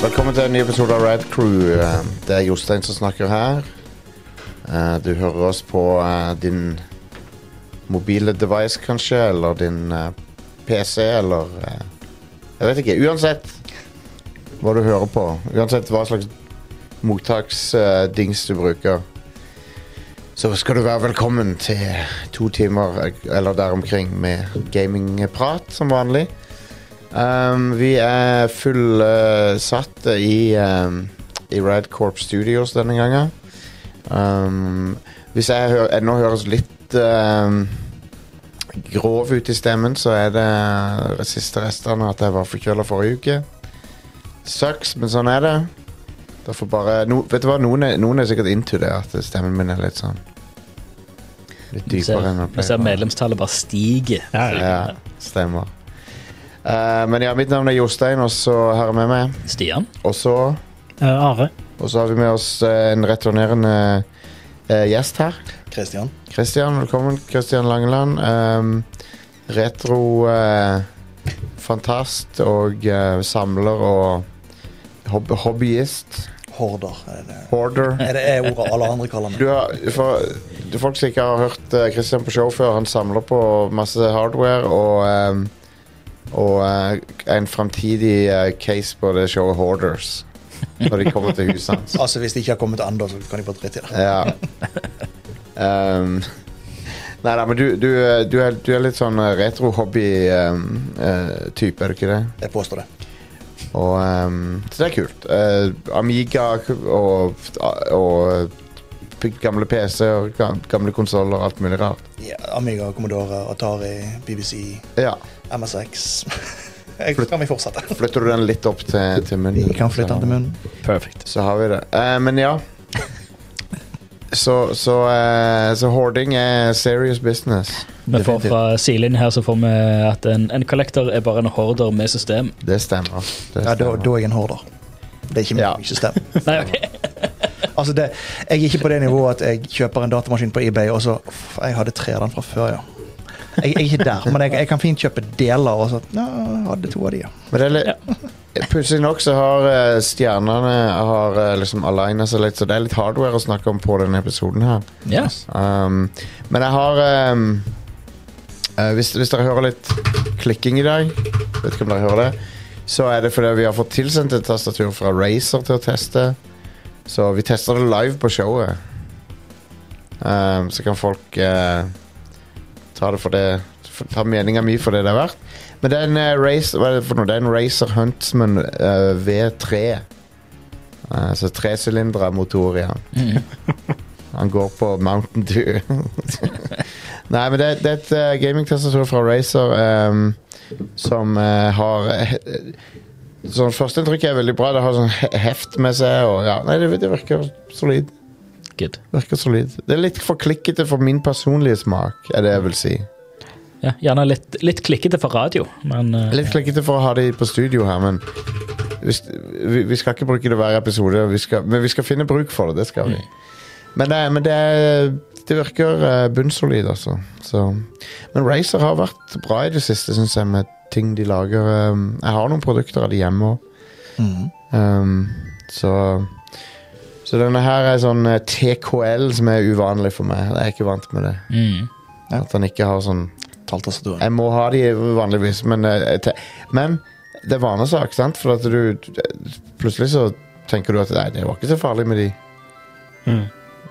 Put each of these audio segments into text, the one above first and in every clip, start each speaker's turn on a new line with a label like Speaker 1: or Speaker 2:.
Speaker 1: Velkommen til en ny episode av Rad Crew. Eh, Det er Jostein som snakker her. Eh, Du hører oss på eh, din mobile device, kanskje, eller din eh, PC, eller eh, Jeg vet ikke. Uansett hva du hører på, uansett hva slags mottaksdings du bruker, så skal du være velkommen til to timer eh, eller der omkring med gamingprat, som vanlig. Um, vi er fullsatte i, um, i Rad Corp Studios denne gangen. Um, hvis jeg hø ennå høres litt um, grov ut i stemmen, så er det uh, siste restene at jeg var forkjøla forrige uke. Sucks, men sånn er det. Derfor bare, no, vet du hva, noen er, noen er sikkert into det, at stemmen min er litt sånn Litt
Speaker 2: Du ser,
Speaker 1: dypere enn den
Speaker 2: du ser
Speaker 1: pleier å være.
Speaker 2: medlemstallet bare stiger.
Speaker 3: Ja,
Speaker 1: Ja, stemmer. Eh, men ja, mitt navn er Jostein, og så her er med meg.
Speaker 2: Stian?
Speaker 1: Og så,
Speaker 3: Eh, Are.
Speaker 1: og så har vi med oss eh, en returnerende eh, gjest her.
Speaker 4: Kristian.
Speaker 1: Kristian, velkommen. Kristian Langeland. ehm, retro eh, fantast og eh, samler og hob hobbyist.
Speaker 4: Horder. Er det
Speaker 1: Hoarder.
Speaker 4: er det er ordet alle andre kaller meg.
Speaker 1: Du har, for, du- folk som ikke har hørt eh, Christian på show før, han samler på masse hardware og, ehm, og eh, en framtidig eh, case på det showet Hoarders. Når de kommer til huset hans.
Speaker 4: Altså, Hvis det ikke har kommet ennå, så kan de bare drite i det.
Speaker 1: Ja. Ehm, nei da, men du, du, eh, du, er, du er litt sånn eh, retro-hobby-type, er du ikke det?
Speaker 4: Jeg påstår det.
Speaker 1: Og, ehm, så det er kult. Eh, Amiga og, og p- gamle PC-er, gam- gamle konsoller og alt mulig rart.
Speaker 4: Ja, Amiga, Commodore, Atari, BBC,
Speaker 1: Ja.
Speaker 4: MSX. Jeg kan vi fortsette.
Speaker 1: Flytter du den litt opp til, til munnen?
Speaker 4: Vi kan flytte den til munnen.
Speaker 2: Perfect.
Speaker 1: Så har vi det. Eh, men ja. Så, så, eh, så hoarding er serious business.
Speaker 2: Vi får
Speaker 1: Definitivt.
Speaker 2: fra sidelinjen her så får vi at en, en kollektor er bare en horder med system.
Speaker 1: Det stemmer. Det
Speaker 4: Ja, da,
Speaker 1: stemmer.
Speaker 4: da er jeg en horder. Det er ikke mitt
Speaker 1: Ja.
Speaker 4: system.
Speaker 2: Nei, ok.
Speaker 4: Altså, det, jeg er ikke på det nivået at jeg kjøper en datamaskin på eBay, og så uff, Jeg hadde tre av den fra før, ja. Jeg, jeg er ikke der, men jeg, jeg kan fint kjøpe deler. og så, ja, jeg hadde to av de, ja.
Speaker 1: Men det er litt Pussig nok så har eh, stjernene har eh, liksom aligna seg litt, så det er litt hardware å snakke om på denne episoden her.
Speaker 2: Ja.
Speaker 1: Um, men jeg har um, eh, hvis, hvis dere hører litt klikking i dag, vet ikke om dere hører det, så er det fordi vi har fått tilsendt et tastatur fra Razer til å teste. Så vi tester det live på showet. Um, så kan folk eh, ta det for det for, Ta meninga mi for det det er verdt. Men det er en eh, Razer Hva er det for noe? Det er en Razer Huntsman eh, V3. Eh, så tresylindra motor i den.
Speaker 2: Mm.
Speaker 1: Han går på Mountain Dew. Nei, men det, det er et eh, gamingtastatur fra Razer ehm, som eh, har eh, Sånn Førsteinntrykket er veldig bra. Det har sånn he- heft med seg. Og, ja. Nei, det, det virker solid.
Speaker 2: Good.
Speaker 1: Virker solid. Det er litt for klikkete for min personlige smak, er det jeg vil si.
Speaker 2: Ja, gjerne litt, litt klikkete for radio, men eh,
Speaker 1: Litt klikkete for å ha de på studio her, men hvis, vi, vi skal ikke bruke det hver episode. Vi skal, men vi skal finne bruk for det. Det skal vi. Men, det, men det, det virker eh, bunnsolid, altså. Så. Men Razer har vært bra i det siste, syns jeg, med ting de lager. Um, Jeg har noen produkter av de hjemme òg.
Speaker 4: Mhm.
Speaker 1: Um, så Så denne her er sånn eh, TKL som er uvanlig for meg. Jeg er ikke vant med det.
Speaker 2: mm.
Speaker 4: Ja.
Speaker 1: At han ikke har sånn
Speaker 4: Talltastaturen.
Speaker 1: jeg må ha de vanligvis, men, eh, jeg te- men det er vanesak, sant? For at du Plutselig så tenker du at nei, det var ikke så farlig med de.
Speaker 3: Mm.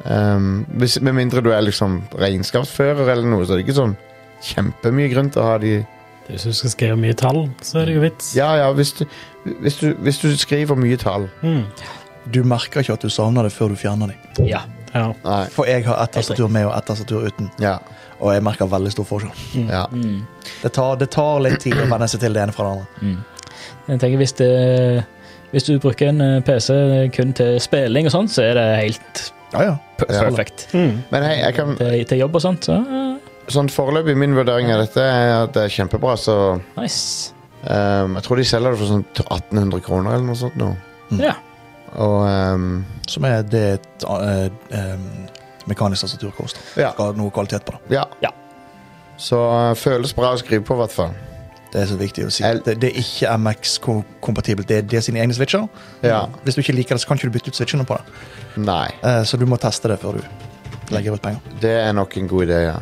Speaker 1: Um, hvis, med mindre du er liksom regnskapsfører eller noe, så er det ikke sånn kjempemye grunn til å ha de
Speaker 3: Hvis du skal skrive mye tall, så er det jo vits.
Speaker 1: Ja ja, hvis du, hvis du, hvis du skriver mye tall
Speaker 3: Mm.
Speaker 4: Du merker ikke at du savner det før du fjerner dem.
Speaker 2: ja.
Speaker 3: ja.
Speaker 1: Nei.
Speaker 4: For jeg har ett tastatur med og ett tastatur uten,
Speaker 1: Ja.
Speaker 4: og jeg merker veldig stor forskjell.
Speaker 1: ja.
Speaker 2: Mm.
Speaker 4: Det tar, det tar litt tid å venne seg til det ene fra det andre.
Speaker 2: Mm. Jeg tenker hvis, det, hvis du bruker en eh, PC kun til spilling og sånn, så er det helt
Speaker 4: Ja, ja.
Speaker 2: p-
Speaker 1: Ja.
Speaker 2: perfekt.
Speaker 3: Mm.
Speaker 1: Men hei, jeg kan
Speaker 2: Til, til jobb og sånt, så eh,
Speaker 1: Sånn foreløpig min vurdering av dette er at det er kjempebra, så
Speaker 2: nice.
Speaker 1: um, Jeg tror de selger det for sånn 1800 kroner eller noe sånt nå.
Speaker 2: Ja.
Speaker 1: Og um,
Speaker 4: Som er det et eh, em, mekanisk tastatur koster.
Speaker 1: Ja.
Speaker 4: Skal ha noe kvalitet på det.
Speaker 1: Ja. eh,
Speaker 2: Ja.
Speaker 1: Så øh, føles bra å skrive på, i hvert fall.
Speaker 4: Det er så viktig å si.
Speaker 1: El-
Speaker 4: Det, det er ikke MX-kompatibelt. Det, er- det er sine egne switcher.
Speaker 1: Ja.
Speaker 4: Hvis du ikke liker det, så kan ikke du bytte ut switchene på det.
Speaker 1: Nei.
Speaker 4: Eh, så du må teste det før du legger ut penger.
Speaker 1: Det er nok en god idé, ja.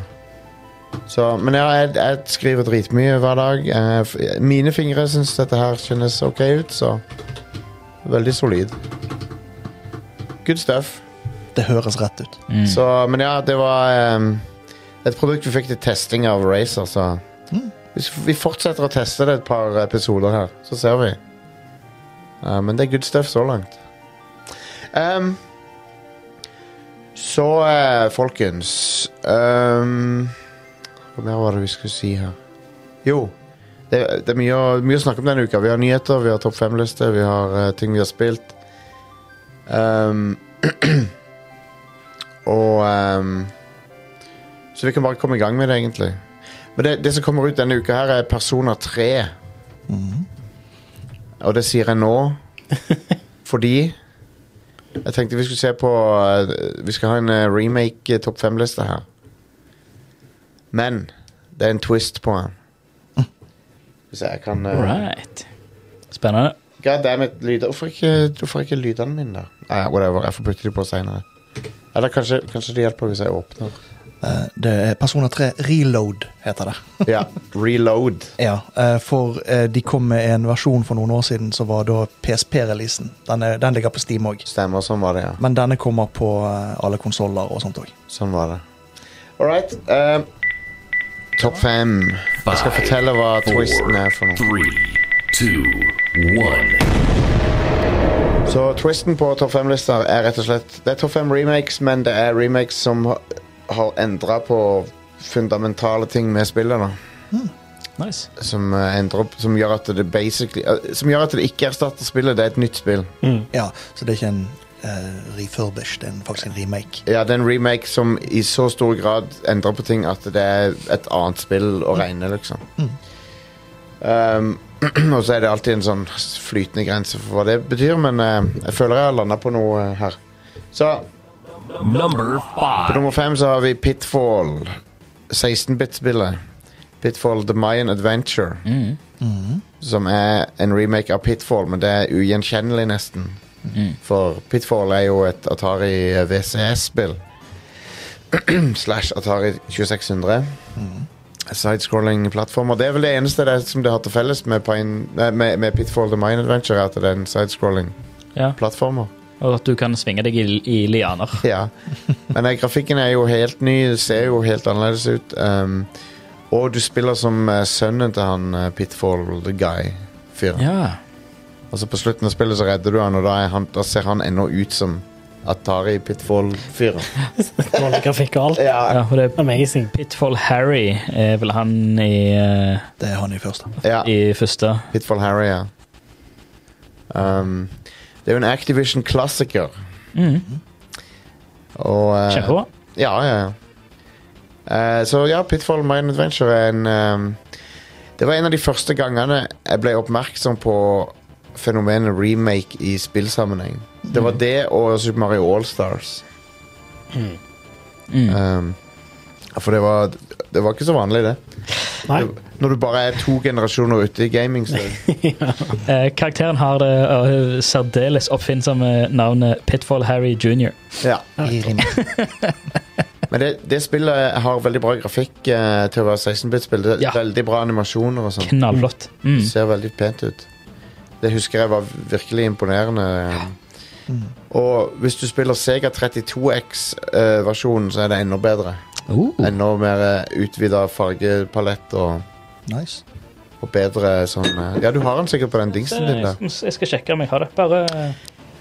Speaker 1: Så, men ja, jeg, jeg skriver dritmye hver dag. Eh, f- Mine fingre syns dette her kjennes ok ut, så Veldig solid. Good stuff.
Speaker 4: Det høres rett ut.
Speaker 2: Mm.
Speaker 1: Så, men ja, det var ehm, et produkt vi fikk til testing av Razer, så
Speaker 4: Mm.
Speaker 1: Hvis vi fortsetter å teste det et par episoder her, så ser vi. Eh, men det er good stuff så langt. Ehm, så, eh, folkens ehm, Hva mer var det vi skulle si her? Jo, det, det er mye å, mye å snakke om denne uka. Vi har nyheter, vi har topp fem-liste, vi har eh, ting vi har spilt. Ehm, og ehm, Så vi kan bare komme i gang med det, egentlig. Men det, det som kommer ut denne uka her, er Persona 3. Og det sier jeg nå fordi jeg tenkte vi skulle se på eh, Vi skal ha en eh, remake eh, topp fem-liste her. Men det er en twist på den. Hvis jeg kan eh,
Speaker 2: Alright. Spennende.
Speaker 1: God damn it, lyder. Hvorfor ikke, hvorfor ikke lydene mine, da? Nei, whatever, jeg får bytte de på seinere. Eller kanskje, kanskje det hjelper hvis jeg åpner.
Speaker 4: Eh, det er Persona 3 Reload, heter det.
Speaker 1: Ja, reload.
Speaker 4: Ja, eh, for eh, de kom med en versjon for noen år siden som var da PSP-releasen. Den, er- den ligger på Steam òg.
Speaker 1: Stemmer, sånn var det, ja.
Speaker 4: Men denne kommer på eh, alle konsoller og sånt òg.
Speaker 1: Sånn var det. All right. eh, Topp fem. Jeg skal fortelle hva twisten er for noe.
Speaker 5: Three, two, one.
Speaker 1: Så twisten på topp fem-lister er rett og slett Det er topp fem remakes, men det er remakes som ha- har endra på fundamentale ting med spillet. da.
Speaker 2: Nice.
Speaker 1: Som, eh, endrer opp, som gjør at det basically eh, Som gjør at det ikke erstatter spillet. Det er et nytt spill.
Speaker 4: Ja, så det er ikke en eh, refurbish, det er en, faktisk en remake.
Speaker 1: Ja, det er en remake som i så stor grad endrer på ting at det er et annet spill å regne, liksom. Um, og så er det alltid en sånn flytende grense for hva det betyr, men eh, jeg føler jeg har landa på noe eh, her. Så
Speaker 5: Number
Speaker 1: på
Speaker 5: five.
Speaker 1: nummer fem så har vi Pitfall. 16-bit-spillet. Pitfall The Mayan Adventure.
Speaker 2: Mm.
Speaker 1: Som er en remake av Pitfall, men det er ugjenkjennelig, nesten. For Pitfall er jo et Atari VCS-spill. Slash Atari 2600. Sidescrolling plattformer. Det er vel det eneste det er som det har til felles med, Pine, nei, med, med Pitfall The Mayan Adventure, er at det er en sidescrolling
Speaker 2: Ja.
Speaker 1: plattformer.
Speaker 2: Og at du kan svinge deg i, i lianer.
Speaker 1: Ja. Men eh, grafikken er jo helt ny, det ser jo helt annerledes ut. Um, og du spiller som eh, sønnen til han eh, Pitfall the Guy-fyren.
Speaker 2: Ja.
Speaker 1: Og så på slutten av spillet så redder du han, og da, er han, da ser han ennå ut som Atari Pitfall-fyren.
Speaker 3: Dårlig grafikk og alt.
Speaker 1: Ja.
Speaker 2: ja. Og det er
Speaker 3: Amazing.
Speaker 2: Pitfall Harry er vel han i, eh,
Speaker 4: Det er han i første.
Speaker 1: ja.
Speaker 2: i første.
Speaker 1: Pitfall Harry, ja. Um, det er jo en Activision-klassiker.
Speaker 2: Mm.
Speaker 1: Og eh,
Speaker 2: Kjempebra.
Speaker 1: Ja, ja, ja. Eh, så ja, Pitfall Mine Adventure er en ehm, Det var en av de første gangene jeg ble oppmerksom på fenomenet remake i spillsammenheng. Det var det og Super Mario Allstars.
Speaker 2: Mm.
Speaker 1: Um, for det var, det var ikke så vanlig, det.
Speaker 3: Nei.
Speaker 1: Når du bare er to generasjoner ute i gaming. Så.
Speaker 2: Eh, karakteren har det eh, særdeles oppfinnsomme navnet Pitfall Harry jr.
Speaker 1: Ja.
Speaker 4: I remake.
Speaker 1: Men det, det spillet har veldig bra grafikk eh, til å være 16-bit-spill. Det er
Speaker 2: Ja.
Speaker 1: Veldig bra animasjoner og sånn.
Speaker 2: Knallflott.
Speaker 1: Det
Speaker 2: Mm.
Speaker 1: ser veldig pent ut. Det husker jeg var virkelig imponerende. Og hvis du spiller Sega 32X-versjonen, eh, så er det enda bedre.
Speaker 2: Uh.
Speaker 1: Enda mer utvida fargepalett og,
Speaker 4: Nice.
Speaker 1: og bedre sånn eh, Ja, du har den sikkert på den dingsen din der.
Speaker 2: Jeg, jeg skal sjekke om jeg har det. Bare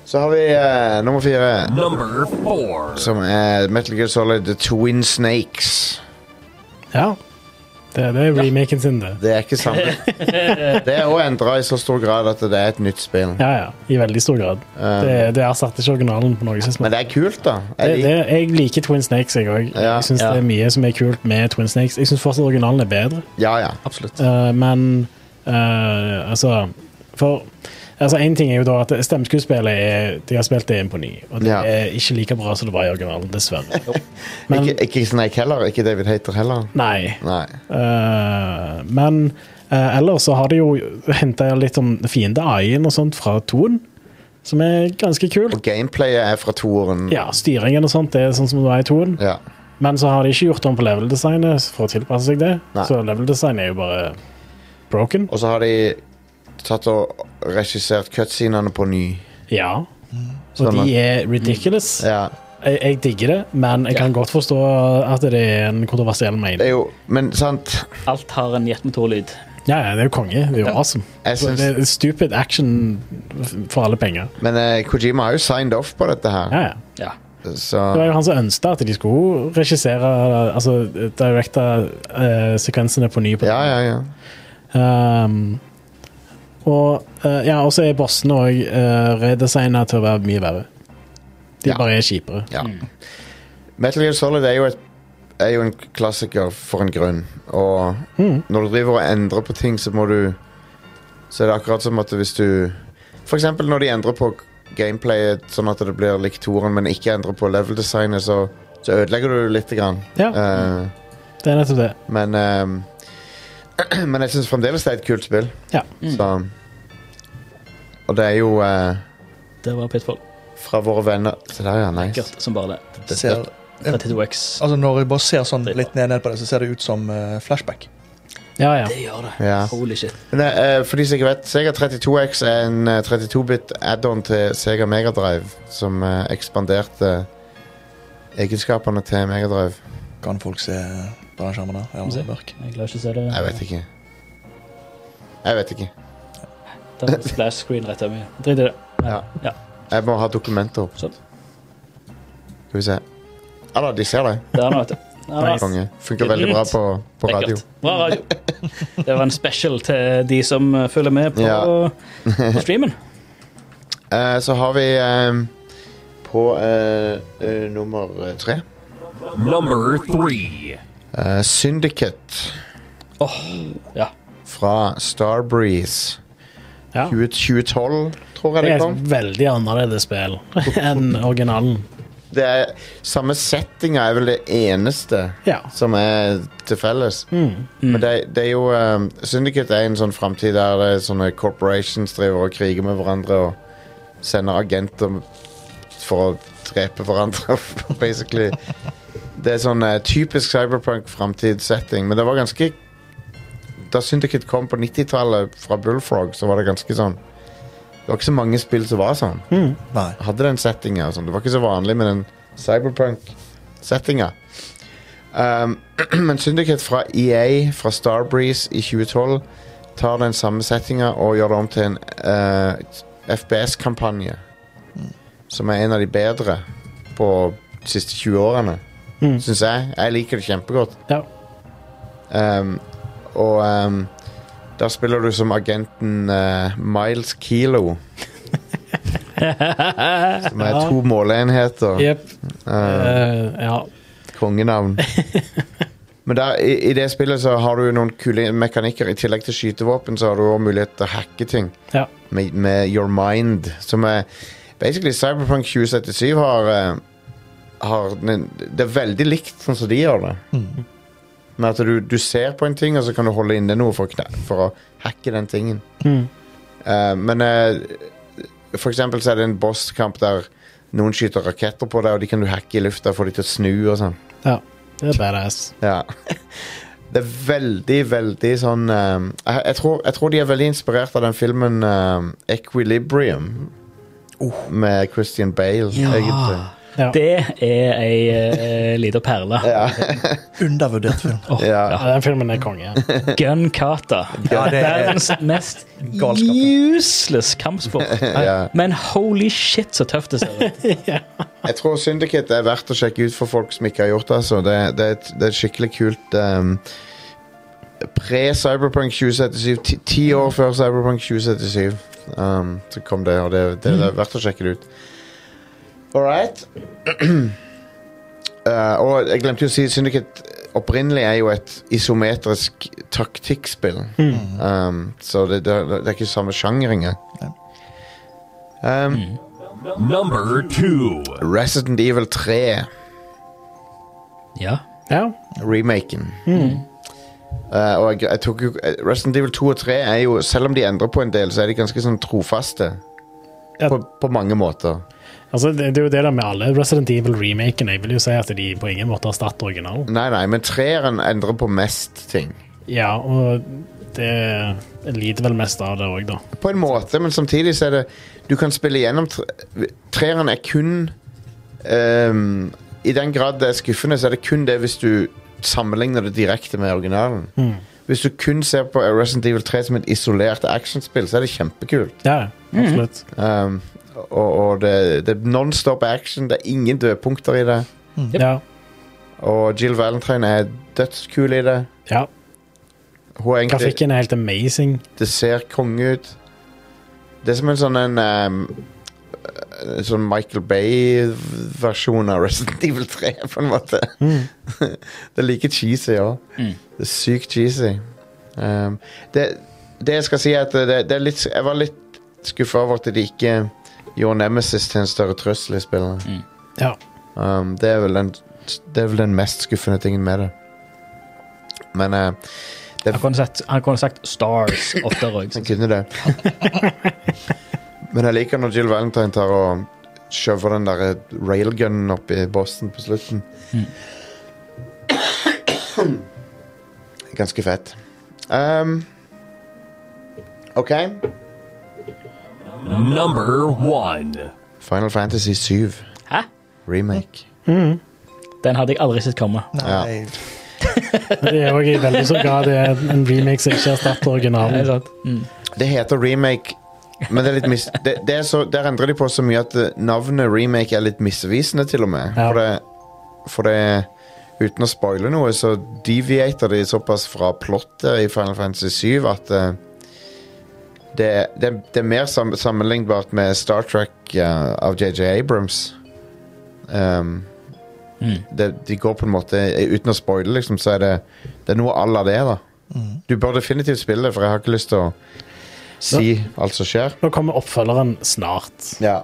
Speaker 1: Så har vi eh, nummer fire,
Speaker 5: Number four.
Speaker 1: som er Metal Gear Solid The Twin Snakes.
Speaker 3: Ja. Det, det er remaken sin, det.
Speaker 1: Det er ikke samme Det er òg endra i så stor grad at det er et nytt spill.
Speaker 3: Ja, ja. I veldig stor grad. Det, det erstatter ikke originalen på
Speaker 1: Eh.
Speaker 3: noe
Speaker 1: Men
Speaker 3: tidspunkt.
Speaker 1: det er kult, da.
Speaker 3: Det,
Speaker 1: Jeg
Speaker 3: det,
Speaker 1: liker,
Speaker 3: jeg liker Twin Snakes, jeg òg.
Speaker 1: Ja.
Speaker 3: Jeg syns
Speaker 2: Ja.
Speaker 3: det er mye som er kult med Twin Snakes. Jeg syns fortsatt originalen er bedre.
Speaker 1: ja, ja.
Speaker 2: Absolutt.
Speaker 3: Eh, men eh, altså For altså, en ting er jo da at stemmeskuespillet er De har spilt det inn på ny, og det
Speaker 1: Ja.
Speaker 3: er ikke like bra som det var i originalen, dessverre. Men
Speaker 1: Ikke, ikke Snake heller. Ikke David Hater heller.
Speaker 3: Nei.
Speaker 1: Nei.
Speaker 3: Eh, men Eh, ellers så har de jo henta litt om fiende-AI-en og sånt fra toen, som er ganske kult.
Speaker 1: Og gameplayet er fra toeren.
Speaker 3: Ja, styringen og sånt det er sånn som det var i toen.
Speaker 1: Ja.
Speaker 3: Men så har de ikke gjort om på leveldesignet for å tilpasse seg det.
Speaker 1: Nei.
Speaker 3: Så leveldesign er jo bare broken.
Speaker 1: Og så har de tatt og regissert cutscenene på ny.
Speaker 3: Ja. Og
Speaker 1: Stemmer.
Speaker 3: de er ridiculous.
Speaker 1: Ja.
Speaker 3: Jeg, jeg digger det, men jeg kan godt forstå at det er en kontroversiell
Speaker 1: Det
Speaker 3: mening.
Speaker 1: er jo Men sant
Speaker 2: Alt har en jetmotorlyd.
Speaker 3: Ja, ja, det er jo konge. Det er jo awesome.
Speaker 1: Jeg
Speaker 3: Så
Speaker 1: syns-
Speaker 3: Det er stupid action f- for alle penger.
Speaker 1: Men eh, Kojima har jo signed off på dette her,
Speaker 3: Ja, ja.
Speaker 2: Ja.
Speaker 3: Det var
Speaker 1: så
Speaker 3: jo han som ønsket at de skulle regissere Altså directe eh, sekvensene på ny. På
Speaker 1: Ja, ja, ja.
Speaker 3: Ehm, og eh, ja, også er bossene òg uh, redesigna til å være mye verre. De
Speaker 1: Ja.
Speaker 3: bare er kjipere.
Speaker 1: ja. Metal Gear Solid er jo, et, er jo en klassiker for en grunn. Og
Speaker 3: Mm.
Speaker 1: når du driver og endrer på ting, så må du Så er det akkurat som at hvis du For eksempel når de endrer på gameplayet sånn at det blir likt toeren, men ikke endrer på level-designet, så, så ødelegger du lite grann.
Speaker 3: Ja,
Speaker 1: Eh,
Speaker 3: det er nettopp det.
Speaker 1: men eh, Men jeg syns fremdeles det er et kult spill.
Speaker 3: Ja.
Speaker 1: Så Og det er jo eh,
Speaker 2: Det var pitfall.
Speaker 1: fra våre venner Se der, ja. Nice.
Speaker 2: Gørt som bare det.
Speaker 1: Det-
Speaker 4: Ser,
Speaker 2: 32X.
Speaker 4: altså når jeg bare ser sånn litt ned, ned på det, så ser det ut som eh, flashback.
Speaker 3: Ja, ja.
Speaker 2: Det gjør det.
Speaker 1: Ja.
Speaker 2: Holy shit.
Speaker 1: Men, eh, for de som ikke vet, Sega 32X er en eh, 32-bit add-on til Sega Megadrive som eh, ekspanderte egenskapene til Megadrive.
Speaker 4: Kan folk se på den skjermen der? Ja, den er mørk.
Speaker 2: Jeg klarer ikke å se det.
Speaker 1: Jeg vet ikke. Jeg vet ikke.
Speaker 2: Det er splash screen rett over meg. Drit i det.
Speaker 1: Ja.
Speaker 2: Ja.
Speaker 1: Jeg må ha dokumenter opp.
Speaker 2: Sånn.
Speaker 1: Skal vi se. Ja da, de ser deg.
Speaker 2: Det er noe, vet du. Ja,
Speaker 3: Nice.
Speaker 1: Konge. Funker veldig bra på, på radio.
Speaker 2: Lekkert. Bra radio. Det var en special til de som eh, følger med på,
Speaker 1: Ja.
Speaker 2: på streamen.
Speaker 1: Eh, så har vi eh, på eh, eh, nummer tre
Speaker 5: Number three.
Speaker 1: eh, Syndicate.
Speaker 2: Åh, ja.
Speaker 1: fra Starbreeze.
Speaker 3: ja.
Speaker 1: 20, 2012, tror jeg
Speaker 3: Det
Speaker 1: det
Speaker 3: er
Speaker 1: kom.
Speaker 3: et veldig annerledes spill enn originalen.
Speaker 1: Det er Samme settinga er vel det eneste
Speaker 3: Ja.
Speaker 1: som er til felles. Men det, det er jo um, Syndicate er en sånn framtid der det er sånne corporations driver og kriger med hverandre og sender agenter for å drepe hverandre, basically. Det er sånn eh, typisk cyberpunk-framtidssetting, men det var ganske Da Syndicate kom på 90-tallet fra Bullfrog, så var det ganske sånn Det var ikke så mange spill som var sånn
Speaker 4: Nei.
Speaker 1: hadde den settinga. og sånn. Det var ikke så vanlig med den cyberpunk-settinga. Um, men Syndicate fra EA, fra Starbreeze i 2012, tar den samme settinga og gjør det om til en eh, FBS-kampanje. Som er en av de bedre på de siste 20 årene,
Speaker 3: Mm.
Speaker 1: syns jeg. Jeg liker det kjempegodt.
Speaker 3: Ja.
Speaker 1: Um, og um, der spiller du som agenten eh, Miles Kilo. som er to måleenheter.
Speaker 3: Jepp.
Speaker 1: Eh,
Speaker 3: Eh, ja.
Speaker 1: kongenavn. Men der, i, i det spillet så har du noen kule mekanikker. I tillegg til skytevåpen så har du også mulighet til å hacke ting
Speaker 3: ja.
Speaker 1: med, med Your Mind, som er Basically, Cyberpunk 2077 har, eh, har den- Det er veldig likt sånn som de gjør det.
Speaker 3: Mm.
Speaker 1: Med at du, du ser på en ting, og så kan du holde inne noe for, å kne- for å hacke den tingen.
Speaker 3: Mm.
Speaker 1: Eh, men eh, for eksempel så er det en bosskamp der noen skyter raketter på deg, og de kan du hacke i lufta og få de til å snu og sånn.
Speaker 3: ja. Det er badass.
Speaker 1: Ja. Det er veldig, veldig sånn ehm, jeg, jeg, tror, jeg tror de er veldig inspirert av den filmen ehm, Equilibrium. Med Christian Bale, egentlig.
Speaker 3: Ja.
Speaker 2: Det er ei eh, lita perle.
Speaker 4: Undervurdert film.
Speaker 2: Åh,
Speaker 1: Ja.
Speaker 3: Ja, den filmen er konge. ja.
Speaker 2: Gun Kata.
Speaker 4: Ja, det er-
Speaker 2: Verdens mest
Speaker 4: Galskap,
Speaker 2: useless kampsport.
Speaker 1: Ja.
Speaker 2: Men holy shit, så tøft det ser ut.
Speaker 1: Jeg tror Syndicate er verdt å sjekke ut for folk som ikke har gjort det. Altså. Det, det, er, et, det er et skikkelig kult ehm, Pre-Cyberpunk 2077, ti, ti år før Cyberpunk 2077, ehm, så kom det, og det, det, det er verdt å sjekke det ut. All right. Eh, og jeg glemte jo å si Syndicate opprinnelig er jo et isometrisk taktikkspill. Ehm, så det, det, det er ikke samme sjanger engang. Ehm,
Speaker 5: Number two.
Speaker 1: Resident Evil 3.
Speaker 2: Ja.
Speaker 3: Ja.
Speaker 1: remaken. Eh, og jeg, jeg tok jo eh, Resident Evil 2 og 3 er jo Selv om de endrer på en del, så er de ganske sånn trofaste.
Speaker 3: Ja.
Speaker 1: På, på mange måter.
Speaker 3: Altså, det, det er jo det der med alle Resident Evil-remakene. Jeg vil jo si at de på ingen måte erstatter originalen.
Speaker 1: Nei, nei, men treeren endrer på mest ting.
Speaker 3: Ja, og det lider vel mest av det òg, da.
Speaker 1: På en måte, men samtidig så er det Du kan spille gjennom tre- Treeren er kun ehm, I den grad det er skuffende, så er det kun det hvis du sammenligner det direkte med originalen. Hvis du kun ser på Resident Evil 3 som et isolert actionspill, så er det kjempekult.
Speaker 3: Ja,
Speaker 2: Mm.
Speaker 3: absolutt.
Speaker 1: Ehm, og og det, det er nonstop action, det er ingen dødpunkter i det.
Speaker 2: Mm.
Speaker 3: Ja.
Speaker 1: Og Jill Valentine er dødskul i det.
Speaker 3: ja.
Speaker 1: Hun er egentlig,
Speaker 3: Grafikken er helt amazing.
Speaker 1: Det ser konge ut. Det er som en sånn en ehm, eh, Sånn Michael Bay-versjon av Resident Evil 3, på en måte. det er like cheesy òg.
Speaker 2: Mm.
Speaker 1: Det er sykt cheesy. Ehm, det, det jeg skal si, er at det, det er litt, jeg var litt skuffa over at de ikke gjorde Nemesis til en større trøssel i spillet.
Speaker 3: Ja.
Speaker 1: Um, det, er vel den, det er vel den mest skuffende tingen med det. Men eh,
Speaker 2: Han kunne sagt, han kunne sagt Stars oftere òg.
Speaker 1: han kunne det. Men jeg liker når Jill Valentine tar og skjøver den der railgunnen opp i bossen på slutten. Ganske fett. Um, OK.
Speaker 5: Number one.
Speaker 1: Final Fantasy 7
Speaker 2: Hæ?
Speaker 1: remake.
Speaker 2: Den hadde jeg aldri sett komme.
Speaker 4: Nei,
Speaker 3: Det er òg i veldig så grad det er en remake som ikke erstatter
Speaker 2: Er det
Speaker 3: originalen.
Speaker 2: sant? Mm.
Speaker 1: Det heter remake, men det er litt mis... Det, det er så, der endrer de på så mye at eh, navnet remake er litt misvisende, til og med.
Speaker 3: Ja.
Speaker 1: For, det, for det Uten å spoile noe, så deviater de såpass fra plottet i Final Fantasy 7 at eh, det, det, det er mer sam, sammenlignbart med Star Trek eh, av JJ Abrams. Um,
Speaker 2: Mm.
Speaker 1: det, de går på en måte Uten å spoile, liksom, så er det, det er noe à la det, da. Du bør definitivt spille det, for jeg har ikke lyst til å si alt som skjer.
Speaker 3: Nå kommer oppfølgeren snart.
Speaker 1: Ja,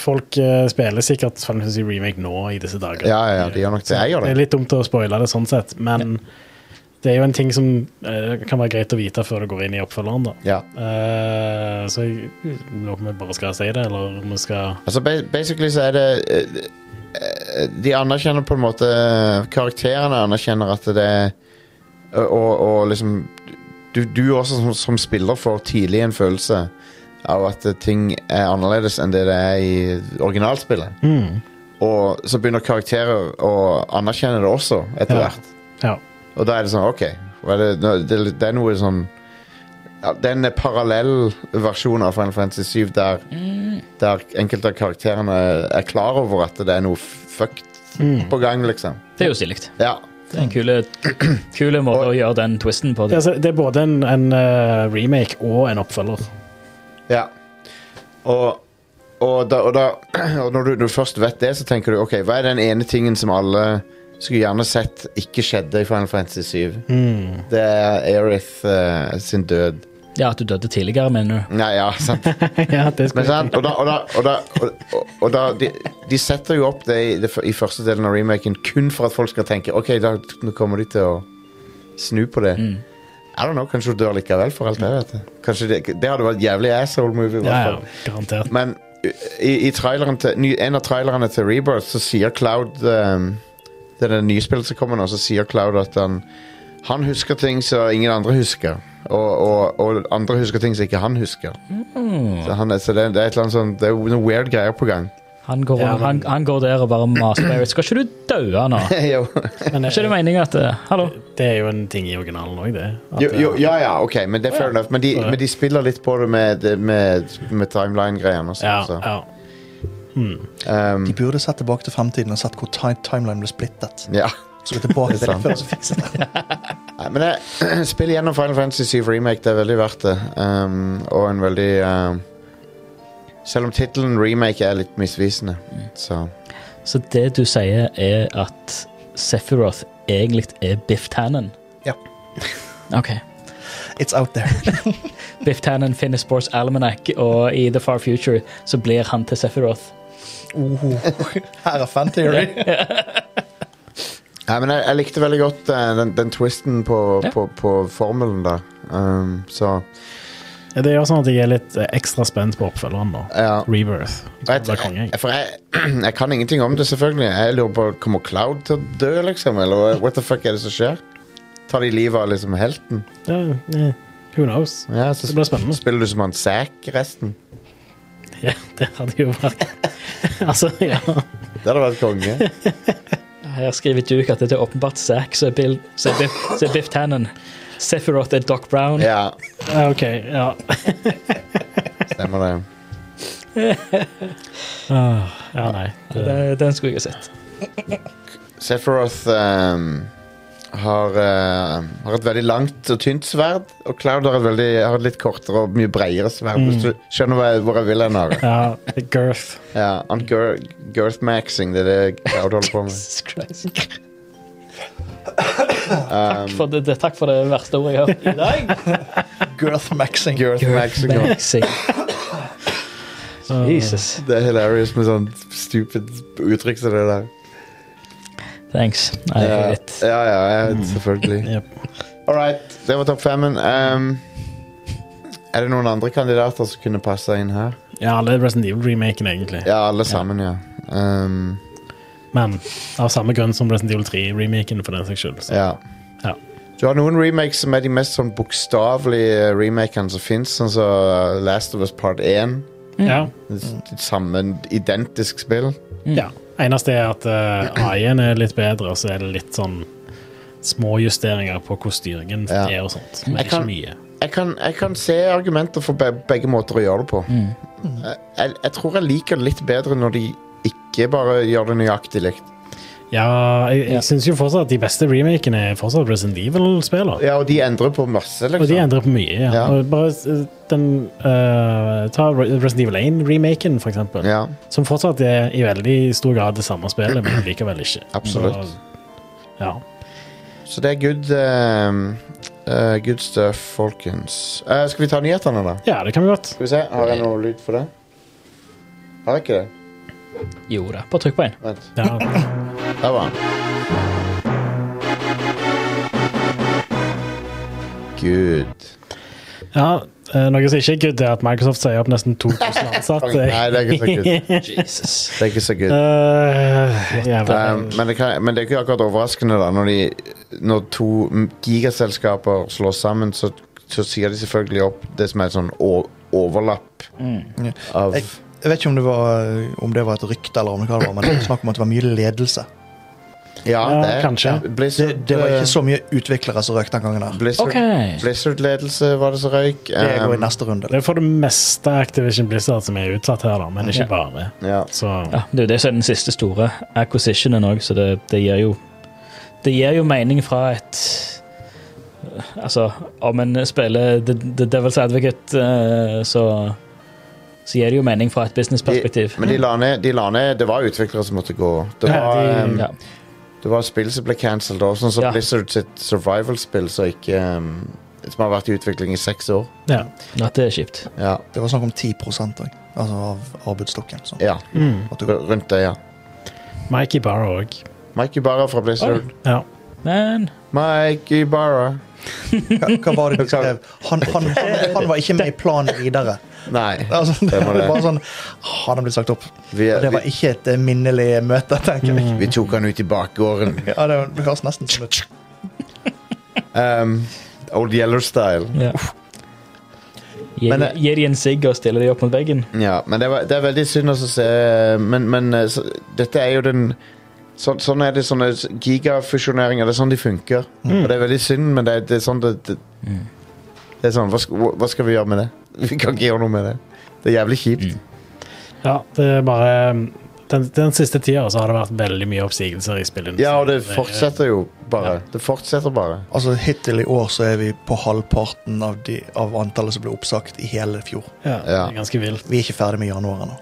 Speaker 3: Folk eh, spiller sikkert Final Fantasy Remake nå i disse dager.
Speaker 1: ja, ja de gjør nok det. Jeg gjør
Speaker 3: Det er
Speaker 1: det.
Speaker 3: litt dumt å spoile det sånn sett, men det er jo en ting som eh, kan være greit å vite før du går inn i oppfølgeren, da.
Speaker 1: Ja.
Speaker 3: Eh, så jeg lurer på om jeg bare skal si det, eller om vi skal
Speaker 1: Altså, ba- basically så er det eh, eh, De anerkjenner på en måte Karakterene anerkjenner at det er Og, og liksom du, du også som, som spiller får tidlig en følelse av at eh, ting er annerledes enn det det er i originalspillet.
Speaker 2: Mm.
Speaker 1: Og så begynner karakterer å anerkjenne det også, etter
Speaker 3: Ja.
Speaker 1: hvert.
Speaker 3: Ja.
Speaker 1: Og da er det sånn, ok hva er det, nå- det, det er noe sånn ja, Det er en parallell versjon av Final Fantasy 7 der, der enkelte av karakterene er klar over at det er noe fucked på gang, liksom.
Speaker 2: Det er jo stilig.
Speaker 1: Ja.
Speaker 2: Det er en kule, kule måte å gjøre den twisten på.
Speaker 3: Det, er altså, det er både en, en eh, remake og en oppfølger.
Speaker 1: ja. Og, og, da, og, da, og når du, når du først vet det, så tenker du ok, hva er den ene tingen som alle skulle gjerne sett ikke skjedde i Final Fantasy 7? Det er Aerith eh, sin død.
Speaker 2: Ja, At du døde tidligere, mener du?
Speaker 1: Nei, ja, sant.
Speaker 3: ja, det skal
Speaker 1: Men sant? Og da, og da, og da, og, og- og da de, de setter jo opp det i, det f- i første delen av remaken kun for at folk skal tenke Ok, da, nå kommer de til å snu på det. I don't know, Kanskje hun dør likevel, for alt jeg vet. Kanskje det, det hadde vært jævlig asshole-movie. i
Speaker 3: ja,
Speaker 1: hvert
Speaker 3: ja,
Speaker 1: fall.
Speaker 3: garantert.
Speaker 1: Men i, i traileren til, ny, en av trailerne til Rebirth så sier Cloud ehm, Det er det nye spillet som kommer nå, så sier Cloud at han Han husker ting som ingen andre husker. Og, og, og andre husker ting som ikke han husker. Så, han, er- så det, det er et eller annet sånn Det er noen weird greier på gang.
Speaker 2: Han går,
Speaker 3: Ja, men-
Speaker 2: han, han går der og bare maser Barrett. Skal ikke du daue nå? Er
Speaker 1: jo.
Speaker 3: Men
Speaker 2: ikke det
Speaker 3: det,
Speaker 2: meningen at eh, Hallo?
Speaker 3: det er jo en ting i originalen òg, det. At,
Speaker 1: Jo, jo,
Speaker 3: eh,
Speaker 1: ja ja, OK, men det er fair enough. Men de, men de spiller litt på det med, det- med, med timeline-greiene. og sånn,
Speaker 3: ja,
Speaker 1: så.
Speaker 3: ja.
Speaker 1: Ehm,
Speaker 4: de burde satt tilbake til fremtiden og satt hvor ti timeline ble splittet.
Speaker 1: ja.
Speaker 4: Så gå tilbake til det
Speaker 1: sant.
Speaker 4: før, så fikser det.
Speaker 1: Nei, men jeg, spill gjennom Final Fantasy 7 Remake, det er veldig verdt det. Um, og en veldig um, Selv om tittelen remake er litt misvisende, så
Speaker 2: Så det du sier, er at Sephiroth egentlig er Biff Tannen?
Speaker 4: Ja.
Speaker 2: OK.
Speaker 4: It's out there.
Speaker 2: Biff Tannen finner Sports Almanac, og i The Far Future så blir han til Sephiroth.
Speaker 4: Oh, her er fan theory.
Speaker 1: Ja, Nei, men jeg, jeg likte veldig godt eh, den, den twisten på,
Speaker 2: Ja.
Speaker 1: på, på formelen der. Um, så
Speaker 3: Ja, Det gjør sånn at jeg er litt eh, ekstra spent på oppfølgeren nå.
Speaker 1: ja.
Speaker 3: Rebirth.
Speaker 1: Jeg,
Speaker 3: Jeg tror det blir konge, jeg.
Speaker 1: jeg, for jeg, jeg kan ingenting om det, selvfølgelig. Jeg lurer på Kommer Cloud til å dø, liksom? Eller what the fuck er det som skjer? Tar de livet av liksom helten?
Speaker 3: Ja, eh, Who knows?
Speaker 1: Ja, så
Speaker 3: Det blir spennende.
Speaker 1: spiller du som han Zack resten.
Speaker 3: Ja, det hadde jo vært Altså, ja.
Speaker 1: Det hadde vært konge.
Speaker 2: Her skriver Duke at det er åpenbart Zack som er Bill- som er Biff, som er Biff Tannen. Sephiroth er Doc Brown.
Speaker 1: Ja,
Speaker 3: Ja, OK. Ja.
Speaker 1: stemmer det.
Speaker 3: Ah, Ja, nei. Det,
Speaker 2: Den, den skulle jeg ha sett.
Speaker 1: Sephiroth ehm, har, eh, har et veldig langt og tynt sverd, og Cloud har et, veldig, har et litt kortere og mye bredere sverd. Hvis du skjønner hva jeg, hvor jeg vil hen? Are.
Speaker 3: ja, girth.
Speaker 1: Ja, han gir, girth-maxing, det er det Cloud holder på med.
Speaker 2: Jesus Christ. Takk for det, det, takk for det verste ordet jeg har hørt i dag.
Speaker 4: Girth maxing.
Speaker 1: Girth-maxing. og-
Speaker 2: Amazing. Jesus.
Speaker 1: Det er hilarious med sånn stupid uttrykk som det der.
Speaker 2: Thanks. Nei, jeg
Speaker 1: ja,
Speaker 2: vet.
Speaker 1: ja, ja, jeg vet, Mm. selvfølgelig.
Speaker 3: Jep.
Speaker 1: All right, det var topp femmen. Ehm, er det noen andre kandidater som kunne passe inn her?
Speaker 3: Ja, alle Resident Evil-remaken, egentlig.
Speaker 1: Ja, alle sammen, ja. Ehm,
Speaker 3: Men av samme grunn som Resident Evil 3-remaken, for den saks skyld. Så.
Speaker 1: Ja.
Speaker 3: Ja.
Speaker 1: Du har noen remakes som er de mest sånn bokstavelige remakene som fins, sånn som uh, Last of Us Part 1.
Speaker 3: Ja.
Speaker 1: Det s- det Samme identisk spill.
Speaker 3: ja. Eneste er at eh, AI-en er litt bedre, og så er det litt sånn små justeringer på hvor styringen
Speaker 1: Ja.
Speaker 3: er og sånt. Men
Speaker 1: Jeg
Speaker 3: ikke
Speaker 1: kan-
Speaker 3: mye.
Speaker 1: Jeg kan, jeg kan se argumenter for be begge måter å gjøre det på.
Speaker 3: Mm.
Speaker 1: Jeg, jeg, jeg tror jeg liker det litt bedre når de ikke bare gjør det nøyaktig likt.
Speaker 3: Ja, jeg, jeg
Speaker 2: Ja.
Speaker 3: syns jo fortsatt at de beste remakene er fortsatt Resident Evil-spiller.
Speaker 1: Ja, og de endrer på masse, liksom.
Speaker 3: Og de endrer på mye. Ja.
Speaker 1: Ja.
Speaker 3: Og bare eh, den eh, Ta Re- Resident Evil 1-remaken, for eksempel.
Speaker 1: ja,
Speaker 3: Som fortsatt er i veldig stor grad det samme spillet, men likevel ikke.
Speaker 1: Absolutt.
Speaker 3: Så, ja.
Speaker 1: så det er good, ehm, eh, good stuff, folkens. Eh, skal vi ta nyhetene, da?
Speaker 3: ja, det kan vi godt.
Speaker 1: Skal vi se, Har jeg noe lyd for det? Har jeg ikke det?
Speaker 2: Jo da, bare trykk på en.
Speaker 1: Vent.
Speaker 3: Ja.
Speaker 1: Der var han. Gud.
Speaker 3: ja, eh, Noe som ikke er good, er at Microsoft sier opp nesten 2000 ansatte.
Speaker 1: Nei, det er ikke så good.
Speaker 2: Jesus.
Speaker 1: Det er ikke så good.
Speaker 3: Eh, jævla-
Speaker 1: Um, men, det kan, men det er ikke akkurat overraskende da når, de, når to mm, gigaselskaper slår sammen, så, så sier de selvfølgelig opp det som er et sånn o- overlapp
Speaker 2: Mm.
Speaker 1: av
Speaker 4: Jeg, jeg vet ikke om det, var, om det var et rykte, eller om det hva det var, men det var snakk om at det var mye ledelse.
Speaker 1: Ja,
Speaker 3: Ja,
Speaker 1: det
Speaker 3: kanskje.
Speaker 4: Det,
Speaker 1: Blizzard,
Speaker 4: det var
Speaker 1: eh,
Speaker 4: ikke så mye utviklere som røk den gangen. der.
Speaker 1: Blizzard,
Speaker 2: Ok.
Speaker 1: Blizzard-ledelse var det som røyk.
Speaker 4: Det går i
Speaker 1: Um,
Speaker 4: neste runde.
Speaker 3: det er for det meste Activision Blizzard som er utsatt her, da, men ikke
Speaker 2: Ja.
Speaker 3: bare.
Speaker 1: ja.
Speaker 3: Så
Speaker 2: Ja, det er jo det som er den siste store acquisitionen òg, så det, det gir jo Det gir jo mening fra et Altså, om en spiller The, The Devil's Advocate, eh, så så gir det jo mening fra et businessperspektiv.
Speaker 1: Men de la, ned, de la ned Det var utviklere som måtte gå. Det
Speaker 3: Ja,
Speaker 1: var,
Speaker 3: de-
Speaker 1: um,
Speaker 2: Ja.
Speaker 1: Det var spill som ble cancelled også, sånn som
Speaker 2: Ja.
Speaker 1: Blizzard sitt survival-spill som ikke um, Som har vært i utvikling i seks år.
Speaker 3: ja.
Speaker 2: ja, det er kjipt.
Speaker 1: Ja.
Speaker 4: Det var snakk om 10 også, altså av arbeidsstokken. Så.
Speaker 1: ja.
Speaker 3: Mm.
Speaker 4: At
Speaker 1: R-
Speaker 4: du,
Speaker 1: Rundt det, ja.
Speaker 3: Mike Ibarra òg.
Speaker 1: Mike Ibarra fra Blizzard.
Speaker 3: Ja.
Speaker 2: Men
Speaker 1: Mike Ibarra.
Speaker 4: hva, hva var det de skrev? Han, han, han, han var ikke med i planen videre.
Speaker 1: Nei.
Speaker 4: Altså, det
Speaker 1: Det var
Speaker 4: var
Speaker 1: det.
Speaker 4: bare sånn, Han har blitt sagt opp.
Speaker 1: Vi,
Speaker 4: Og det var
Speaker 1: vi, Mm.
Speaker 4: ikke et eh, minnelig møte, tenker jeg.
Speaker 1: vi tok han ut i bakgården.
Speaker 4: Ja, det høres nesten sånn som et
Speaker 1: Um, old Yeller-style.
Speaker 2: ja. Gi
Speaker 1: Men, eh,
Speaker 2: gi de en sigg og stille de opp mot veggen.
Speaker 1: Ja, men det, var, det er veldig synd å se Men, men eh, så, dette er jo den så, Sånn er det sånne gigafusjoneringer. Det er sånn de funker. Og det er veldig synd, men det, er- det er sånn det, det, det er sånn, hva, sk- hva skal vi gjøre med det? Vi kan ikke gjøre noe med det. Det er jævlig kjipt.
Speaker 3: ja, det er bare um, den, den siste tida så har det vært veldig mye oppsigelser i spillet.
Speaker 1: Ja, og det fortsetter jo bare. Det fortsetter bare.
Speaker 4: Altså, Hittil i år så er vi på halvparten av, de, av antallet som ble oppsagt i hele fjor.
Speaker 3: Ja, det
Speaker 1: Ja.
Speaker 3: er ganske vilt.
Speaker 4: Vi er ikke ferdig med januar ennå.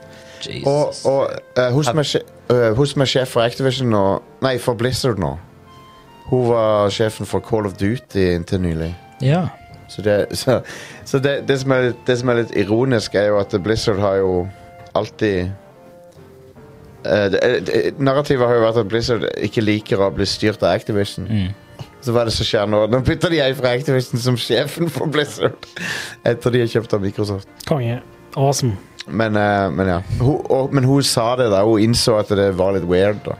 Speaker 1: Og, og eh, hun som er sje- eh, hun som er sjef for Activision nå Nei, for Blizzard nå Hun var sjefen for Call of Duty inntil nylig.
Speaker 2: Ja.
Speaker 1: Så, det, så, så det, det, som er, det som er litt ironisk, er jo at Blizzard har jo alltid eh, det- det- Narrativet har jo vært at Blizzard ikke liker å bli styrt av Activision.
Speaker 2: Mm.
Speaker 1: Så hva er det som skjer nå? Nå bytter de ei fra Activision som sjefen for Blizzard. Etter de er kjøpt av Microsoft.
Speaker 3: Konge. Awesome.
Speaker 1: Men, eh, men ja. Hun, og, men hun sa det, da. Hun innså at det var litt weird. da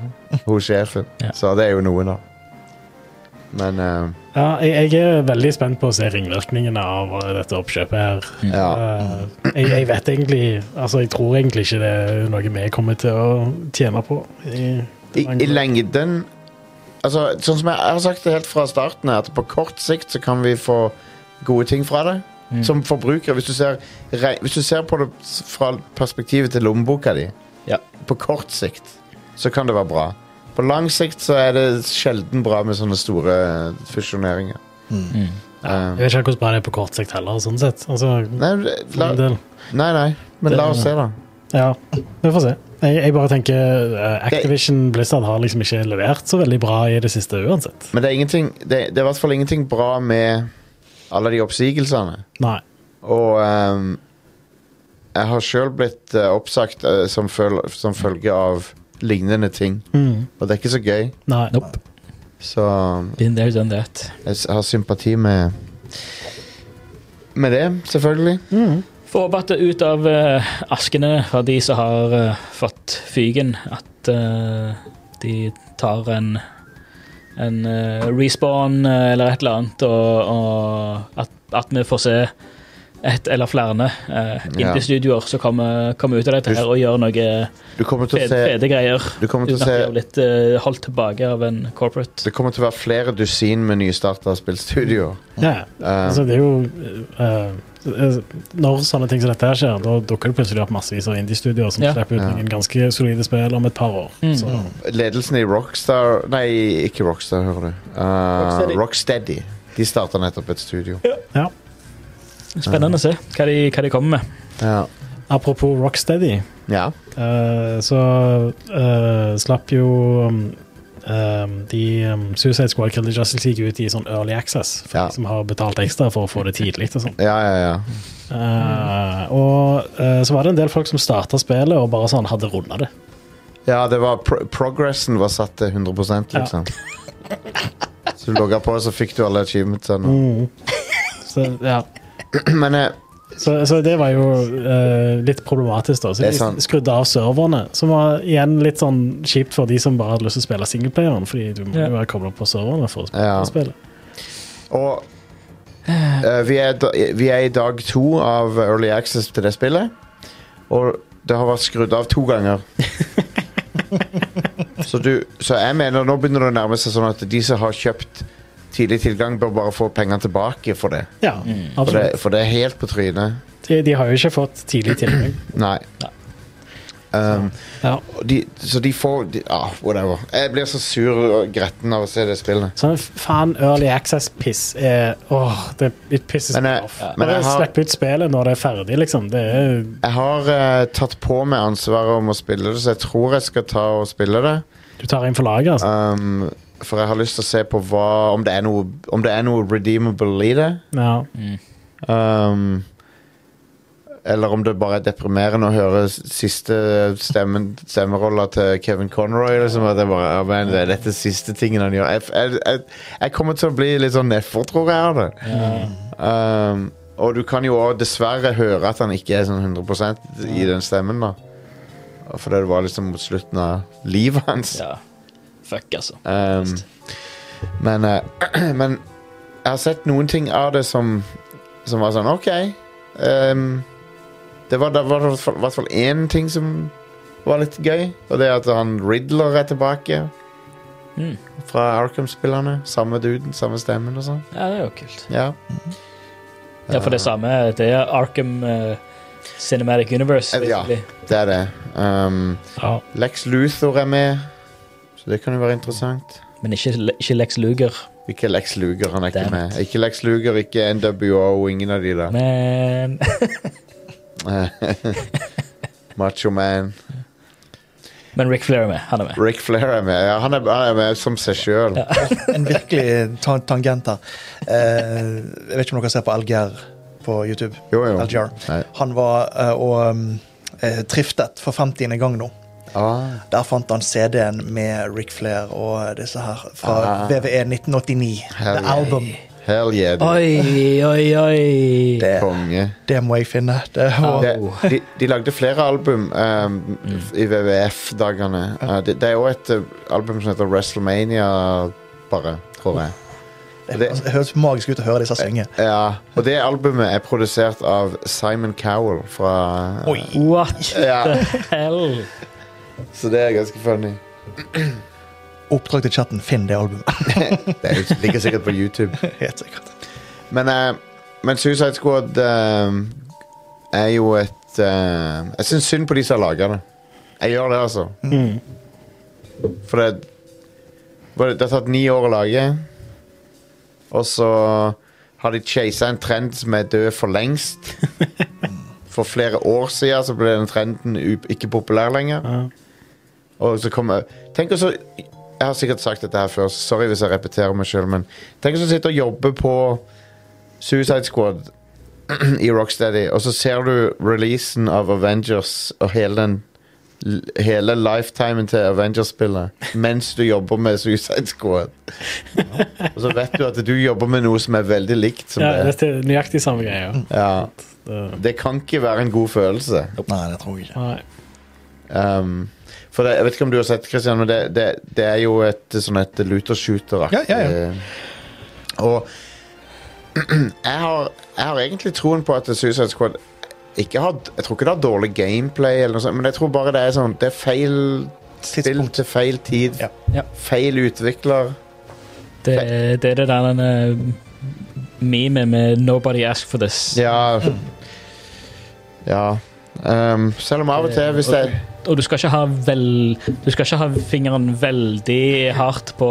Speaker 1: Hun sjefen.
Speaker 2: Ja.
Speaker 1: Så det er jo noe, da. Men eh,
Speaker 3: Ja, jeg, jeg er veldig spent på å se ringvirkningene av eh, dette oppkjøpet her.
Speaker 1: ja.
Speaker 3: Eh, jeg, jeg vet egentlig Altså, jeg tror egentlig ikke det er noe vi kommer til å tjene på. I,
Speaker 1: I, I lengden Altså, sånn som jeg, jeg har sagt det helt fra starten her, at på kort sikt så kan vi få gode ting fra det.
Speaker 2: Mm.
Speaker 1: Som forbruker, hvis du, ser, re- hvis du ser på det s- fra perspektivet til lommeboka di,
Speaker 2: Ja.
Speaker 1: på kort sikt, så kan det være bra. På lang sikt så er det sjelden bra med sånne store eh, fusjoneringer.
Speaker 2: Mm.
Speaker 1: Eh,
Speaker 3: jeg vet ikke hvordan bra det er på kort sikt heller, sånn sett. Altså,
Speaker 1: nei,
Speaker 3: for
Speaker 1: la,
Speaker 3: min del.
Speaker 1: nei, nei, men
Speaker 3: Det-
Speaker 1: la oss se, da.
Speaker 3: Ja, vi får se. Jeg, jeg bare tenker eh, Activision Blizzard har liksom ikke levert så veldig bra i det siste uansett.
Speaker 1: Men det er ingenting Det, det er i hvert fall ingenting bra med alle de oppsigelsene.
Speaker 3: Nei.
Speaker 1: Og ehm, jeg har sjøl blitt eh, oppsagt eh, som, føl som følge av lignende ting.
Speaker 3: Mm.
Speaker 1: Og det er ikke så gøy,
Speaker 3: Nei.
Speaker 2: Nope.
Speaker 1: så ehm,
Speaker 2: Been there, done that.
Speaker 1: jeg s- har sympati med Med det, selvfølgelig.
Speaker 3: Mm.
Speaker 2: Får håpe at det ut av eh, askene fra de som har eh, fått fyken, at eh, de tar en en eh, respawn eh, eller et eller annet, og, og at, at vi får se ett eller flere uh,
Speaker 1: Ja.
Speaker 2: indie-studioer som kommer, kommer ut av dette her og gjør noe
Speaker 1: Du kommer til å
Speaker 2: fede,
Speaker 1: se
Speaker 2: fede greier.
Speaker 1: Du kommer til å
Speaker 2: Uten at de er
Speaker 1: se
Speaker 2: blitt eh, holdt tilbake av en corporate.
Speaker 1: det kommer til å være flere dusin med nystarta spillstudioer.
Speaker 3: Ja.
Speaker 1: Um,
Speaker 3: Altså, det er jo eh, eh, Når sånne ting som dette her skjer, da dukker det plutselig opp massevis av indie-studioer som
Speaker 2: Ja.
Speaker 3: slipper ut
Speaker 1: Ja.
Speaker 3: noen ganske solide spill om et par år.
Speaker 2: Mm.
Speaker 3: Så,
Speaker 1: ledelsen i Rockstar Nei, ikke Rockstar, hører du. Uh,
Speaker 2: Rocksteady.
Speaker 1: Rocksteady. De starta nettopp et studio.
Speaker 2: Spennende å se hva de, hva de kommer med.
Speaker 1: Ja.
Speaker 3: apropos Rocksteady,
Speaker 1: ja.
Speaker 3: eh, så eh, slapp jo um, um, de um, Suicide Squad Killer Justice League ut i sånn early access, for
Speaker 1: Ja.
Speaker 3: de som har betalt ekstra for å få det tidlig. og sånn.
Speaker 1: Ja, ja, ja.
Speaker 3: Eh, og eh, så var det en del folk som starta spillet og bare sånn hadde runda det.
Speaker 1: Ja, det var pro progressen var satt til 100 liksom. Så du logga på, så fikk du alle achievementsene.
Speaker 3: Så, ja.
Speaker 1: Men eh,
Speaker 3: så, så det var jo eh, litt problematisk, da. Så
Speaker 1: Det er
Speaker 3: de
Speaker 1: sant.
Speaker 3: skrudde av serverne, som var igjen litt sånn kjipt for de som bare hadde lyst til å spille singleplayeren, fordi du må
Speaker 2: Ja.
Speaker 3: jo være kobla på serverne for å spille
Speaker 1: Ja.
Speaker 3: spillet.
Speaker 1: Og eh, vi, er da, vi er i dag to av Early Access til det spillet. Og det har vært skrudd av to ganger. så, du, så jeg mener nå begynner det å nærme seg sånn at de som har kjøpt tidlig tilgang, bør bare få pengene tilbake for det.
Speaker 3: Ja,
Speaker 1: For det,
Speaker 3: absolutt.
Speaker 1: for det er helt på trynet.
Speaker 3: De, de har jo ikke fått tidlig tilgang.
Speaker 1: Nei. Um,
Speaker 3: Ja.
Speaker 1: og de, så de får de, ah, Whatever. Jeg blir så sur og gretten av å se det spillet.
Speaker 3: Sånn faen early access-piss er Åh, det it pisses
Speaker 1: Men
Speaker 3: me
Speaker 1: jeg-
Speaker 3: off.
Speaker 1: men
Speaker 3: Bare
Speaker 1: jeg har-
Speaker 3: slipp ut spillet når det er ferdig, liksom. Det er
Speaker 1: Jeg har eh, tatt på meg ansvaret om å spille det, så jeg tror jeg skal ta og spille det.
Speaker 3: Du tar inn for laget, altså.
Speaker 1: Um, for jeg har lyst til å se på hva, om, det er noe, om det er noe redeemable i det.
Speaker 3: Ja.
Speaker 1: Um, eller om det bare er deprimerende å høre s- siste stemmen, stemmerolla til Kevin Conroy. Liksom, at jeg bare, ja, men det er dette siste tingen han gjør. Jeg, jeg, jeg, jeg kommer til å bli litt sånn nedfor, tror jeg. av det um, Og du kan jo også dessverre høre at han ikke er sånn 100 i den stemmen. da Fordi det var liksom mot slutten av livet hans.
Speaker 2: Ja. Fuck, altså.
Speaker 1: Um, men, eh, men jeg har sett noen ting av det som, som var sånn OK. ehm, det var det var i hvert fall- i hvert fall én ting som var litt gøy, og det er at han Riddler er tilbake.
Speaker 2: Mm.
Speaker 1: Fra Arkham-spillerne. Samme duden, samme stemmen og sånn.
Speaker 2: Ja, det er jo kult.
Speaker 1: Ja.
Speaker 2: Ja, for det samme Det er Arkham eh, Cinematic Universe.
Speaker 1: Eh, ja.
Speaker 2: basically.
Speaker 1: Det er det. Um,
Speaker 3: ja.
Speaker 1: Lex Luthor er med, så det kan jo være interessant.
Speaker 2: Men ikke, Le- ikke Lex Luger.
Speaker 1: Ikke Lex Luger, han er ikke
Speaker 2: Damn
Speaker 1: med. Ikke Lex Luger, ikke NWO, ingen av de der.
Speaker 2: Men
Speaker 1: Macho Man.
Speaker 2: Men Rick Flair er med. Han er med.
Speaker 1: Rick Flair er med. Ja, han, er, han er med som seg sjøl.
Speaker 4: En virkelig ta tangent her. Eh, jeg vet ikke om dere ser på Alger på YouTube.
Speaker 1: Jo, jo.
Speaker 4: Alger.
Speaker 1: Nei.
Speaker 4: mm, Han var eh, og um, eh, triftet for 50. gang nå.
Speaker 1: Ah,
Speaker 4: Der fant han CD-en med Ric Flair og disse her fra
Speaker 1: Ah.
Speaker 4: VVE 1989.
Speaker 1: Hell
Speaker 4: The
Speaker 1: yeah.
Speaker 4: Album.
Speaker 1: hell yeah, du.
Speaker 2: Oi, oi, oi.
Speaker 4: Det,
Speaker 1: Konge.
Speaker 4: det må jeg finne. Det må,
Speaker 1: Det, de, de lagde flere album um, i WWF-dagene. Uh, det, det er òg et uh, album som heter WrestleMania, bare, tror jeg.
Speaker 4: det, det høres magisk ut å høre disse synge.
Speaker 1: Ja, og det albumet er produsert av Simon Cowell fra
Speaker 4: Oi.
Speaker 2: What
Speaker 1: Ja,
Speaker 2: the hell?
Speaker 1: så det er ganske funny.
Speaker 4: Oppdrag til chatten, finn det albumet.
Speaker 1: Det er jo- ligger sikkert på YouTube.
Speaker 4: Helt sikkert.
Speaker 1: Men, eh, men Suicide Squad eh, er jo et eh, Jeg syns synd på de som har laga det. Jeg gjør det, altså. For det, var det Det har tatt ni år å lage. Og så har de chasa en trend som er død for lengst. For flere år siden så ble den trenden u- ikke populær lenger.
Speaker 3: Ja.
Speaker 1: Og så kommer Tenk også Jeg har sikkert sagt dette her før, så sorry hvis jeg repeterer meg sjøl, men tenk å sitte og jobbe på Suicide Squad i Rocksteady, og så ser du releasen av Avengers og hele den Hele lifetimen til Avengers-spillet mens du jobber med Suicide Squad. Og så vet du at du jobber med noe som er Mm. veldig likt som
Speaker 3: Ja,
Speaker 1: det.
Speaker 3: det er nøyaktig samme greia.
Speaker 1: Ja,
Speaker 3: Det-
Speaker 1: det kan ikke være en god følelse.
Speaker 4: Nei, det tror jeg ikke.
Speaker 3: Nei.
Speaker 1: Um, for det, jeg vet ikke om du har sett, Christian, men det, det, det er jo et sånn et looter-shooter-aktig
Speaker 4: Ja, ja,
Speaker 1: Og jeg har, jeg har egentlig troen på at Suicide Squad ikke har, Jeg tror ikke det har dårlig gameplay, eller noe sånt, men jeg tror bare det er sånn Det er feil spill
Speaker 4: Tidspunkt.
Speaker 1: til feil tid.
Speaker 4: Ja.
Speaker 2: Ja.
Speaker 1: Feil utvikler.
Speaker 2: Det, det er det der den eh, meme med 'Nobody asked for this'.
Speaker 1: Ja. Ja. Um, selv om av og
Speaker 4: Eh,
Speaker 1: til, hvis det er
Speaker 2: Og du skal ikke ha vel Du skal ikke ha fingeren veldig hardt på,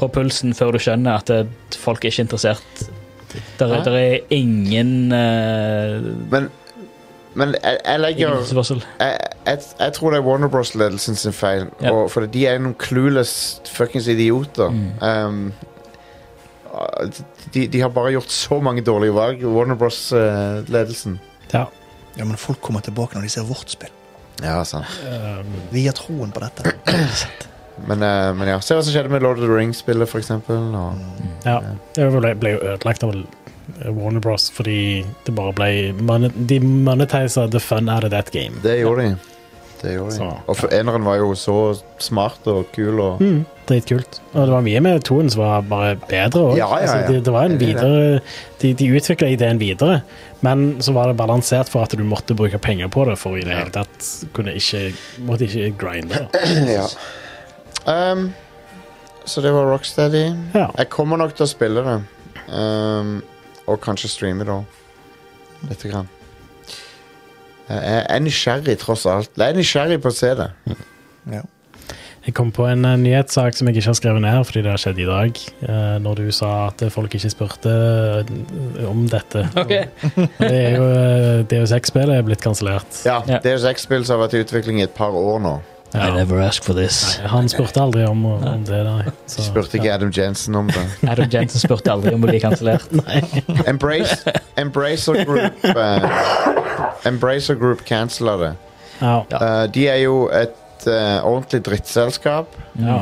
Speaker 2: på pulsen før du skjønner at eh, folk er ikke interessert. Der,
Speaker 1: Hæ?
Speaker 2: er- der er ingen eh,
Speaker 1: Men, men jeg, jeg
Speaker 2: Ingen
Speaker 1: legger
Speaker 2: etterspørsel.
Speaker 1: jeg, jeg, jeg tror det er Warner Bros-ledelsen sin feil.
Speaker 2: Ja.
Speaker 1: Og, for de er noen clueless fuckings idioter. Um, de, de har bare gjort så mange dårlige valg, Warner eh, Bros-ledelsen.
Speaker 3: Ja.
Speaker 4: Ja, men folk kommer tilbake når de ser vårt spill.
Speaker 1: ja, sant.
Speaker 3: Um,
Speaker 4: Vi har troen på dette.
Speaker 1: Men, eh, men ja, se hva som skjedde med Lord of the Rings-spillet, for eksempel. Og,
Speaker 3: ja. Det ble, ble jo ødelagt av eh, Warner Bros fordi det bare ble monet- De monetiser the fun out of that game.
Speaker 1: det gjorde de. Det gjorde de.
Speaker 3: Så.
Speaker 1: Og for eneren var jo så smart og kul og
Speaker 3: Mm, dritkult. Og det var mye med toen som var bare bedre òg.
Speaker 1: Ja, ja, ja.
Speaker 3: det, det var en
Speaker 1: Jeg liker
Speaker 3: videre De, de utvikla ideen videre, men så var det balansert for at du måtte bruke penger på det for i det hele tatt kunne ikke Måtte ikke grinde. da.
Speaker 1: ja. um, Så det var Rocksteady.
Speaker 3: Ja.
Speaker 1: Jeg kommer nok til å spille det. Ehm, og kanskje streame det òg. Lite grann. Jeg er nysgjerrig, tross alt. Jeg er nysgjerrig på å se det.
Speaker 4: Ja.
Speaker 3: Jeg kom på en eh, nyhetssak som jeg ikke har skrevet ned, fordi det har skjedd i dag. eh, Når du sa at folk ikke spurte eh, om dette. Det er jo eh, DU6-spillet er blitt kansellert.
Speaker 1: Ja,
Speaker 2: Ja.
Speaker 1: Det er seks spill som har vært i utvikling i et par år nå.
Speaker 3: Ja.
Speaker 2: I never asked for this.
Speaker 3: Han spurte aldri om, om det, nei. Så-
Speaker 1: Spurte ikke Adam Jensen om det.
Speaker 2: Adam Jensen spurte aldri om å bli kansellert.
Speaker 1: Embrace, Embracer Group eh, Embracer Group cancela det.
Speaker 3: Ja.
Speaker 2: Ja.
Speaker 1: Eh, de er jo et eh, ordentlig drittselskap.
Speaker 2: Mm.
Speaker 3: Ja.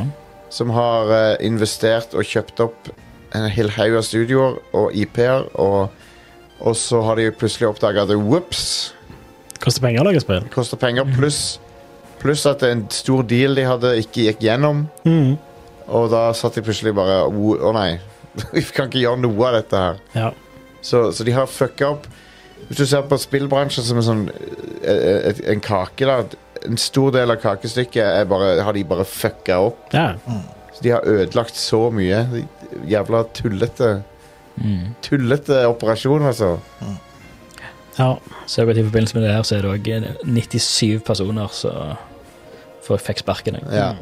Speaker 1: som har eh, investert og kjøpt opp en hel haug av studioer og IP-er, og, og så har de jo plutselig oppdaga at whoops,
Speaker 3: Koster penger å lage spill.
Speaker 1: det koster penger, pluss pluss at en stor deal de hadde, ikke gikk gjennom,
Speaker 3: Mhm.
Speaker 1: og da satt de plutselig bare Å å nei, vi kan ikke gjøre noe av dette her.
Speaker 3: Ja.
Speaker 1: Så, så de har fucka opp. Hvis du ser på spillbransjen som en sånn eh, et, en kake, da. En stor del av kakestykket er bare, har de bare fucka opp.
Speaker 3: ja.
Speaker 4: Mm.
Speaker 1: Så de har ødelagt så mye. De Jævla tullete
Speaker 2: Mm.
Speaker 1: Tullete operasjon, altså.
Speaker 3: Ja.
Speaker 2: Så jeg vet, I forbindelse med det her så er det òg 97 personer som får- fikk sparken. jeg.
Speaker 1: Ja.
Speaker 3: Mm.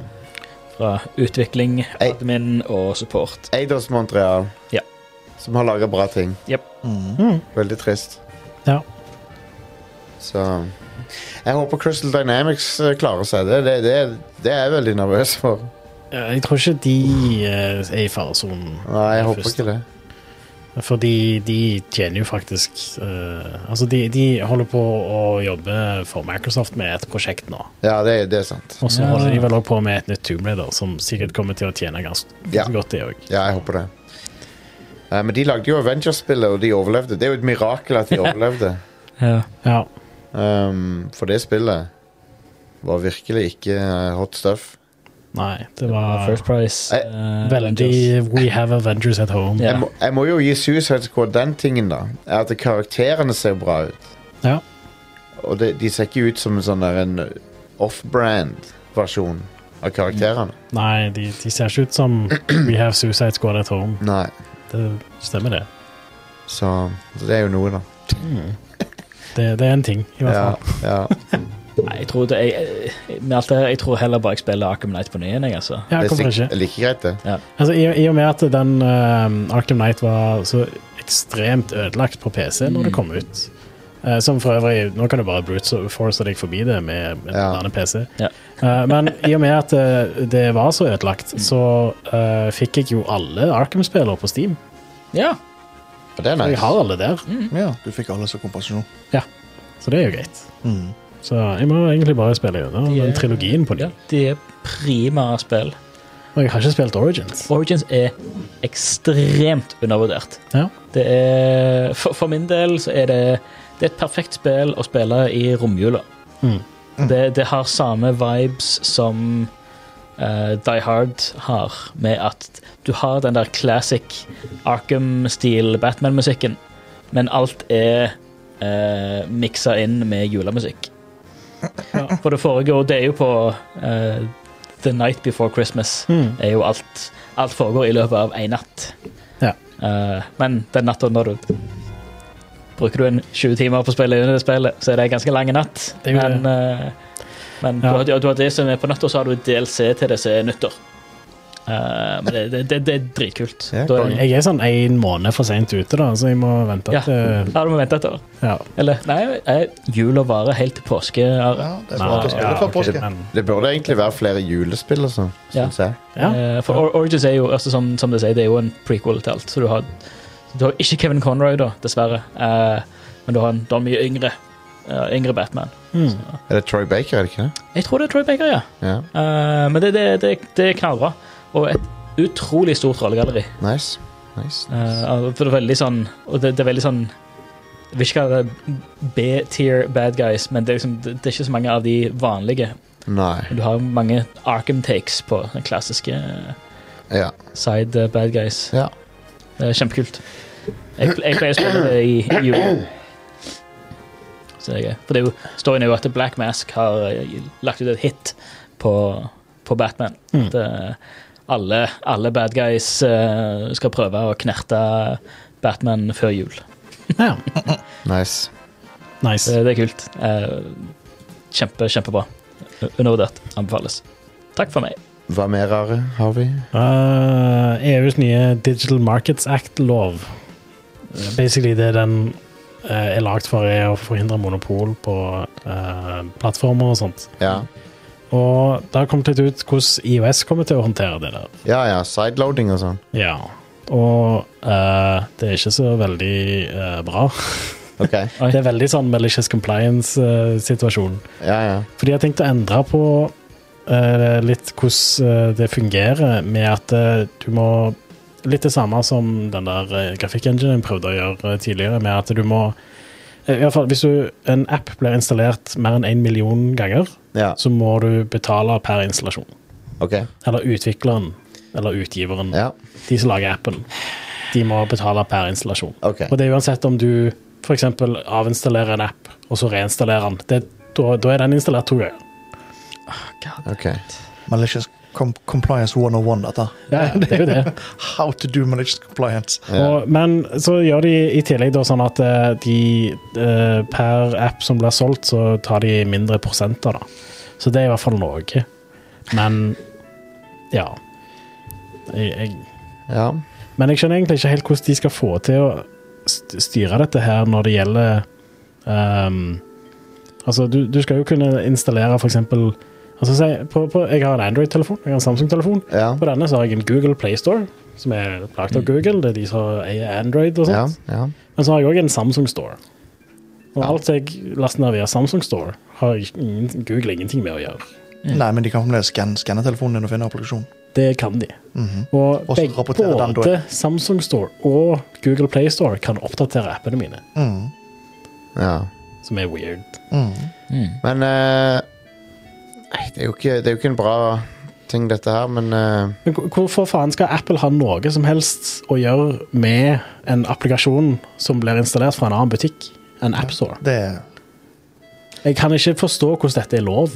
Speaker 2: Fra utvikling,
Speaker 1: Ei.
Speaker 2: admin og support.
Speaker 1: Eidos Montreal.
Speaker 2: Ja.
Speaker 1: Som har laga bra ting.
Speaker 4: Mm.
Speaker 3: Mm.
Speaker 1: Veldig trist.
Speaker 3: Ja.
Speaker 1: Så Jeg håper Crystal Dynamics eh, klarer seg. Det, det, det, det er jeg veldig nervøs for.
Speaker 3: Eh, Jeg tror ikke de eh, er i faresonen.
Speaker 1: Nei, jeg håper
Speaker 3: Først.
Speaker 1: ikke det.
Speaker 3: Fordi de tjener jo faktisk eh, Altså, de, de holder på å jobbe for Microsoft med et prosjekt nå.
Speaker 1: Ja, det, er- det er sant.
Speaker 3: Og så
Speaker 2: Ja.
Speaker 3: holder de vel også på med et nytt Tomb Raider, som sikkert kommer til å tjene ganske
Speaker 1: Ja.
Speaker 3: godt, det òg.
Speaker 1: Ja, jeg håper det. Eh, men de lagde jo Avengers-spillet, og de overlevde. Det er jo et mirakel at de overlevde.
Speaker 2: Ja.
Speaker 3: Ja.
Speaker 1: Um, for det spillet var virkelig ikke eh, hot stuff.
Speaker 3: Nei, det
Speaker 2: Det var
Speaker 3: var
Speaker 2: First Price.
Speaker 1: Eh,
Speaker 2: eh, Avengers.
Speaker 3: veldig We have Avengers at home.
Speaker 2: Ja.
Speaker 1: Jeg, må, jeg må jo gi Suicide Squad den tingen, da. Er at karakterene ser bra ut.
Speaker 3: Ja.
Speaker 1: Og det, de ser ikke ut som en sånn der en off-brand versjon av karakterene.
Speaker 3: Nei, de, de ser ikke ut som We have Suicide Squad at home.
Speaker 1: Nei.
Speaker 3: Det stemmer, det.
Speaker 1: Så, så det er jo noe, da.
Speaker 3: Det, det er en ting, i hvert
Speaker 1: Ja,
Speaker 3: fall.
Speaker 1: ja.
Speaker 2: Nei, jeg tror, det, jeg, jeg- med alt det her, jeg tror heller bare jeg spiller Arkham Knight på ny igjen, jeg, altså.
Speaker 3: Ja,
Speaker 1: Det er
Speaker 3: hvorfor
Speaker 1: sikk-
Speaker 3: ikke?
Speaker 1: like greit, det.
Speaker 3: Altså, i, I og med at den uh, Arkham Knight var så ekstremt ødelagt på PC når
Speaker 2: Mm.
Speaker 3: det kom ut eh, Som for øvrig Nå kan du bare brute force deg forbi det med en
Speaker 1: Ja.
Speaker 3: vanlig PC.
Speaker 2: Ja.
Speaker 3: Eh, men i og med at eh, det var så
Speaker 2: Mm.
Speaker 3: ødelagt, så eh, fikk jeg jo alle Arkham-spillere på Steam.
Speaker 2: Ja.
Speaker 1: Og det er
Speaker 3: Jeg har
Speaker 1: nice.
Speaker 3: alle der,
Speaker 2: Mm.
Speaker 4: Ja, du fikk alle som kompensasjon.
Speaker 3: så det er jo greit.
Speaker 4: Mm.
Speaker 3: Så jeg må egentlig bare spille gjennom
Speaker 2: De er-
Speaker 3: den trilogien på ny.
Speaker 2: ja. De er prima spill.
Speaker 3: Og jeg har ikke spilt Origins.
Speaker 2: Origins er ekstremt undervurdert.
Speaker 3: Ja.
Speaker 2: Det er, for, for min del så er det, det er et perfekt spill å spille i romjula.
Speaker 3: Mm.
Speaker 2: Det, det har samme vibes som eh, Die Hard har, med at du har den der classic Arkham-stil Batman-musikken, men alt er uh, miksa inn med julemusikk. For det foregår Det er jo på eh, The Night Before Christmas
Speaker 3: Mm.
Speaker 2: er jo alt Alt foregår i løpet av én natt.
Speaker 3: Ja.
Speaker 2: Eh, men den natta når du Bruker du en 20 timer på å spille inn i det spillet, så er det en ganske lang natt.
Speaker 3: Det er jo det.
Speaker 2: men eh, men
Speaker 3: Ja.
Speaker 2: du, har, du har det som er på natta, og så har du DLC til det som er nyttår. Eh, men det, det, det, det er dritkult.
Speaker 1: Ja,
Speaker 2: da er,
Speaker 3: Jeg er sånn én måned for seint ute, da, så jeg må vente
Speaker 2: Ja.
Speaker 3: til
Speaker 2: ja, du må vente et år.
Speaker 3: ja.
Speaker 2: Eller nei, eh, jula varer helt til påske. Are.
Speaker 4: Ja, det er bra
Speaker 3: Nei,
Speaker 4: å spille
Speaker 3: ja,
Speaker 4: før
Speaker 3: ok,
Speaker 4: påske.
Speaker 3: men-
Speaker 1: Det burde egentlig være flere julespill og sånn,
Speaker 2: Ja.
Speaker 1: syns jeg.
Speaker 3: Ja.
Speaker 2: Eh, For Or- Origins er jo altså, som, som det sier, det er jo en prequel til alt. Så du har, du har ikke Kevin Conroy, da, dessverre. Eh, men du har en, du har en mye yngre, eh, yngre Batman.
Speaker 3: Mm.
Speaker 1: Er det Troy Baker, er det ikke det?
Speaker 2: Jeg tror det er Troy Baker, ja.
Speaker 1: Ja,
Speaker 2: Eh, men det, det, det, det er knallbra. Og et utrolig stort rollegalleri.
Speaker 1: Nice. nice.
Speaker 2: Eh, altså, for det er veldig sånn Og det, det er veldig sånn Jeg vil ikke kalle det B-tier bad guys, men det er, liksom, det, det er ikke så mange av de vanlige.
Speaker 1: Nei.
Speaker 2: Men Du har mange Arkham takes på den klassiske eh,
Speaker 1: Ja.
Speaker 2: side eh, bad guys.
Speaker 1: ja.
Speaker 2: Det er kjempekult. Jeg, jeg pleier å spille det i, i jul. Så det er gøy. For det er jo, storyen er jo at Black Mask har eh, lagt ut et hit på, på Batman.
Speaker 3: Mm.
Speaker 2: At eh, alle, alle bad guys eh, skal prøve å knerte Batman før jul.
Speaker 3: Ja,
Speaker 1: Nice.
Speaker 3: nice.
Speaker 2: Det, det er kult. Eh, kjempe, kjempebra. Undervurdert. Anbefales. Takk for meg.
Speaker 1: Hva mer rare har vi?
Speaker 3: Uh, EUs nye Digital Markets Act-lov. Eh, Basically det den eh, er lagd for, er å forhindre monopol på eh, plattformer og sånt.
Speaker 1: Ja,
Speaker 3: Og det har kommet litt ut hvordan IOS kommer til å håndtere det der.
Speaker 1: ja. ja Sideloading og sånn.
Speaker 3: Ja. Og eh, det er ikke så veldig eh, bra.
Speaker 1: Ok.
Speaker 2: Oi.
Speaker 3: Det er veldig sånn malicious eh, compliance-situasjon.
Speaker 1: Ja, ja.
Speaker 3: Fordi jeg tenkte å endre på eh, litt hvordan eh, det fungerer med at eh, du må Litt det samme som den der uh, grafikkenginen prøvde å gjøre eh, tidligere, med at du må eh, i hvert fall Hvis du, en app blir installert mer enn én million ganger,
Speaker 1: ja.
Speaker 3: så må du betale per installasjon.
Speaker 1: Ok.
Speaker 3: Eller utvikleren, eller utgiveren,
Speaker 1: Ja.
Speaker 3: de som lager appen, de må betale per installasjon.
Speaker 1: Ok.
Speaker 3: Og det er uansett om du f.eks. avinstallerer en app, og så reinstallerer den. Det, da, da er den installert to ganger.
Speaker 1: ok.
Speaker 4: Malicious com Compliance 101, dette.
Speaker 3: Ja, det er jo det.
Speaker 4: How to do malicious compliance.
Speaker 1: Ja.
Speaker 3: Og, men så gjør de i tillegg da sånn at eh, de eh, per app som blir solgt, så tar de mindre prosenter, da. Så det er i hvert fall noe. Men ja. Jeg, jeg,
Speaker 1: ja.
Speaker 3: men jeg skjønner egentlig ikke helt hvordan de skal få til å st- styre dette her når det gjelder ehm, Altså, du, du skal jo kunne installere for eksempel altså, si, på, på, Jeg har en Android-telefon, jeg har en Samsung-telefon.
Speaker 1: Ja.
Speaker 3: På denne så har jeg en Google Play Store som er lagd av Google. Det er de som eier Android og
Speaker 1: Ja,
Speaker 3: sånt.
Speaker 1: ja.
Speaker 3: Men så har jeg òg en Samsung Store. Og
Speaker 1: Ja.
Speaker 3: alt jeg laster ned via Samsung Store, har jeg ingen, Google ingenting med å gjøre.
Speaker 4: Nei, men de kan fremdeles skanne skanne telefonen din og finne applikasjonen.
Speaker 3: Det kan de.
Speaker 4: Mhm.
Speaker 3: Og
Speaker 4: Og så
Speaker 3: begge,
Speaker 4: rapporterer den da.
Speaker 3: både Samsung Store og Google Play Store kan oppdatere appene mine,
Speaker 4: Mhm.
Speaker 1: ja.
Speaker 3: som er weird.
Speaker 4: Mhm.
Speaker 2: Mm.
Speaker 1: Men eh, nei, det, er jo ikke, det er jo ikke en bra ting, dette her, men eh,
Speaker 3: Men hvor- hvorfor faen skal Apple ha noe som helst å gjøre med en applikasjon som blir installert fra en annen butikk enn AppStore?
Speaker 4: Det er
Speaker 3: Jeg kan ikke forstå hvordan dette er lov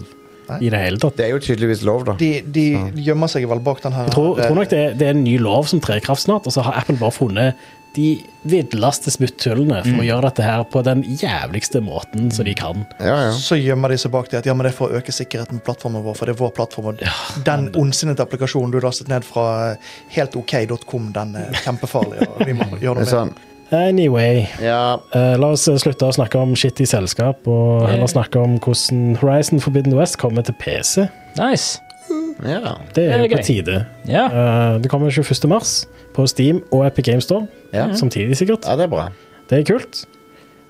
Speaker 3: i det hele tatt.
Speaker 1: det er jo tydeligvis lov, da.
Speaker 4: De, de gjemmer seg vel bak den her
Speaker 3: Jeg tror, jeg tror nok det er, det er en ny lov som trer i kraft snart, og så har Apple bare funnet de vidleste smutthullene for å gjøre dette her på den jævligste måten som de kan.
Speaker 1: Ja, ja.
Speaker 4: Eh, Så gjemmer de seg bak det at ja, men det er for å øke sikkerheten på plattformen vår. For det er vår plattform. Og den ondsinnede applikasjonen du lastet ned fra eh, heltok.com, den er kjempefarlig. Og vi må
Speaker 1: Det er
Speaker 4: gjøre noe med det.
Speaker 1: sånn.
Speaker 3: Anyway,
Speaker 1: Ja,
Speaker 3: eh, la oss eh, slutte å snakke om shit i selskap, og heller snakke om hvordan Horizon Forbidden West kommer til PC.
Speaker 2: Nice.
Speaker 1: ja.
Speaker 3: Det er
Speaker 2: Det er
Speaker 3: jo på
Speaker 2: gøy.
Speaker 3: tide.
Speaker 2: Ja.
Speaker 3: Eh, Det kommer 21. mars på Steam og Epic Games Store,
Speaker 1: Ja.
Speaker 3: samtidig sikkert.
Speaker 1: ja, det er bra.
Speaker 3: Det er kult.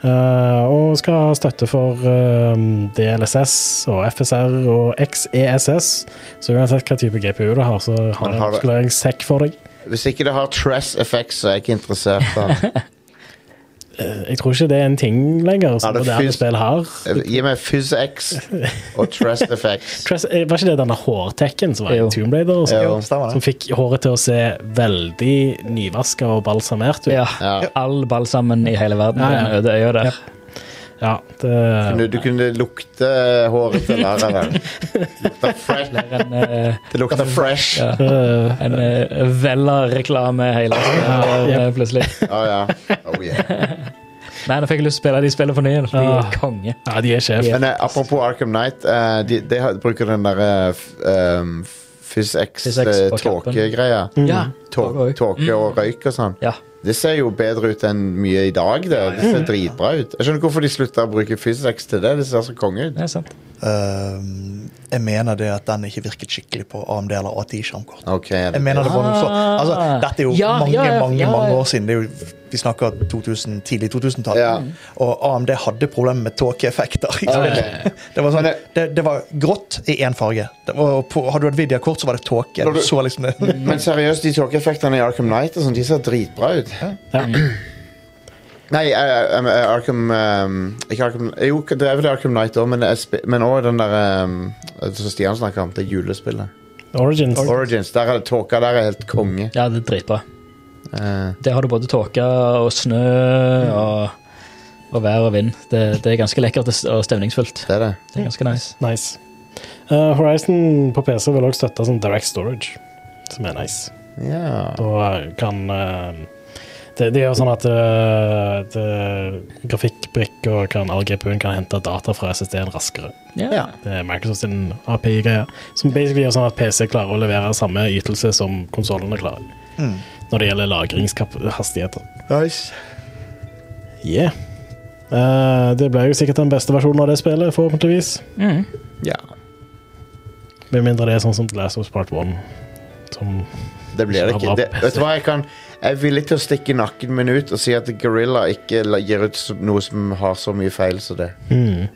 Speaker 3: Eh, og skal ha støtte for eh, DLSS og FSR og XESS. Så uansett hva type GPU du har, så har
Speaker 1: Men
Speaker 3: jeg
Speaker 1: har
Speaker 3: en
Speaker 1: det-
Speaker 3: skoleringssekk for deg.
Speaker 1: Hvis ikke det har Tress Effects, så er jeg ikke interessert. Da.
Speaker 3: Eh, jeg tror ikke det er en ting lenger som
Speaker 1: Ja, det
Speaker 3: moderne
Speaker 1: finnes-
Speaker 3: spill har.
Speaker 1: Gi meg PhysX og Tress Effects.
Speaker 3: Tress, eh, var ikke det denne hårtekken som var
Speaker 2: Jo.
Speaker 3: i Tomb Raider? og sånt?
Speaker 1: Jo.
Speaker 4: Jo, stemmer
Speaker 3: Som
Speaker 4: det.
Speaker 3: fikk håret til å se veldig nyvaska og balsamert ut.
Speaker 2: ja.
Speaker 1: Ja.
Speaker 2: All balsamen i hele verden.
Speaker 3: Ja,
Speaker 2: Ja,
Speaker 3: ja.
Speaker 2: Den øde øya der.
Speaker 3: Ja,
Speaker 1: Du,
Speaker 3: det,
Speaker 1: du kunne lukte håret til læreren. Lukta fresh.
Speaker 2: En, eh,
Speaker 1: Det lukta fresh.
Speaker 2: ja.
Speaker 3: eh,
Speaker 2: en eh, Vella-reklame hele spillet,
Speaker 3: Ja.
Speaker 2: eh, plutselig.
Speaker 1: Ja, ja. Oh, yeah.
Speaker 2: Nei, nå fikk jeg lyst til å spille de spillene på ny igjen. fordi
Speaker 3: Ja.
Speaker 2: jeg er Konge.
Speaker 3: ja, de er sjef.
Speaker 1: Men eh, apropos Arkham Knight, eh, de, de har, bruker den eh, derre um,
Speaker 2: Phys X på Mm. kappen.
Speaker 1: PhysX-tåkegreia.
Speaker 2: Ja.
Speaker 1: Tå- Tåke og røyk og sånn.
Speaker 2: Ja.
Speaker 1: Det ser jo bedre ut enn mye i dag. Det, det ser dritbra ut. Jeg skjønner ikke hvorfor de slutta å bruke PhysX til det. Det ser så konge ut.
Speaker 2: Det er sant.
Speaker 4: Ehm, jeg mener det at den ikke virket skikkelig på AMD eller ATI-skjermkort.
Speaker 1: Ok, er det
Speaker 4: Jeg mener det var noe så, altså, Dette er jo
Speaker 2: Ah. Ja,
Speaker 4: mange
Speaker 2: ja, ja,
Speaker 4: mange,
Speaker 2: ja, ja.
Speaker 4: mange år siden. Det er jo, vi snakker 2000, tidlig 2000-tall.
Speaker 1: Ja.
Speaker 4: Og AMD hadde problemer med tåkeeffekter. i
Speaker 1: Ja,
Speaker 4: spillet.
Speaker 1: ok.
Speaker 4: Det, var sånn,
Speaker 1: Men
Speaker 4: det, det var grått i én farge. Det var, på, hadde du et Vidia-kort, så var det tåke.
Speaker 1: Når
Speaker 4: Du
Speaker 1: du- Mm.
Speaker 4: så liksom det.
Speaker 1: Men seriøst, de tåkeeffektene i Arkham Knight og sånn, de ser dritbra ut.
Speaker 3: Ja.
Speaker 1: Nei, eh, eh, eh, Arkham ehm, Ikke Arkham Jo, det er vel Arkham Knight òg, men, jeg spi- men også den der ehm, Som Stian snakka om, det julespillet.
Speaker 3: Origins.
Speaker 1: Origins. Der er det tåka der er helt konge.
Speaker 2: Ja, det er dritbra.
Speaker 1: Eh,
Speaker 2: Det har du både tåke og snø
Speaker 3: Mm.
Speaker 2: og, og vær og vind. Det, det er ganske lekkert og stemningsfullt.
Speaker 1: det er det.
Speaker 2: Det er ganske nice.
Speaker 3: Nice. Eh, Horizon på PC vil også støtte sånn direct storage, som er nice.
Speaker 1: Ja.
Speaker 3: Da kan eh, det, det gjør sånn at eh, det- grafikkbrikker kan all GPU-en kan hente data fra SSD-en raskere.
Speaker 2: Ja.
Speaker 3: Det er Microsoft sin API-greie, som basically gjør sånn at PC klarer å levere samme ytelse som konsollene klarer,
Speaker 4: Mm.
Speaker 3: når det gjelder lagringshastigheter.
Speaker 4: Nice.
Speaker 3: Yeah. Eh, det blir jo sikkert den beste versjonen av det spillet, forhåpentligvis.
Speaker 2: Mm.
Speaker 1: ja.
Speaker 3: Med mindre det er sånn som The Last of Us Part 1. Som
Speaker 1: Det blir det ikke. Det, vet du hva, jeg kan Jeg er villig til å stikke nakken min ut og si at Gorilla ikke la- gir ut som- noe som har så mye feil som det.
Speaker 3: hmm.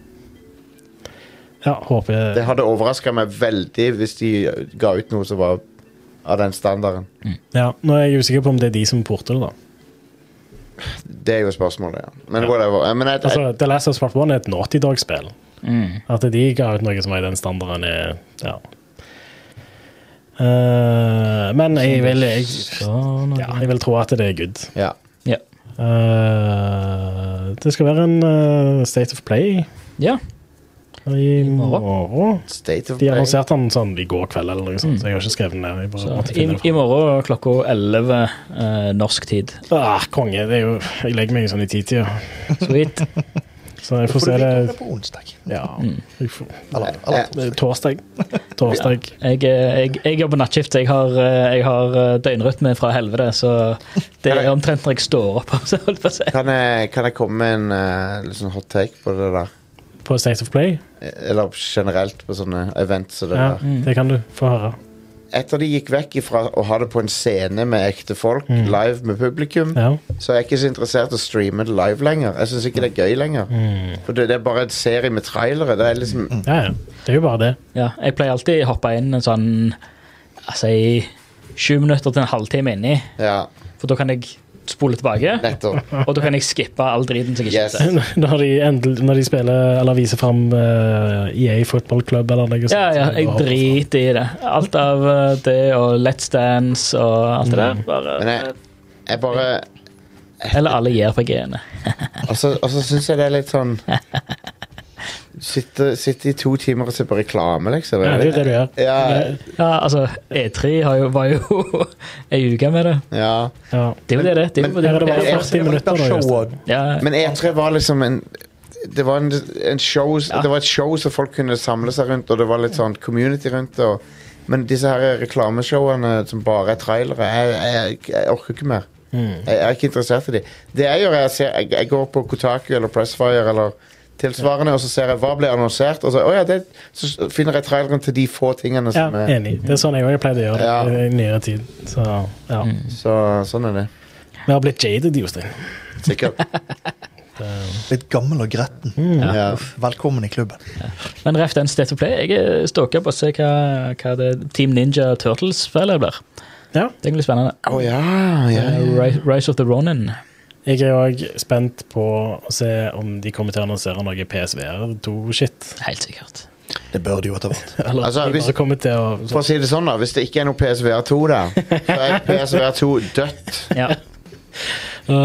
Speaker 3: Ja, håper jeg
Speaker 1: Det hadde overraska meg veldig hvis de ga ut noe som var av den standarden.
Speaker 3: Ja, nå er jeg usikker på om det er de som porter det, da.
Speaker 1: Det er jo spørsmålet, ja. Men whatever. Eh, Men jeg, jeg,
Speaker 3: Altså, The Last of Us Part 1 er et Naughty Dog-spill.
Speaker 2: Mm.
Speaker 3: At de ga ut noe som var i den standarden, er ja. Eh, men jeg vil, jeg,
Speaker 2: Sånn, og-
Speaker 3: ja, jeg vil tro at det er good.
Speaker 1: ja.
Speaker 2: ja.
Speaker 3: Eh, det skal være en eh, State of Play
Speaker 2: ja.
Speaker 3: i
Speaker 2: morgen.
Speaker 3: morgen.
Speaker 1: State of
Speaker 3: De
Speaker 1: play.
Speaker 3: annonserte den sånn i går kveld, eller noe sånt, så jeg har ikke skrevet den ned. Jeg bare
Speaker 2: Mm. Så,
Speaker 3: måtte
Speaker 2: i,
Speaker 3: finne den
Speaker 2: I
Speaker 3: fram.
Speaker 2: morgen klokka 11 eh, norsk tid.
Speaker 3: Ah, konge. Det er jo, jeg legger meg jo sånn i titida,
Speaker 2: Sweet.
Speaker 3: så jeg
Speaker 4: Får
Speaker 3: får
Speaker 4: du
Speaker 3: se
Speaker 4: vite
Speaker 3: det
Speaker 4: om det er på onsdag?
Speaker 3: ja,
Speaker 2: Mm.
Speaker 3: jeg får,
Speaker 4: Eller, eller
Speaker 1: Eh,
Speaker 3: det er torsdag. Torsdag.
Speaker 2: Jeg, eh, jeg, jeg jobber nattskift. Jeg har, eh, jeg har eh, døgnrytme fra helvete, så det er omtrent når jeg står opp. Så holdt på å si.
Speaker 1: Kan jeg, kan jeg komme med en eh, litt sånn hot take på det der?
Speaker 3: På State of Play?
Speaker 1: Eller generelt på sånne events som det
Speaker 3: Ja,
Speaker 2: Mm.
Speaker 1: der.
Speaker 3: det kan du få høre.
Speaker 1: Etter de gikk vekk ifra å ha det på en scene med ekte folk,
Speaker 3: Mm.
Speaker 1: live med publikum,
Speaker 3: Ja.
Speaker 1: så er jeg ikke så interessert i å streame det live lenger. Jeg syns ikke det er gøy lenger.
Speaker 3: Mm.
Speaker 1: For det, det er bare en serie med trailere. Det er liksom
Speaker 3: ja, ja. Det er jo bare det.
Speaker 2: Ja, jeg pleier alltid å hoppe inn en sånn altså, i sju minutter til en halvtime inni,
Speaker 1: Ja,
Speaker 2: for da kan jeg spole tilbake,
Speaker 1: nettopp.
Speaker 2: og da kan jeg skippe all driten som jeg ikke
Speaker 1: Yes.
Speaker 2: ser.
Speaker 3: Når de, endel, når de spiller eller viser fram EA Football Club eller noe sånt.
Speaker 2: Ja, ja,
Speaker 3: så
Speaker 2: jeg
Speaker 3: bare-
Speaker 2: driter i det. Alt av eh, det og Let's Dance og alt det der.
Speaker 1: Mm. Men
Speaker 2: Bare,
Speaker 1: jeg, jeg bare
Speaker 2: eller alle JRPG-ene.
Speaker 1: Og så og så syns jeg det er litt sånn Sitte, sitte i to timer og se på reklame, liksom.
Speaker 3: Ja, det er jo det du gjør.
Speaker 1: Ja,
Speaker 2: Ja, altså, E3 har jo, var jo ei uke med det.
Speaker 1: ja.
Speaker 3: Ja.
Speaker 2: Det er jo det, det. det, er jo-
Speaker 1: Men-
Speaker 2: det, er
Speaker 3: Her er det
Speaker 2: jo-
Speaker 3: bare
Speaker 2: det, er jo-
Speaker 3: 40 minutter. da, Jostein.
Speaker 2: ja,
Speaker 1: Men E3 var liksom en Det var, en, en show,
Speaker 2: Ja.
Speaker 1: det var et show som folk kunne samle seg rundt, og det var litt sånn community rundt det. og- Men disse her reklameshowene som bare er trailere, jeg, jeg, jeg orker ikke mer.
Speaker 3: Mm.
Speaker 1: Jeg er ikke interessert i de. Det jeg gjør, er at jeg, ser- jeg, jeg går på Kotaku eller Pressfire eller tilsvarende, og så ser jeg hva ble annonsert, og så, «Å ja, det, så finner jeg traileren til de få tingene
Speaker 3: Ja,
Speaker 1: som er
Speaker 3: enig. Det er sånn jeg òg pleide å gjøre det
Speaker 1: Ja.
Speaker 3: i nyere tid. Så, ja.
Speaker 2: Mm.
Speaker 1: Så sånn er det.
Speaker 3: Vi har blitt jaded, Jostein.
Speaker 1: Sikkert.
Speaker 4: Litt gammel og gretten.
Speaker 3: Mm.
Speaker 1: ja. Ja.
Speaker 4: Velkommen i klubben.
Speaker 2: men ref den State of Play, jeg er stalker på å se hva, hva det Team Ninja Turtles-spillet blir.
Speaker 3: Ja.
Speaker 2: Det blir spennende.
Speaker 1: Å ja, ja,
Speaker 2: Eh,
Speaker 1: ja.
Speaker 2: Ri- Rise of the Ronin.
Speaker 3: Jeg er òg spent på å se om de kommer til å annonsere noe PSVR2-shit.
Speaker 2: Helt sikkert.
Speaker 4: Det bør det jo etter hvert.
Speaker 3: Eller
Speaker 1: Altså,
Speaker 3: de
Speaker 1: hvis-
Speaker 3: bare kommer til å
Speaker 1: For å si det sånn, da. Hvis det ikke er noe PSVR2 der, så er PSVR2 dødt.
Speaker 2: Ja.
Speaker 3: Øh,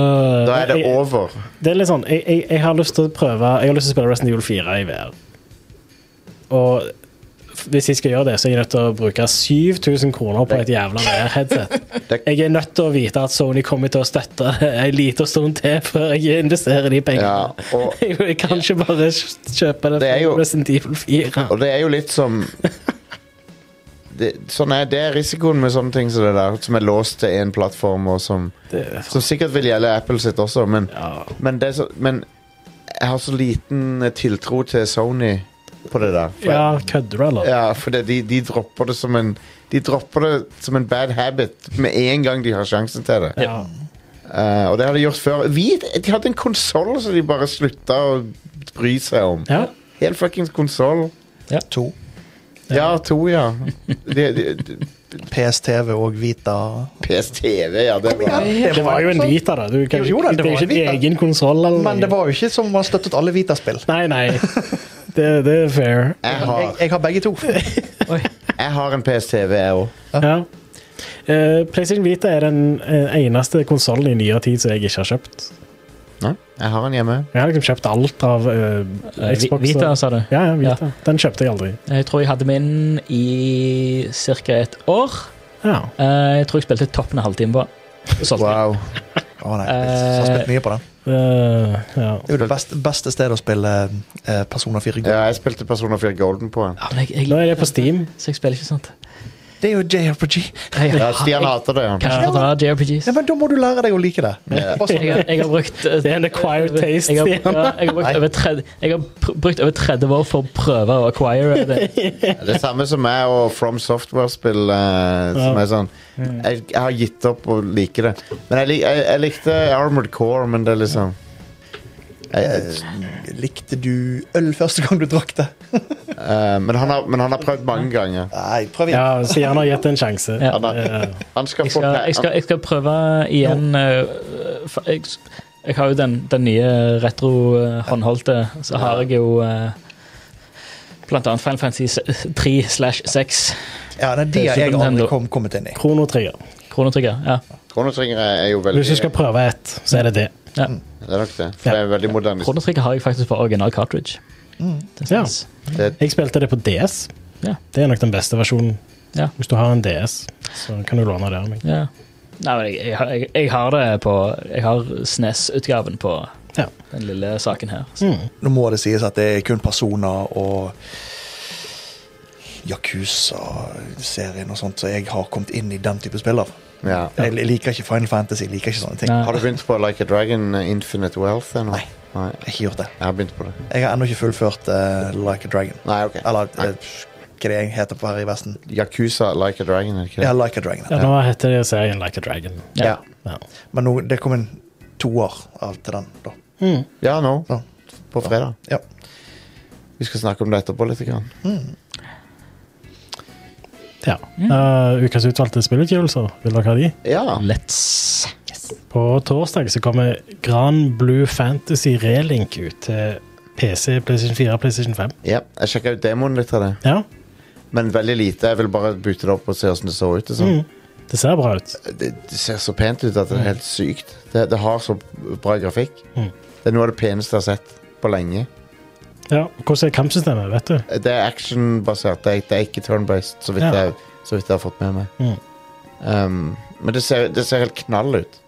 Speaker 1: Da er det
Speaker 3: jeg-
Speaker 1: over.
Speaker 3: Det er litt sånn, jeg, jeg, jeg har lyst til å prøve Jeg har lyst til å spille Resident Evil 4 i VR. Og f- hvis jeg skal gjøre det, så er jeg nødt til å bruke 7000 kroner på et jævla VR-headset.
Speaker 1: Det-
Speaker 3: Jeg er nødt til å vite at Sony kommer til å støtte en liten stund til før jeg investerer de
Speaker 1: Ja,
Speaker 3: pengene.
Speaker 1: og,
Speaker 3: Jeg, jeg kan ikke bare kjøpe det
Speaker 1: Det er
Speaker 3: for
Speaker 1: jo-
Speaker 3: Resident Evil 4.
Speaker 1: og det er jo litt som det, sånn er, det er risikoen med sånne ting som det der, som er låst til én plattform, og som
Speaker 3: Det,
Speaker 1: Som sikkert vil gjelde Apple sitt også, men,
Speaker 3: ja.
Speaker 1: men, det er så, men jeg har så liten eh, tiltro til Sony på det der. For,
Speaker 3: ja, kødder du, eller?
Speaker 1: ja, for det, de, de dropper det som en De dropper det som en bad habit med en gang de har sjansen til det.
Speaker 3: Ja.
Speaker 1: Eh, og det har de gjort før. Vi, de hadde en konsoll som de bare slutta å bry seg om.
Speaker 3: ja.
Speaker 1: Helt fuckings konsoll.
Speaker 4: To.
Speaker 1: Ja, to, ja. De, de, de,
Speaker 4: PSTV og Vita.
Speaker 1: PSTV, ja. Det var
Speaker 3: Det var jo en Vita, da. Du kan,
Speaker 4: Jo da, det
Speaker 3: det,
Speaker 4: var en
Speaker 3: er ikke
Speaker 4: Vita.
Speaker 3: en egen konsoll.
Speaker 4: Men det var jo ikke som man støttet alle Vita-spill.
Speaker 3: Nei, nei. Det, det er fair.
Speaker 1: Jeg
Speaker 4: Jeg,
Speaker 1: har,
Speaker 4: jeg har begge to.
Speaker 2: Oi.
Speaker 1: jeg har en PSTV, jeg òg.
Speaker 3: Ja. Eh, PlayStation Vita er den eh, eneste konsollen i nyere tid som jeg ikke har kjøpt.
Speaker 1: Jeg har en hjemme.
Speaker 3: Jeg har liksom kjøpt alt av eh,
Speaker 2: Eh, Vi-
Speaker 3: Xbox.
Speaker 2: Vita,
Speaker 3: og-
Speaker 2: sa du.
Speaker 3: Ja, ja, Vita. Den kjøpte jeg aldri.
Speaker 2: Jeg tror jeg hadde min i ca. et år.
Speaker 3: Ja.
Speaker 2: Eh, Jeg tror jeg spilte toppen en halvtime på. den.
Speaker 3: Sånn.
Speaker 2: Solgte den.
Speaker 1: Wow.
Speaker 4: Å nei, jeg har spilt mye på den.
Speaker 3: Eh, ja.
Speaker 4: Det er jo det beste, beste stedet å spille eh, Persona 4 Gold.
Speaker 1: Ja, jeg spilte Persona 4 Golden på den.
Speaker 2: Ja, men jeg, jeg,
Speaker 3: Nå er det på Steam.
Speaker 2: så jeg spiller ikke sånt.
Speaker 4: Det er jo JRPG.
Speaker 2: Jeg, jeg,
Speaker 1: Ja, Stian
Speaker 2: jeg,
Speaker 1: hater det, han.
Speaker 2: kanskje jeg tar JRPGs.
Speaker 4: Ja, men da må du lære deg å like det.
Speaker 1: Ja.
Speaker 2: Jeg,
Speaker 4: Bare sånn.
Speaker 2: har- jeg har brukt eh,
Speaker 3: Det er en acquired taste.
Speaker 2: Jeg har,
Speaker 3: Stian.
Speaker 2: ja, jeg har, brukt, over 30, jeg har pr brukt over 30 år for å prøve å acquire det.
Speaker 1: Det er samme som meg og From Software-spill. eh, som
Speaker 3: Ja.
Speaker 1: er sånn jeg, jeg har gitt opp å like det. Men jeg, lik, jeg, jeg likte Armored Core, men det er liksom jeg, jeg,
Speaker 4: Likte du øl første gang du drakk det?
Speaker 1: eh, men, han har, men han har prøvd mange ganger.
Speaker 4: Nei, prøv igjen.
Speaker 3: Ja, så gjerne har gitt det en sjanse.
Speaker 2: Ja.
Speaker 1: Han, har,
Speaker 3: Eh,
Speaker 1: han skal
Speaker 2: Jeg
Speaker 1: få
Speaker 2: skal,
Speaker 1: pe-
Speaker 2: jeg skal, jeg skal prøve igjen eh, for jeg, s- jeg har jo den, den nye retro-håndholdte. Så har jeg jo eh, blant annet Final Fantasy s- 3 slash 6.
Speaker 4: Ja, nei, De har jeg
Speaker 2: Super
Speaker 4: aldri
Speaker 2: Nintendo.
Speaker 4: kom, kommet inn i.
Speaker 3: Chrono Trigger.
Speaker 2: Kronetrigger. Ja.
Speaker 1: Kronotrigger er jo veldig
Speaker 3: Hvis du skal prøve ett, så er det det.
Speaker 2: ja.
Speaker 1: Det er nok det. For det er veldig modernistisk.
Speaker 2: Kronetrigger har jeg faktisk på original cartridge.
Speaker 4: Mm.
Speaker 2: Det
Speaker 3: Ja.
Speaker 2: stemmer.
Speaker 1: Det-
Speaker 3: Jeg spilte det på DS.
Speaker 2: Ja.
Speaker 3: Det er nok den beste versjonen.
Speaker 2: Ja.
Speaker 3: Hvis du har en DS, så kan du låne det av meg.
Speaker 2: Ja. Nei, men jeg, jeg, har- jeg, jeg har det på Jeg har SNES-utgaven på
Speaker 3: Ja.
Speaker 2: den lille saken her. Så
Speaker 3: Mm.
Speaker 4: Nå må det sies at det er kun personer og Yakuza-serien og sånt, så jeg har kommet inn i den type spill. av.
Speaker 1: Ja.
Speaker 4: Jeg jeg liker ikke Final Fantasy, jeg liker ikke sånne ting.
Speaker 2: Nei.
Speaker 1: Har du begynt på Like a Dragon eh, Infinite Wealth ennå?
Speaker 4: Nei.
Speaker 1: Nei.
Speaker 4: Jeg har ikke gjort det.
Speaker 1: Jeg har begynt på det.
Speaker 4: Jeg har ennå ikke fullført eh, Like a Dragon.
Speaker 1: Nei, ok.
Speaker 4: Eller
Speaker 1: Nei.
Speaker 4: eh, hva det er heter på her i Vesten.
Speaker 1: Yakuza Like a Dragon, er det ikke
Speaker 4: Ja,
Speaker 1: det?
Speaker 4: Like a Dragon.
Speaker 3: Ja, nå heter det serien Like a Dragon.
Speaker 2: Ja.
Speaker 1: Ja,
Speaker 3: Ja.
Speaker 4: Men nå, det kom en toer av til den, da.
Speaker 1: ja nå.
Speaker 4: Ja.
Speaker 1: På fredag.
Speaker 4: Ja.
Speaker 1: Vi skal snakke om det etterpå litt. Grann.
Speaker 3: ja. Eh, ukas utvalgte spillutgivelser, vil dere ha de?
Speaker 1: Ja.
Speaker 2: Let's
Speaker 3: På torsdag så kommer Gran Blue Fantasy Relink ut til PC, PlayStation 4 PlayStation 5.
Speaker 1: ja. Jeg sjekka ut demoen litt av det,
Speaker 3: Ja,
Speaker 1: men veldig lite. Jeg vil bare bute det opp og se åssen det så ut. Liksom.
Speaker 3: mm. det ser bra ut.
Speaker 1: det, det ser så pent ut at det er helt sykt. Det, det har så bra grafikk.
Speaker 3: Mm.
Speaker 1: Det er noe av det peneste jeg har sett på lenge.
Speaker 3: Ja, Hvordan er kampsystemet, vet du?
Speaker 1: Det er actionbasert, det, er- det er ikke turn-based, så, vidt
Speaker 3: Ja.
Speaker 1: jeg- så vidt jeg har fått med meg.
Speaker 3: Mm.
Speaker 1: Um, men det ser, det ser helt knall ut.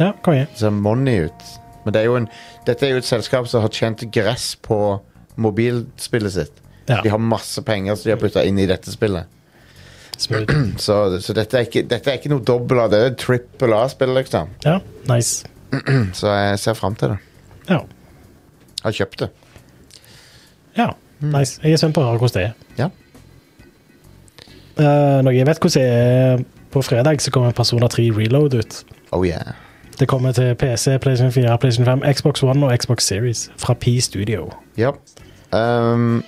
Speaker 3: Ja, konge.
Speaker 1: Det ser money ut. Men det er jo en, dette er jo et selskap som har tjent gress på mobilspillet sitt.
Speaker 3: Ja.
Speaker 1: De har masse penger som de har putta inn i dette spillet.
Speaker 3: Smooth.
Speaker 1: Så, så dette, er ikke, dette er ikke noe dobbel A, det er et trippel A-spill, liksom.
Speaker 3: Ja, nice.
Speaker 1: Så jeg ser fram til det.
Speaker 3: Ja.
Speaker 1: Har kjøpt det.
Speaker 3: ja, nice. Jeg er spent på å høre hvordan det er.
Speaker 1: Ja.
Speaker 3: Eh, noe jeg vet hvordan det er På fredag så kommer Persona 3 Reload ut.
Speaker 1: Oh yeah.
Speaker 3: Det kommer til PC, PlayStation 4, PlayStation 5, Xbox One og Xbox Series fra P Studio.
Speaker 1: Ja. Ehm,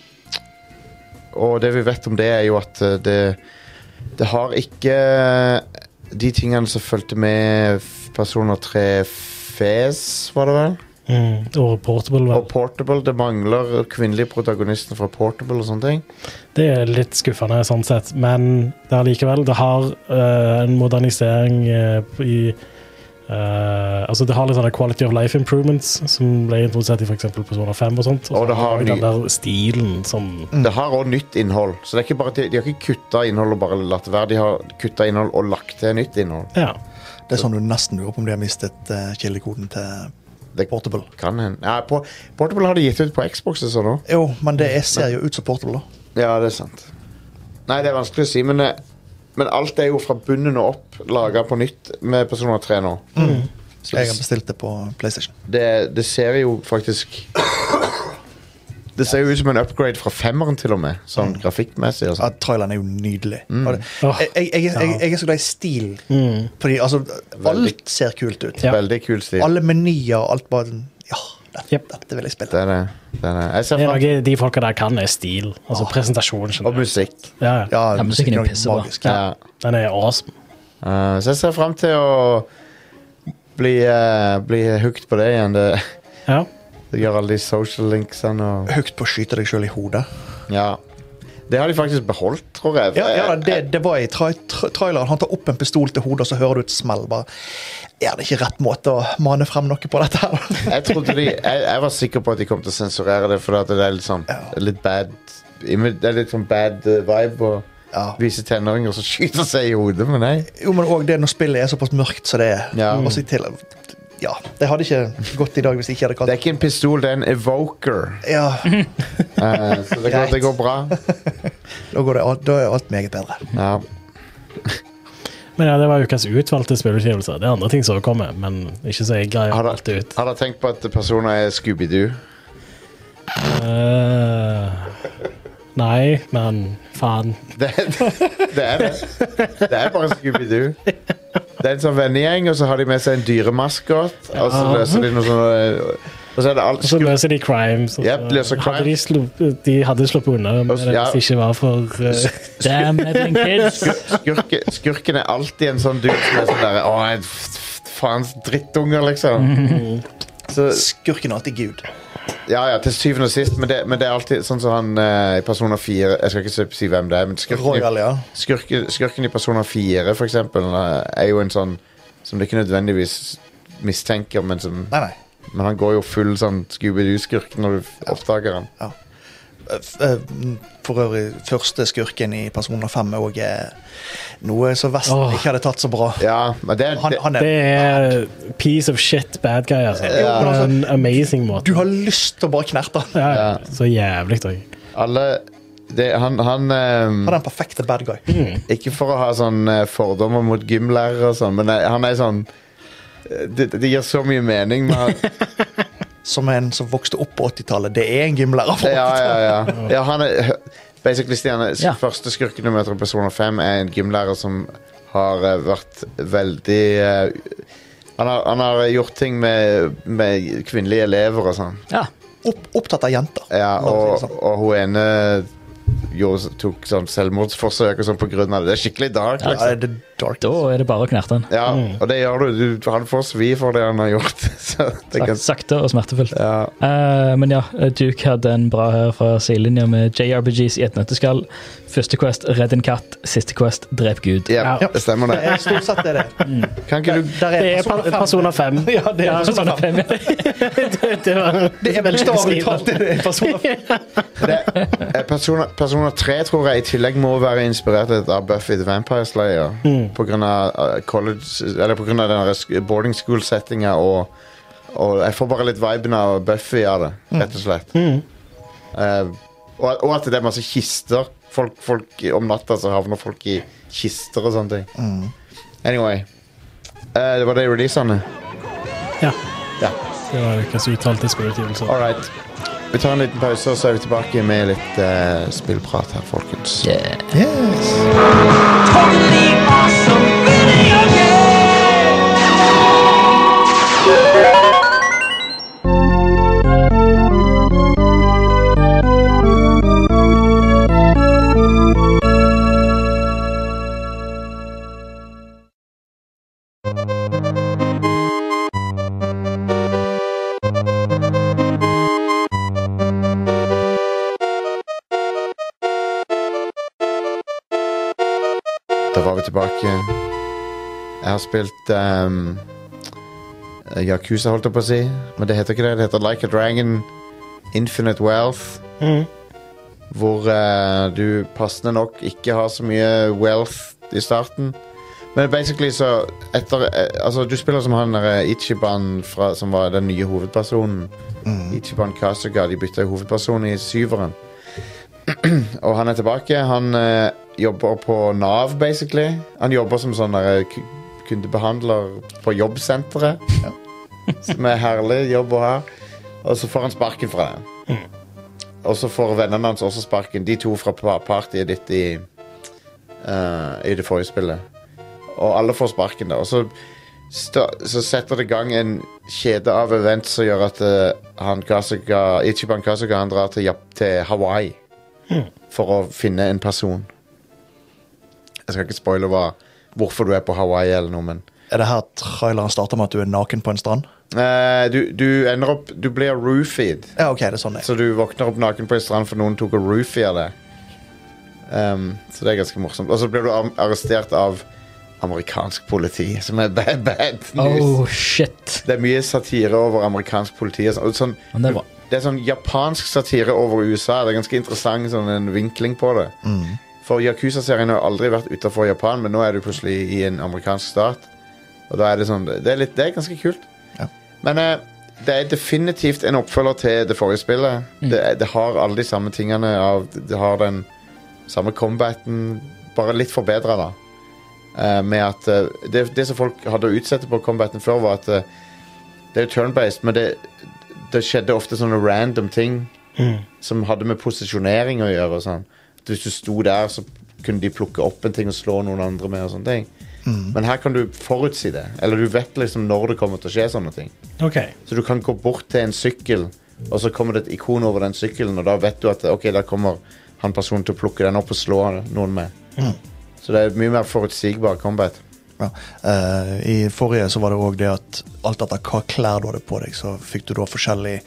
Speaker 1: og det vi vet om det, er jo at eh, det Det har ikke eh, de tingene som fulgte med f- Personer 3 Fes, var det vel?
Speaker 3: Mm. Og Portable.
Speaker 1: Og
Speaker 3: vel.
Speaker 1: Portable. Det mangler kvinnelige protagonisten fra Portable og sånne ting.
Speaker 3: Det er litt skuffende, sånn sett, men det er likevel Det har eh, en modernisering eh, i eh, Altså, det har litt sånne quality of life improvements som ble introdusert i f.eks. Persona 5 og sånt.
Speaker 1: Og det har
Speaker 3: så den
Speaker 1: ny-
Speaker 3: der stilen som
Speaker 1: Det har òg nytt innhold. Så det er ikke bare, de, de har ikke kutta innhold og bare latt det være. De har kutta innhold og lagt til nytt innhold.
Speaker 3: Ja.
Speaker 4: Det er sånn du nesten lurer på om de har mistet eh, kildekoden til
Speaker 1: Det
Speaker 4: Portable.
Speaker 1: kan hende. Nei, på, Portable har de gitt ut på Xbox og sånn òg.
Speaker 4: Jo, men det er- ser jo ut som Portable, da.
Speaker 1: Ja, det er sant. Nei, det er vanskelig å si, men, eh, men alt er jo fra bunnen og opp laga på nytt med Persona 3 nå. Så
Speaker 4: Jeg har
Speaker 1: det,
Speaker 4: bestilt det på PlayStation.
Speaker 1: det, det ser jo faktisk Det ser jo ut som en upgrade fra femmeren, til og med. Sånn grafikkmessig. Og
Speaker 4: Ja,
Speaker 1: sånn.
Speaker 4: traileren er jo nydelig.
Speaker 1: Mm.
Speaker 4: Og det,
Speaker 3: Åh,
Speaker 4: jeg, jeg, jeg, jeg, jeg er så glad i stil. Fordi altså,
Speaker 1: Veldig.
Speaker 4: alt ser kult ut.
Speaker 3: Ja.
Speaker 1: Veldig kul stil.
Speaker 4: Alle menyer og alt bare sånn, Ja, dette,
Speaker 3: Jep.
Speaker 4: dette vil jeg spille.
Speaker 1: Det er det. det, er det. Jeg ser
Speaker 3: Det er
Speaker 1: fram
Speaker 3: noe de folka der kan, er stil. Altså presentasjon.
Speaker 1: Og
Speaker 3: generelt.
Speaker 1: musikk.
Speaker 3: Ja,
Speaker 4: Ja,
Speaker 3: ja.
Speaker 2: Ja, musikken er
Speaker 4: musikken er
Speaker 2: pissebra.
Speaker 4: magisk.
Speaker 1: Ja.
Speaker 3: Den er awesome.
Speaker 1: Eh, så jeg ser fram til å bli, eh, bli hooked på det igjen. Det,
Speaker 3: Ja.
Speaker 1: det gjør alle de social linksene og
Speaker 4: Høyt på å skyte deg sjøl i hodet.
Speaker 1: Ja. Det har de faktisk beholdt, tror jeg.
Speaker 4: Ja, ja det, det var i tra tra traileren. Han tar opp en pistol til hodet, og så hører du et smell. bare, Er det ikke rett måte å mane frem noe på dette her?
Speaker 1: jeg, trodde de, jeg, jeg var sikker på at de kom til å sensurere det, for det er litt sånn litt bad imi- Det er litt sånn bad eh, vibe å
Speaker 4: Ja.
Speaker 1: vise tenåringer som skyter seg i hodet, men nei.
Speaker 4: Jo, men òg det når spillet er såpass mørkt som det er.
Speaker 1: Ja.
Speaker 4: Og så i tillegg- ja, Det hadde ikke gått i dag hvis jeg ikke hadde
Speaker 1: Det er
Speaker 4: kalt
Speaker 1: ikke en pistol, det er en evoker.
Speaker 4: Ja,
Speaker 1: Eh, så det er klart det går bra.
Speaker 4: da, går det, alt- da er alt meget bedre.
Speaker 1: Ja.
Speaker 3: Men ja, det var ukas utvalgte spillutgivelser. Det er andre ting som kommer, men ikke så jeg greier
Speaker 1: Har
Speaker 3: alt
Speaker 1: dere
Speaker 3: ut.
Speaker 1: har dere tenkt på at personer er Scooby-Doo?
Speaker 3: Eh, nei, men faen.
Speaker 1: Det, det er det. Det er bare Scooby-Doo. Det er en sånn vennegjeng, og så har de med seg en dyremaskot. Og så
Speaker 3: Ja.
Speaker 1: løser de noe sånn Og så er det alt
Speaker 3: Og så løser de crimes. og så
Speaker 1: Yep, løser
Speaker 3: hadde de,
Speaker 1: crimes.
Speaker 3: slupp- de hadde sluppet unna med
Speaker 1: Og så-
Speaker 3: det
Speaker 1: ja.
Speaker 3: hvis det ikke var for eh,
Speaker 2: Damn meddling kids.
Speaker 1: skurke, Skurken er alltid en sånn dude som er sånn derre Å, nei, f- f- faens drittunger, liksom. Så,
Speaker 4: Skurken er alltid Gud.
Speaker 1: ja, ja, til syvende og sist, men det, men det er alltid sånn som han eh, i Persona 4 Jeg skal ikke si- si hvem det er, men skurken,
Speaker 4: Royal, ja.
Speaker 1: i- skurke, skurken i Persona 4, for eksempel, eh, er jo en sånn som du ikke nødvendigvis mistenker, men, som,
Speaker 4: Nei, nei.
Speaker 1: men han går jo full sånn Scooby-Doo-skurk når du f- oppdager han.
Speaker 4: F- eh, For øvrig, første skurken i Persona 5 er òg noe som Vesten
Speaker 3: Åh.
Speaker 4: ikke hadde tatt så bra.
Speaker 1: Ja, men det,
Speaker 4: Han,
Speaker 1: det
Speaker 4: han
Speaker 3: Det
Speaker 4: er,
Speaker 3: er piece of shit bad guy, altså.
Speaker 4: Ja.
Speaker 3: På en amazing måte.
Speaker 4: du har lyst til å bare knerte han.
Speaker 3: Ja, ja.
Speaker 1: Ja.
Speaker 3: Så jævlig òg.
Speaker 1: Alle det, Han, han ehm,
Speaker 4: Han er den perfekte bad guy.
Speaker 1: Ikke for å ha sånn eh, fordommer mot gymlærere og sånn, men eh, han er sånn eh, det, det gir så mye mening med han.
Speaker 4: Som en som vokste opp på 80-tallet. Det er en gymlærer. fra
Speaker 1: Ja, ja, ja. ja han er, Basically, Stian, eh,
Speaker 2: Ja.
Speaker 1: første skurken du møter i Persona 5 er en gymlærer som har eh, vært veldig eh, han, har, han har gjort ting med, med kvinnelige elever og sånn.
Speaker 2: Ja.
Speaker 4: Opp, opptatt av jenter.
Speaker 1: Ja,
Speaker 4: La oss
Speaker 1: og,
Speaker 4: si det sånn.
Speaker 1: og hun ene gjorde, tok sånn selvmordsforsøk og sånn på grunn av det. Det er skikkelig dark.
Speaker 4: ja,
Speaker 1: Liksom.
Speaker 4: det er dark.
Speaker 2: Da er det bare å knerte den.
Speaker 1: Ja, og det gjør du. du. Han får svi for det han har gjort. Så det
Speaker 2: Sak-
Speaker 1: kan,
Speaker 2: Sakte og smertefullt.
Speaker 1: ja.
Speaker 2: Eh, men ja, Duke hadde en bra her fra sidelinja med JRPGs i et nøtteskall. Første quest, redd en katt. Siste quest, drep Gud.
Speaker 1: Ja,
Speaker 3: Ja.
Speaker 1: det stemmer
Speaker 4: Det
Speaker 1: det.
Speaker 4: er Stort sett er det.
Speaker 1: Kan ikke du
Speaker 4: Der
Speaker 3: Det er per- Persona 5.
Speaker 4: Ja, det er Persona 5.
Speaker 3: det, det var
Speaker 4: Det er bokstavelig talt det er Persona 5.
Speaker 1: det, eh, Persona, Persona 3 tror jeg i tillegg må være inspirert av Buffy the Vampire Slayer. På grunn av eh, college Eller på grunn av den der sk- boarding school-settinga og, og Jeg får bare litt viben av Buffy av det, rett og slett. Eh, og, og at det er masse kister. Folk, folk Om natta så havner folk i kister og sånne ting. Anyway. Eh, det var det releasene.
Speaker 3: Ja,
Speaker 1: Ja.
Speaker 3: det var ukas utvalgte spillutgivelse.
Speaker 1: All right. Vi tar en liten pause, og så er vi tilbake med litt eh, spillprat her, folkens.
Speaker 4: Yes.
Speaker 6: totally awesome video game.
Speaker 1: Da var vi tilbake. Jeg har spilt ehm, Yakuza, holdt jeg på å si. Men det heter ikke det. Det heter Like a Dragon Infinite Wealth. Hvor eh, du passende nok ikke har så mye wealth i starten. Men basically så etter, eh, altså, Du spiller som han der eh, Ichiban fra, som var den nye hovedpersonen. Ichiban Kasuga. De bytta jo hovedperson i syveren. Og han er tilbake. Han eh, jobber på Nav, basically. Han jobber som sånn der, eh, ku- kundebehandler på jobbsenteret. Som er herlig jobb å ha. Og så får han sparken fra det. Og så får vennene hans også sparken. De to fra pa- partyet ditt i, eh, i det forrige spillet. Og alle får sparken, da. Og så, sta- så setter det i gang en kjede av event som gjør at eh, han Kasuga, Ichiban Kasuga han drar til, Jap- til Hawaii for å finne en person. Jeg skal ikke spoile hva, hvorfor du er på Hawaii eller noe, men
Speaker 4: Er det her traileren starter med at du er naken på en strand?
Speaker 1: Eh, du, du ender opp Du blir roofied.
Speaker 4: Ja, ok, det er sånn det er.
Speaker 1: Så du våkner opp naken på en strand for noen tok og roofia deg. Um, så det er ganske morsomt. Og så blir du am- arrestert av amerikansk politi, som er bad, bad news.
Speaker 2: Oh, shit.
Speaker 1: Det er mye satire over amerikansk politi. og sånn- og Sånn,
Speaker 2: Men det er bra.
Speaker 1: det er sånn japansk satire over USA. Det er ganske interessant sånn en vinkling på det. For Yakuza-serien har aldri vært utenfor Japan, men nå er du plutselig i en amerikansk stat. Og da er det sånn Det er, litt, det er ganske kult.
Speaker 4: Ja.
Speaker 1: Men eh, det er definitivt en oppfølger til det forrige spillet.
Speaker 2: Mm.
Speaker 1: Det, er- det har alle de samme tingene. Av, det har den samme combaten, bare litt forbedra, da. Eh, med at eh, det, det som folk hadde å utsette på combaten før, var at eh, det er jo turn-based, men det, det skjedde ofte sånne random ting
Speaker 4: Mm.
Speaker 1: som hadde med posisjonering å gjøre. og Sånn. At Hvis du sto der, så kunne de plukke opp en ting og slå noen andre med. og sånne ting.
Speaker 4: Mm.
Speaker 1: Men her kan du forutsi det, eller du vet liksom når det kommer til å skje sånne ting.
Speaker 3: OK.
Speaker 1: Så du kan gå bort til en sykkel, og så kommer det et ikon over den sykkelen, og da vet du at ok, der kommer han personen til å plukke den opp og slå noen med.
Speaker 4: Mm.
Speaker 1: Så det er mye mer forutsigbar combat.
Speaker 4: Ja. Eh, I forrige så var det òg det at alt etter hva klær du hadde på deg, så fikk du da forskjellig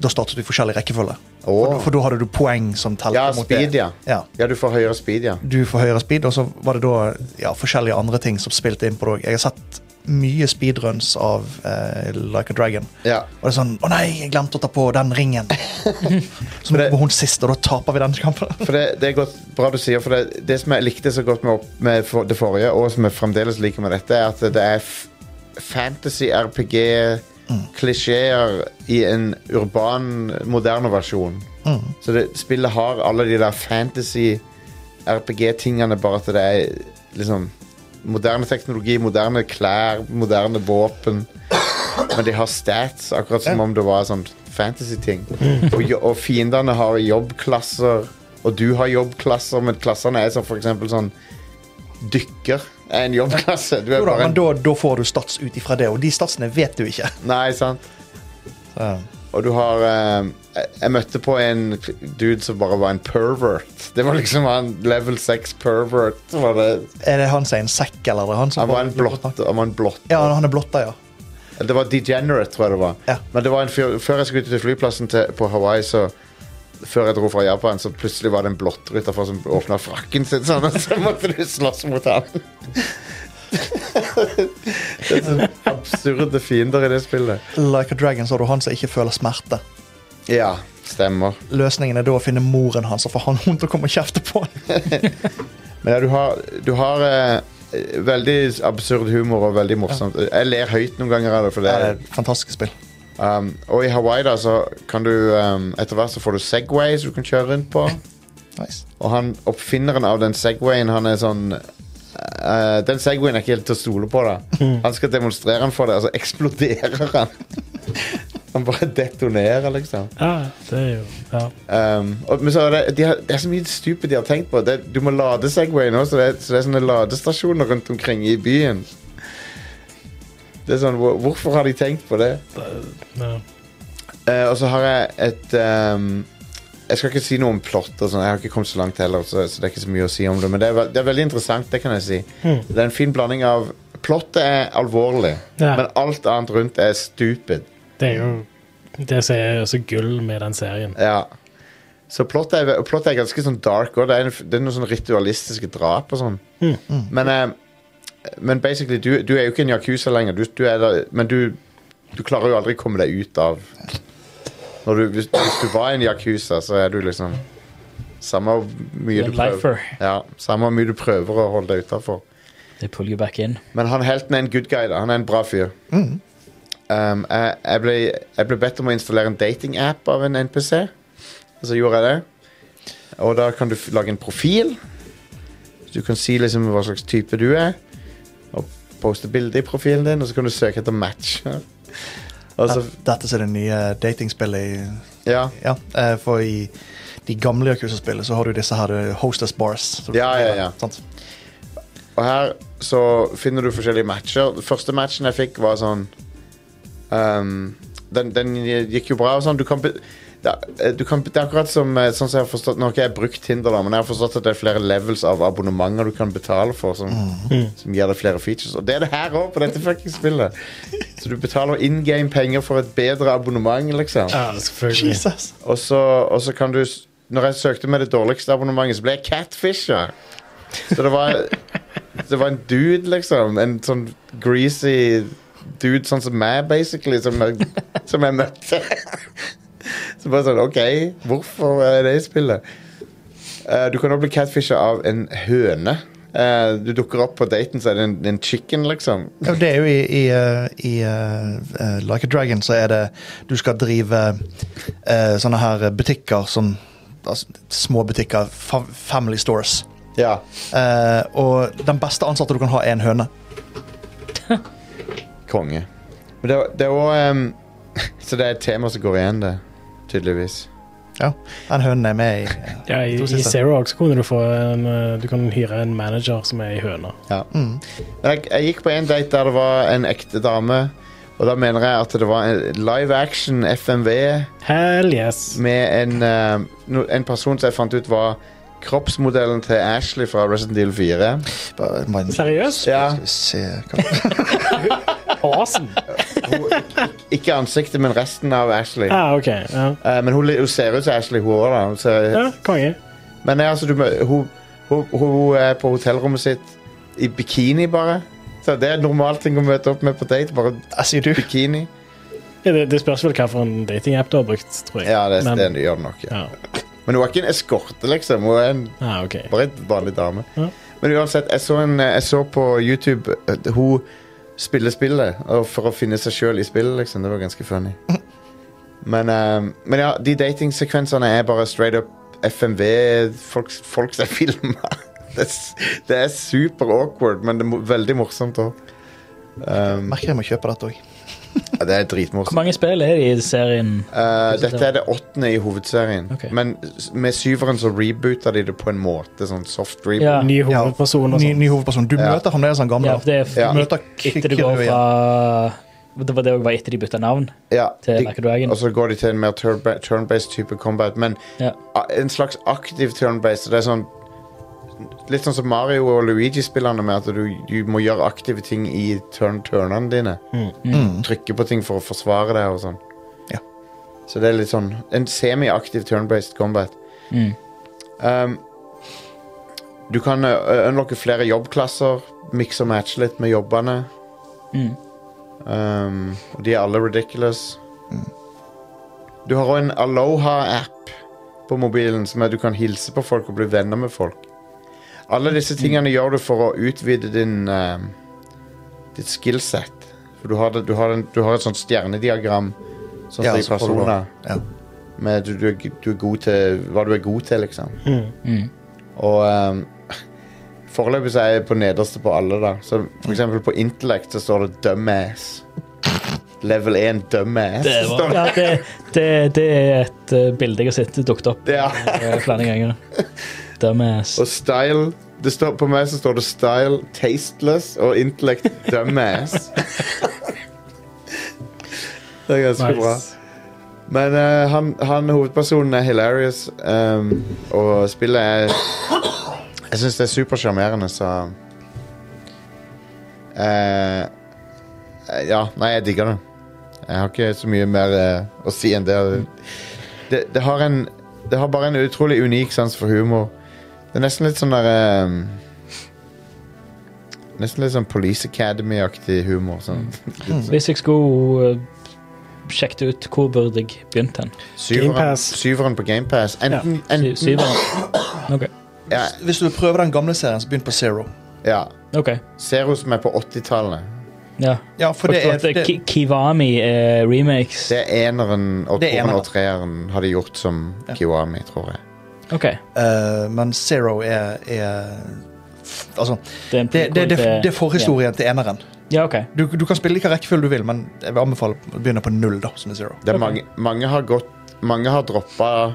Speaker 4: Da startet du i forskjellig rekkefølge. For,
Speaker 1: Åh.
Speaker 4: for da hadde du poeng som telte
Speaker 1: Ja,
Speaker 4: mot
Speaker 1: speed,
Speaker 4: det.
Speaker 1: ja. Ja, du får høyere speed, ja.
Speaker 4: Du får høyere speed, og så var det da ja, forskjellige andre ting som spilte inn på det òg. Jeg har sett mye speedruns av eh, Like a Dragon.
Speaker 1: Ja.
Speaker 4: Og det er sånn Å nei, jeg glemte å ta på den ringen. så må
Speaker 1: det-
Speaker 4: hun sist, og da taper vi den kampen.
Speaker 1: For det, det er godt, bra du sier, for det, det som jeg likte så godt med, opp, med for, det forrige, og som jeg fremdeles liker med dette, er at det er f- fantasy-RPG-klisjeer i en urban, moderne versjon. Så det, spillet har alle de der fantasy-RPG-tingene, bare at det er liksom moderne teknologi, moderne klær, moderne våpen. Men de har stats, akkurat som om det var sånn fantasy-ting. Og, jo- og fiendene har jobbklasser, og Og du har jobbklasser, men klassene er som for eksempel sånn Dykker er en jobbklasse. Du er
Speaker 4: Jo da,
Speaker 1: bare
Speaker 4: men
Speaker 1: en
Speaker 4: da, da får du stats ut ifra det, og de statsene vet du ikke.
Speaker 1: Nei, sant?
Speaker 4: Så,
Speaker 1: Og du har eh, jeg- Jeg møtte på en dude som bare var en pervert. Det var liksom han level 6 pervert. Var det.
Speaker 4: er det han som er en sekk, eller er det han som
Speaker 1: Han var en blått. Han var en blått.
Speaker 4: Ja, han er blotta, ja.
Speaker 1: Det var degenerate, tror jeg det var.
Speaker 4: Ja.
Speaker 1: Men det var en fyr, før jeg skulle ut til flyplassen til, på Hawaii, så før jeg dro fra Japan, så plutselig var det en blotter utenfor som åpna frakken sin, sånn, og så måtte du slåss mot han. det er så absurde fiender i det spillet.
Speaker 4: Like a Dragon så har du han som ikke føler smerte.
Speaker 1: Ja, stemmer.
Speaker 4: Løsningen er da å finne moren hans og få han hun til å komme og kjefte på han.
Speaker 1: Men ja, du har, du har eh, veldig absurd humor og veldig morsomt. Jeg ler høyt noen ganger av det. For
Speaker 4: Det
Speaker 1: det
Speaker 4: er
Speaker 1: er,
Speaker 4: et fantastisk spill.
Speaker 1: um, og i Hawaii da, så kan du um, Etter hvert så får du Segway som du kan kjøre rundt på.
Speaker 4: Nice.
Speaker 1: Og han, oppfinneren av den Segwayen, han er sånn eh, Den Segwayen er ikke helt til å stole på. da Han skal demonstrere den for deg, og så eksploderer han. Han bare detonerer, liksom.
Speaker 3: Ja, det er jo ja.
Speaker 1: Um, og, men så er det, de har, det er så mye stupid de har tenkt på. Det, du må lade Segway nå, så det, er- så det er sånne ladestasjoner rundt omkring i byen. Det er sånn, hvor, Hvorfor har de tenkt på det?
Speaker 3: ja.
Speaker 1: Eh, og så har jeg et um, Jeg skal ikke si noe om plott. og sånn, Jeg har ikke kommet så langt heller, så, så det er ikke så mye å si om det. Men det er, ve- det er veldig interessant, det kan jeg si. Det er en fin blanding av Plottet er alvorlig,
Speaker 3: Ja.
Speaker 1: men alt annet rundt er stupid.
Speaker 3: Det er jo det som er så gull med den serien.
Speaker 1: Ja. Så plottet er, plottet er ganske sånn dark òg. Det, er en- det er noen sånn ritualistiske drap og sånn.
Speaker 2: Mm.
Speaker 1: Men, eh, men basically, du, du er jo ikke en yakuza lenger, du, du er der, men du, du klarer jo aldri å komme deg ut av Når du, hvis, hvis du var en yakuza, så er du liksom Samme hvor mye du
Speaker 2: En
Speaker 1: prøver
Speaker 2: lifer.
Speaker 1: ja, Samme hvor mye du prøver å holde deg utafor.
Speaker 2: They pull you back in.
Speaker 1: Men han helten er en good guy, da. Han er en bra fyr. Um, jeg, jeg, ble, jeg ble bedt om å installere en datingapp av en NPC, og så gjorde jeg det. Og da kan du f- lage en profil. Så du kan si liksom hva slags type du er, og poste bilde i profilen din, og så kan du søke etter matcher. Og så,
Speaker 4: Dette- Dette er det nye datingspillet i
Speaker 1: ja.
Speaker 4: Ja, eh, for i de gamle Yakuza-spillene så har du disse her eh, hostess bars. Så du-
Speaker 1: Ja, ja, ja.
Speaker 4: Sant?
Speaker 1: Og her så finner du forskjellige matcher. Første matchen jeg fikk, var sånn ehm, den, den gikk jo bra og sånn. Du kan, be, det, er- du kan, det er akkurat som eh, sånn som jeg har forstått Nå har ikke jeg brukt Tinder, da, men jeg har forstått at det er flere levels av abonnementer du kan betale for, som, som gir deg flere features. Og det er det her òg, på dette fuckings spillet. Så du betaler in game penger for et bedre abonnement, liksom.
Speaker 3: Ja, selvfølgelig.
Speaker 4: Jesus.
Speaker 1: Og så, og så kan du s- Når jeg søkte med det dårligste abonnementet, så ble jeg catfisher. Så det var Det var en dude, liksom. En sånn greasy dude sånn som meg, basically, som jeg, som jeg møtte. Så bare sånn OK, hvorfor er det i spillet? Eh, du kan også bli catfisher av en høne. Eh, du dukker opp på daten, så er det en, en chicken, liksom.
Speaker 4: Ja, det er jo i, i, eh, i eh, eh, Like a Dragon så er det Du skal drive eh, sånne her butikker som altså, Små butikker. Fa family stores.
Speaker 1: Ja.
Speaker 4: Eh, og den beste ansatte du kan ha, er en høne.
Speaker 1: Konge. Men det, det er også ehm, Så det er et tema som går igjen, det. Tydeligvis.
Speaker 4: Ja, Den hønen er med i eh,
Speaker 3: Ja, I,
Speaker 4: To
Speaker 3: i
Speaker 4: siste.
Speaker 3: Zero Ox kunne du få en eh, Du kan hyre en manager som er i høna.
Speaker 1: Ja. Men Mm. jeg, jeg gikk på en date der det var en ekte dame. Og da mener jeg at det var en live action FMV
Speaker 3: Hell yes!
Speaker 1: med en, eh, no, en person som jeg fant ut var kroppsmodellen til Ashley fra Resident Evil 4.
Speaker 4: bare- bare- Skal
Speaker 3: Seriøst?
Speaker 1: Ja,
Speaker 4: vi se hva
Speaker 3: Awesome!
Speaker 1: ikke ansiktet, men resten av Ashley.
Speaker 3: Ja, ah, OK. Ja,
Speaker 1: Eh, men hun, li- hun ser ut som Ashley, hun òg, da. Hun ser-
Speaker 3: ja konge.
Speaker 1: Men eh, altså, du, mø- hun, hun, hun er på hotellrommet sitt i bikini, bare. Så Det er en normal ting å møte opp med på date. Bare
Speaker 4: Jeg sier du.
Speaker 1: bikini.
Speaker 3: Ja, det, det spørs vel hvilken datingapp du har brukt, tror jeg.
Speaker 1: Ja, det,
Speaker 3: Men-
Speaker 1: det gjør det nok. Ja.
Speaker 3: ja.
Speaker 1: Men hun er ikke en eskorte, liksom. Hun er en
Speaker 3: Ah, ok.
Speaker 1: Bare en vanlig dame.
Speaker 3: Ja.
Speaker 1: Men uansett, jeg så, en, jeg så på YouTube at hun spiller spillet og for å finne seg sjøl i spillet, liksom. Det var ganske funny. Men, eh, men ja, de datingsekvensene er bare straight up FMV, folk, folk som er filma. Det, er s- det er super awkward, men det er mo- veldig morsomt òg. Um,
Speaker 4: Merker jeg må kjøpe dette òg.
Speaker 1: ja, det er
Speaker 2: Hvor
Speaker 1: dritmorsomt.
Speaker 2: mange spill er det i serien?
Speaker 1: Eh, dette er det åttende i hovedserien.
Speaker 2: Ok.
Speaker 1: Men s- med syveren så rebooter de det på en måte. Sånn soft reboot.
Speaker 2: Ja.
Speaker 3: Ny hovedperson og
Speaker 4: Ny,
Speaker 3: sånn.
Speaker 4: ny hovedperson. Du
Speaker 1: Ja.
Speaker 4: møter fremdeles han sånn gamle.
Speaker 2: Ja, det er
Speaker 1: Ja.
Speaker 4: Du møter
Speaker 2: etter du går fra
Speaker 4: Kirby igjen.
Speaker 2: Det var det også var etter de bytta navn
Speaker 1: Ja,
Speaker 2: til
Speaker 1: de-
Speaker 2: Like a Dragon.
Speaker 1: Og så går de til en mer turba- turn-based type combat. Men
Speaker 2: Ja.
Speaker 1: a- en slags aktiv turn-based. så Det er sånn Litt sånn som Mario og Luigi-spillerne, med at du, du må gjøre aktive ting i turn turnene dine.
Speaker 4: Mm.
Speaker 1: Trykke på ting for å forsvare deg og sånn.
Speaker 4: Ja.
Speaker 1: Så det er litt sånn en semi-aktiv turn-based combat.
Speaker 2: Mm.
Speaker 1: Um, du kan uh, unlocke flere jobbklasser, mix og matche litt med jobbene.
Speaker 2: Mm.
Speaker 1: Um, og de er alle ridiculous.
Speaker 4: Mm.
Speaker 1: Du har òg en Aloha-app på mobilen som er du kan hilse på folk og bli venner med folk. Alle
Speaker 4: Mm.
Speaker 1: disse tingene gjør du for å utvide din um, ditt skillset. For du har, det, du, har en, du har et sånt stjernediagram sånn
Speaker 4: Ja,
Speaker 1: som i
Speaker 4: så får du da-
Speaker 1: personer.
Speaker 4: ja.
Speaker 1: Med du, du, er g- du er god til hva du er god til, liksom.
Speaker 2: Mm.
Speaker 1: Og um, foreløpig så er jeg på nederste på alle, da. Så for eksempel på Intellect så står det 'dumbass'. Level 1 dumbass.
Speaker 2: Det,
Speaker 1: står
Speaker 2: var, ja, det, det, det er et eh, bilde jeg har sett dukket opp
Speaker 1: Ja.
Speaker 2: eh, flere ganger. Dumbass.
Speaker 1: Og style det står, På meg så står det 'style tasteless' og 'intellect dumbass'. det er ganske bra.
Speaker 3: Nice.
Speaker 1: Men eh, han, han hovedpersonen er hilarious, ehm, og spillet er Jeg syns det er supersjarmerende, så Eh, Ja, nei, jeg digger det. Jeg har ikke så mye mer eh, å si enn det. Det, det, har en, det har bare en utrolig unik sans for humor. Det er nesten litt sånn der ehm, Nesten litt sånn Police Academy-aktig humor. Sånn.
Speaker 2: Hvis jeg skulle eh, sjekket ut hvor burde jeg begynt hen?
Speaker 1: Syveren,
Speaker 3: Pass.
Speaker 1: syveren på GamePass. Enten,
Speaker 2: Sy-
Speaker 1: enten
Speaker 2: Syveren? Ok.
Speaker 1: ja,
Speaker 4: Hvis du vil prøve den gamle serien, så begynn på Zero.
Speaker 1: ja.
Speaker 2: Ok.
Speaker 1: Zero som er på 80-tallet.
Speaker 2: Ja.
Speaker 4: Ja, for det er,
Speaker 2: At, eh,
Speaker 4: det,
Speaker 2: Ki- Kiwami er remakes.
Speaker 1: Det er eneren og
Speaker 4: Det er
Speaker 1: toeren
Speaker 4: eneren.
Speaker 1: og treeren har de gjort som
Speaker 4: Ja.
Speaker 1: Kiwami, tror jeg.
Speaker 2: Ok.
Speaker 4: eh, men Zero er, er Altså,
Speaker 2: Det er, en
Speaker 4: det, det, det,
Speaker 2: prequel
Speaker 4: det er forhistorien til eneren.
Speaker 2: Ja, ok.
Speaker 4: Du, du kan spille hvilken rekkefølge du vil, men jeg vil anbefale å begynne på null. da, som er Zero.
Speaker 1: Det er
Speaker 2: Ok.
Speaker 1: mange, mange har gått Mange har droppa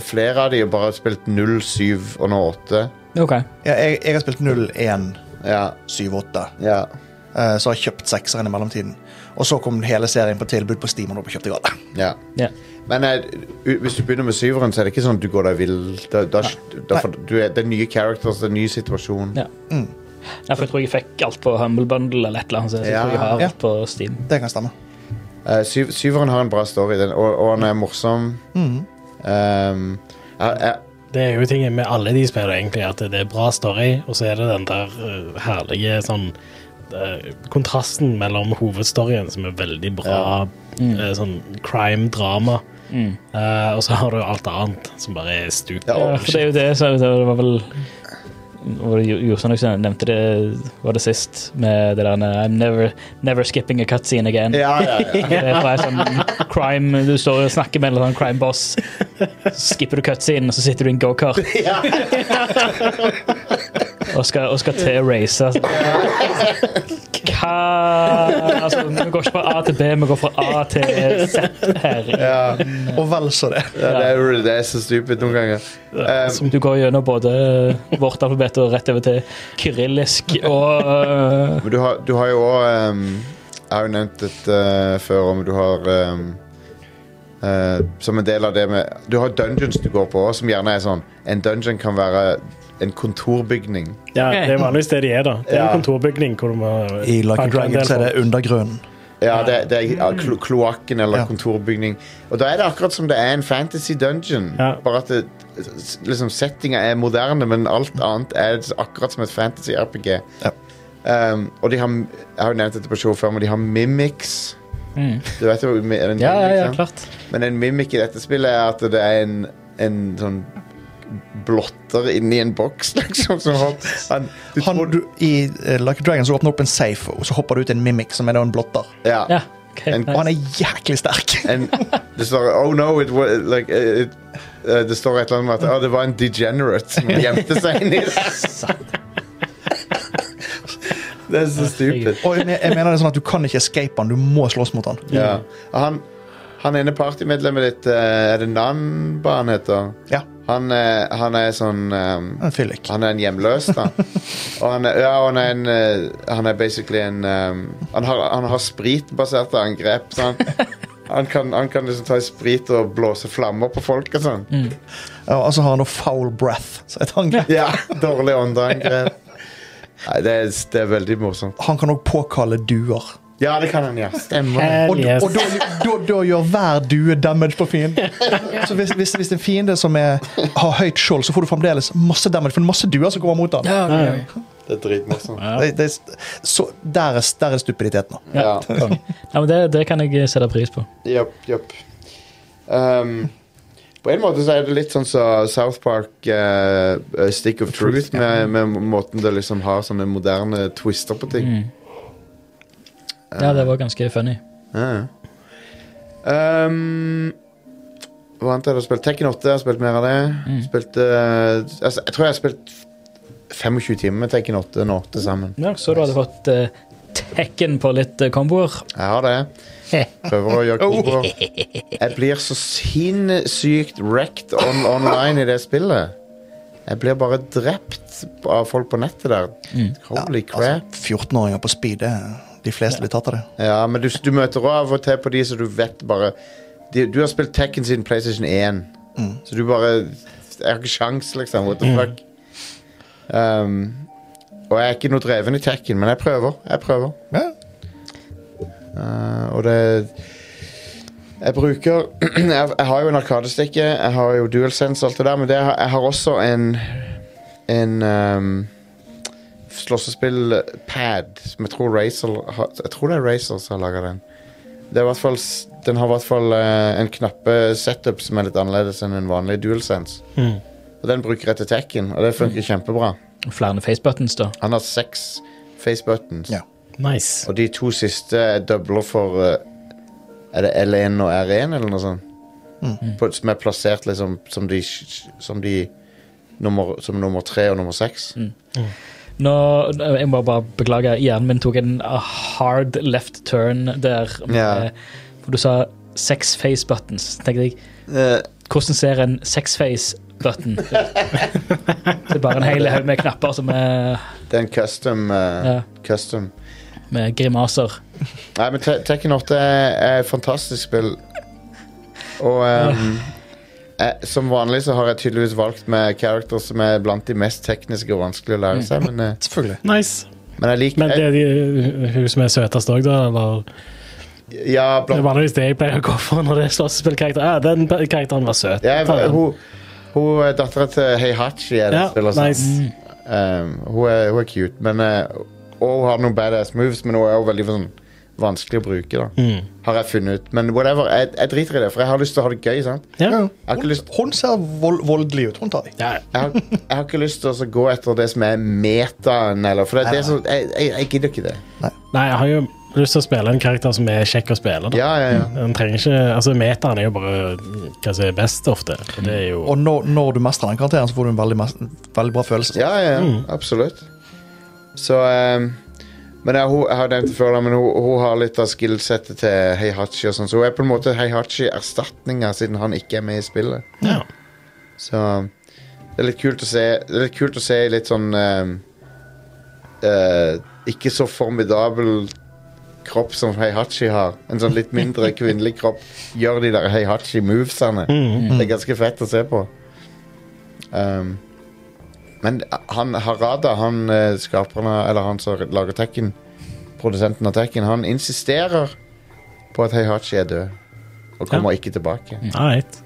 Speaker 1: Flere av de har bare spilt 0, 7 og nå 8.
Speaker 2: Ok.
Speaker 4: Ja, jeg, jeg har spilt 0, 1,
Speaker 1: Ja.
Speaker 4: 7, 8.
Speaker 1: ja.
Speaker 4: eh, så har jeg kjøpt sekseren i mellomtiden. Og så kom hele serien på tilbud på Steam, og nå kjøpte jeg alle.
Speaker 1: ja.
Speaker 2: Ja.
Speaker 1: Men eh, u- hvis du begynner med syveren, så er det ikke sånn at du går deg vill. Da, da, da, får- du er, det er nye characters, det er en ny situasjon.
Speaker 2: Ja. Ja, for jeg tror jeg fikk alt på Humble Bundle eller et eller annet. Så jeg
Speaker 1: Ja.
Speaker 2: tror jeg har
Speaker 4: Ja.
Speaker 2: alt på Steam.
Speaker 4: Det kan stemme.
Speaker 1: Eh, syv, syveren har en bra story, den, og, og han er morsom. Um, jeg, jeg,
Speaker 3: Det er jo tingen med alle de spillene, egentlig, at det er bra story, og så er det den der eh, herlige sånn eh, Kontrasten mellom hovedstoryen, som er veldig bra, eh, sånn crime-drama, eh, og så har du alt annet, som bare er stup.
Speaker 1: Ja,
Speaker 2: Mm.
Speaker 4: oh,
Speaker 2: Ja, for det er jo det, så det var vel var det Jo- Jostein også nevnte det var det sist, med det der I'm never, never skipping a cutscene again.
Speaker 1: ja, ja, ja.
Speaker 2: Det er fra en sånn crime Du står og snakker med en eller annen crime boss, så skipper du cutscene, og så sitter du i en gokart. og, skal- og skal til race. altså. Hva Altså, vi går ikke fra A til B, vi går fra A til Z her.
Speaker 1: ja.
Speaker 4: Og vel så det.
Speaker 1: Ja, det, er, jo- det er så stupid noen ganger. Um,
Speaker 2: Som du går gjennom både vårt alfabet og rett over til kyrillisk og øh,
Speaker 1: men du har, du har jo òg um, Jeg har jo nevnt dette uh, før om du har um, uh, Som en del av det med Du har dungeons du går på, som gjerne er sånn En dungeon kan være en kontorbygning.
Speaker 3: Ja, det er vanligvis det de er, da. Det er
Speaker 1: Ja.
Speaker 3: en kontorbygning hvor du må
Speaker 4: I Like a
Speaker 3: banke
Speaker 4: Dragon
Speaker 3: en del
Speaker 4: så er det
Speaker 3: folk.
Speaker 4: undergrunnen.
Speaker 1: Ja, det, det er ja, klo kloakken eller
Speaker 4: Ja.
Speaker 1: kontorbygning. Og da er det akkurat som det er en fantasy dungeon.
Speaker 3: Ja.
Speaker 1: Bare at det, s- liksom settinga er moderne, men alt annet er akkurat som et fantasy RPG. Um, og de har m- Jeg har jo nevnt dette på show før, men de har mimics.
Speaker 2: Mm.
Speaker 1: Du vet jo mi- er det en
Speaker 2: Ja,
Speaker 1: mimic,
Speaker 2: ja, ja,
Speaker 1: sant?
Speaker 2: klart.
Speaker 1: Men en mimic i dette spillet er at det er en, en sånn blotter inni en boks, liksom. Som han, han, du
Speaker 4: Han,
Speaker 1: tror du,
Speaker 4: du, I eh, Like a Dragon så åpner du opp en safe, og så hopper du ut en mimic, som er da en blotter.
Speaker 1: ja.
Speaker 2: Ja, ok,
Speaker 1: En-
Speaker 4: Og
Speaker 2: nice.
Speaker 4: han er jæklig sterk.
Speaker 1: En, det står Oh no, it was like eh, it, eh, Det står et eller annet om at «Å, det var en degenerate som gjemte seg inni der. Det er så stupid.
Speaker 4: Og jeg, men- jeg mener det er sånn at Du kan ikke escape han, du må slåss mot han.
Speaker 1: Ja. Og han, han ene partymedlemmet ditt, eh, er det Nanba han heter?
Speaker 4: Ja,
Speaker 1: Han, eh, han er sånn eh,
Speaker 4: en fyllik.
Speaker 1: Han er en hjemløs, da. Og han er, ja, og han er en eh, Han er basically en eh, han, har, han har spritbaserte angrep. Så han, han, kan, han kan liksom ta i sprit og blåse flammer på folk og sånn.
Speaker 4: Ja, Og så har han da foul breath. Så et angrep.
Speaker 1: Ja, Dårlig åndeangrep. Nei, det er, det er veldig morsomt.
Speaker 4: Han kan òg påkalle duer.
Speaker 1: Ja, det kan han, ja. Stemmer.
Speaker 3: Hell
Speaker 4: Og,
Speaker 3: yes.
Speaker 4: og da, da, da gjør hver due damage på fienden. Så hvis, hvis, hvis det er en fiende som er, har høyt skjold, så får du fremdeles masse damage. For det er masse duer som kommer mot han.
Speaker 7: Ja, ok, ok.
Speaker 1: Det er dritmorsomt.
Speaker 4: Det, det, er st- så, der, er, der er stupiditeten. da.
Speaker 1: Ja.
Speaker 2: Ja, men det, det kan jeg sette pris på.
Speaker 1: Jepp, jepp. Ehm, på en måte så er det litt sånn som South Park eh, eh, Stick of Truth, med, med måten det liksom har sånne moderne twister på ting.
Speaker 2: Ja, det var ganske funny.
Speaker 1: Ja, ja. Ehm, hva annet har jeg spilt? Tekken 8 jeg har spilt mer av det. Spilt, eh, altså, jeg tror jeg har spilt 25 timer med Tekken 8 nå til sammen.
Speaker 2: Ja, så du hadde fått eh, tekken på litt eh, komboer.
Speaker 1: Jeg har det. Prøver å gjøre komboer. Jeg blir så sinnssykt wrecked on online i det spillet. Jeg blir bare drept av folk på nettet der. Holy crap.
Speaker 4: Altså, 14-åringer på speed, det, de fleste blir tatt av det.
Speaker 1: Ja, men du, du møter også av og til på de som du vet bare de, Du har spilt Tekken siden PlayStation 1, så du bare Jeg har ikke sjans, liksom. What the fuck? Um, og jeg er ikke noe dreven i Tekken, men jeg prøver. Jeg prøver.
Speaker 4: Ja.
Speaker 1: Eh, og det Jeg bruker jeg, jeg har jo en arkadestikke, jeg har jo DualSense og alt det der, men det, har- jeg har også en En um, slåssespill-pad som jeg tror Razer har- Jeg tror det er Razer som har laga den. Det er i hvert fall, s- den har i hvert fall eh, en knappe-setup som er litt annerledes enn en vanlig DualSense. Og den bruker jeg til Tekken, og det funker kjempebra.
Speaker 2: Flere facebuttons, da.
Speaker 1: Han har seks face buttons.
Speaker 4: Ja.
Speaker 3: Nice.
Speaker 1: Og de to siste er doubler for eh, Er det L1 og R1 eller noe sånt? På, som er plassert liksom som de, som de nummer, Som nummer tre og nummer seks.
Speaker 2: Nå, eh, Jeg må bare beklage. Hjernen min tok en eh, hard left turn der. med-
Speaker 1: Ja.
Speaker 2: For du sa seks face buttons. Så tenkte jeg,
Speaker 1: Eh,
Speaker 2: hvordan ser en seks face button ut? Det er bare en hel haug med knapper som er
Speaker 1: det er en custom. eh,
Speaker 2: ja,
Speaker 1: custom.
Speaker 2: med grimaser.
Speaker 1: Nei, men Te Tekken 8 er, er et fantastisk spill. Og ehm, jeg, som vanlig så har jeg tydeligvis valgt med characters som er blant de mest tekniske og vanskelig å lære seg, men, eh,
Speaker 4: Selvfølgelig.
Speaker 3: Nice.
Speaker 1: men jeg liker
Speaker 3: Men det er de, hun som er søtest òg, da? Eller?
Speaker 1: Ja,
Speaker 3: Det
Speaker 1: blant
Speaker 3: er vanligvis det jeg pleier å gå for når det er slåssespillkarakter. Ah, den pe- karakteren var søt.
Speaker 1: ja,
Speaker 3: Ta den.
Speaker 1: hun, hun er dattera til Heihachi. Er det
Speaker 3: ja,
Speaker 1: spiller, sånn.
Speaker 3: nice.
Speaker 1: Um, hun, er, hun er cute, men eh, Og hun har noen badass moves, men hun er jo veldig sånn, vanskelig å bruke. da Har jeg funnet ut. Men whatever, jeg, jeg driter i det, for jeg har lyst til å ha det gøy. sant?
Speaker 3: Ja.
Speaker 4: Ja.
Speaker 1: Jeg har ikke
Speaker 4: Hun,
Speaker 1: lyst,
Speaker 4: hun ser vold, voldelig ut. Hun tar de.
Speaker 3: Ja.
Speaker 1: jeg har, jeg har ikke lyst til å så gå etter det som er metaen, eller For det, det er så, jeg, jeg, jeg gidder ikke det.
Speaker 3: Nei, jeg har jo lyst til å spille en karakter som er kjekk å spille. Da.
Speaker 1: Ja, ja, ja.
Speaker 3: Den trenger ikke, altså Metaen er jo bare hva som er best ofte. Og det er jo
Speaker 4: Og når, når du mestrer den karakteren, så får du en veldig, mas- veldig bra følelse.
Speaker 1: Ja, ja, ja. absolutt. Så ehm, Men ja, hun, jeg har nevnt det før, da, men hun, hun har litt av skillsettet til Heihachi. og sånn, Så hun er på en måte Heihachi-erstatninga, siden han ikke er med i spillet.
Speaker 3: ja.
Speaker 1: Så det er litt kult å se Det er litt kult å se litt sånn ehm, eh, Ikke så formidabel kropp som Heihachi har. En sånn litt mindre kvinnelig kropp gjør de der Heihachi-movesene. Det er ganske fett å se på. Ehm, men han Harada, han eh, skaperen av- Eller han som lager Tekken, produsenten av Tekken, han insisterer på at Heihachi er død. Og kommer ikke tilbake.
Speaker 3: Alright.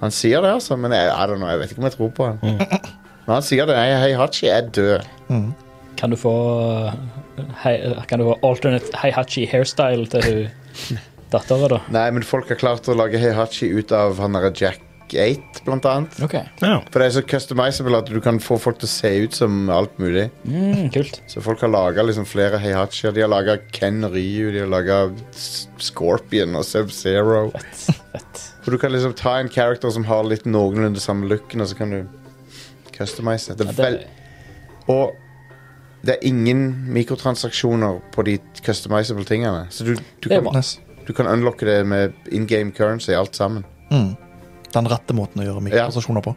Speaker 1: Han sier det, altså, men jeg, I don't know, jeg vet ikke om jeg tror på han. Men han sier det. Nei, Heihachi er død.
Speaker 2: Kan du få eh, hei, Kan du få alternate Heihachi hairstyle til hun dattera, da?
Speaker 1: Nei, men folk har klart å lage Heihachi ut av han derre Jack 8, blant annet.
Speaker 2: Ok.
Speaker 3: Ja.
Speaker 1: For det er så customizable at du kan få folk til å se ut som alt mulig.
Speaker 2: Mm, kult.
Speaker 1: Så folk har laga liksom flere Heihachier. De har laga Ken Ryu, de har laga Scorpion og Sub-Zero.
Speaker 2: Fett.
Speaker 1: For du kan liksom ta en character som har litt noenlunde samme looken, og så kan du customize det.
Speaker 2: Ja,
Speaker 1: Vel,
Speaker 2: det,
Speaker 1: og Det er ingen mikrotransaksjoner på de customizable tingene. Så du, du,
Speaker 2: Det er
Speaker 1: kan,
Speaker 2: bra.
Speaker 4: Nice.
Speaker 1: du kan unlocke det med in game currency, alt sammen.
Speaker 4: Mm. Den rette måten å gjøre mikrotransaksjoner på.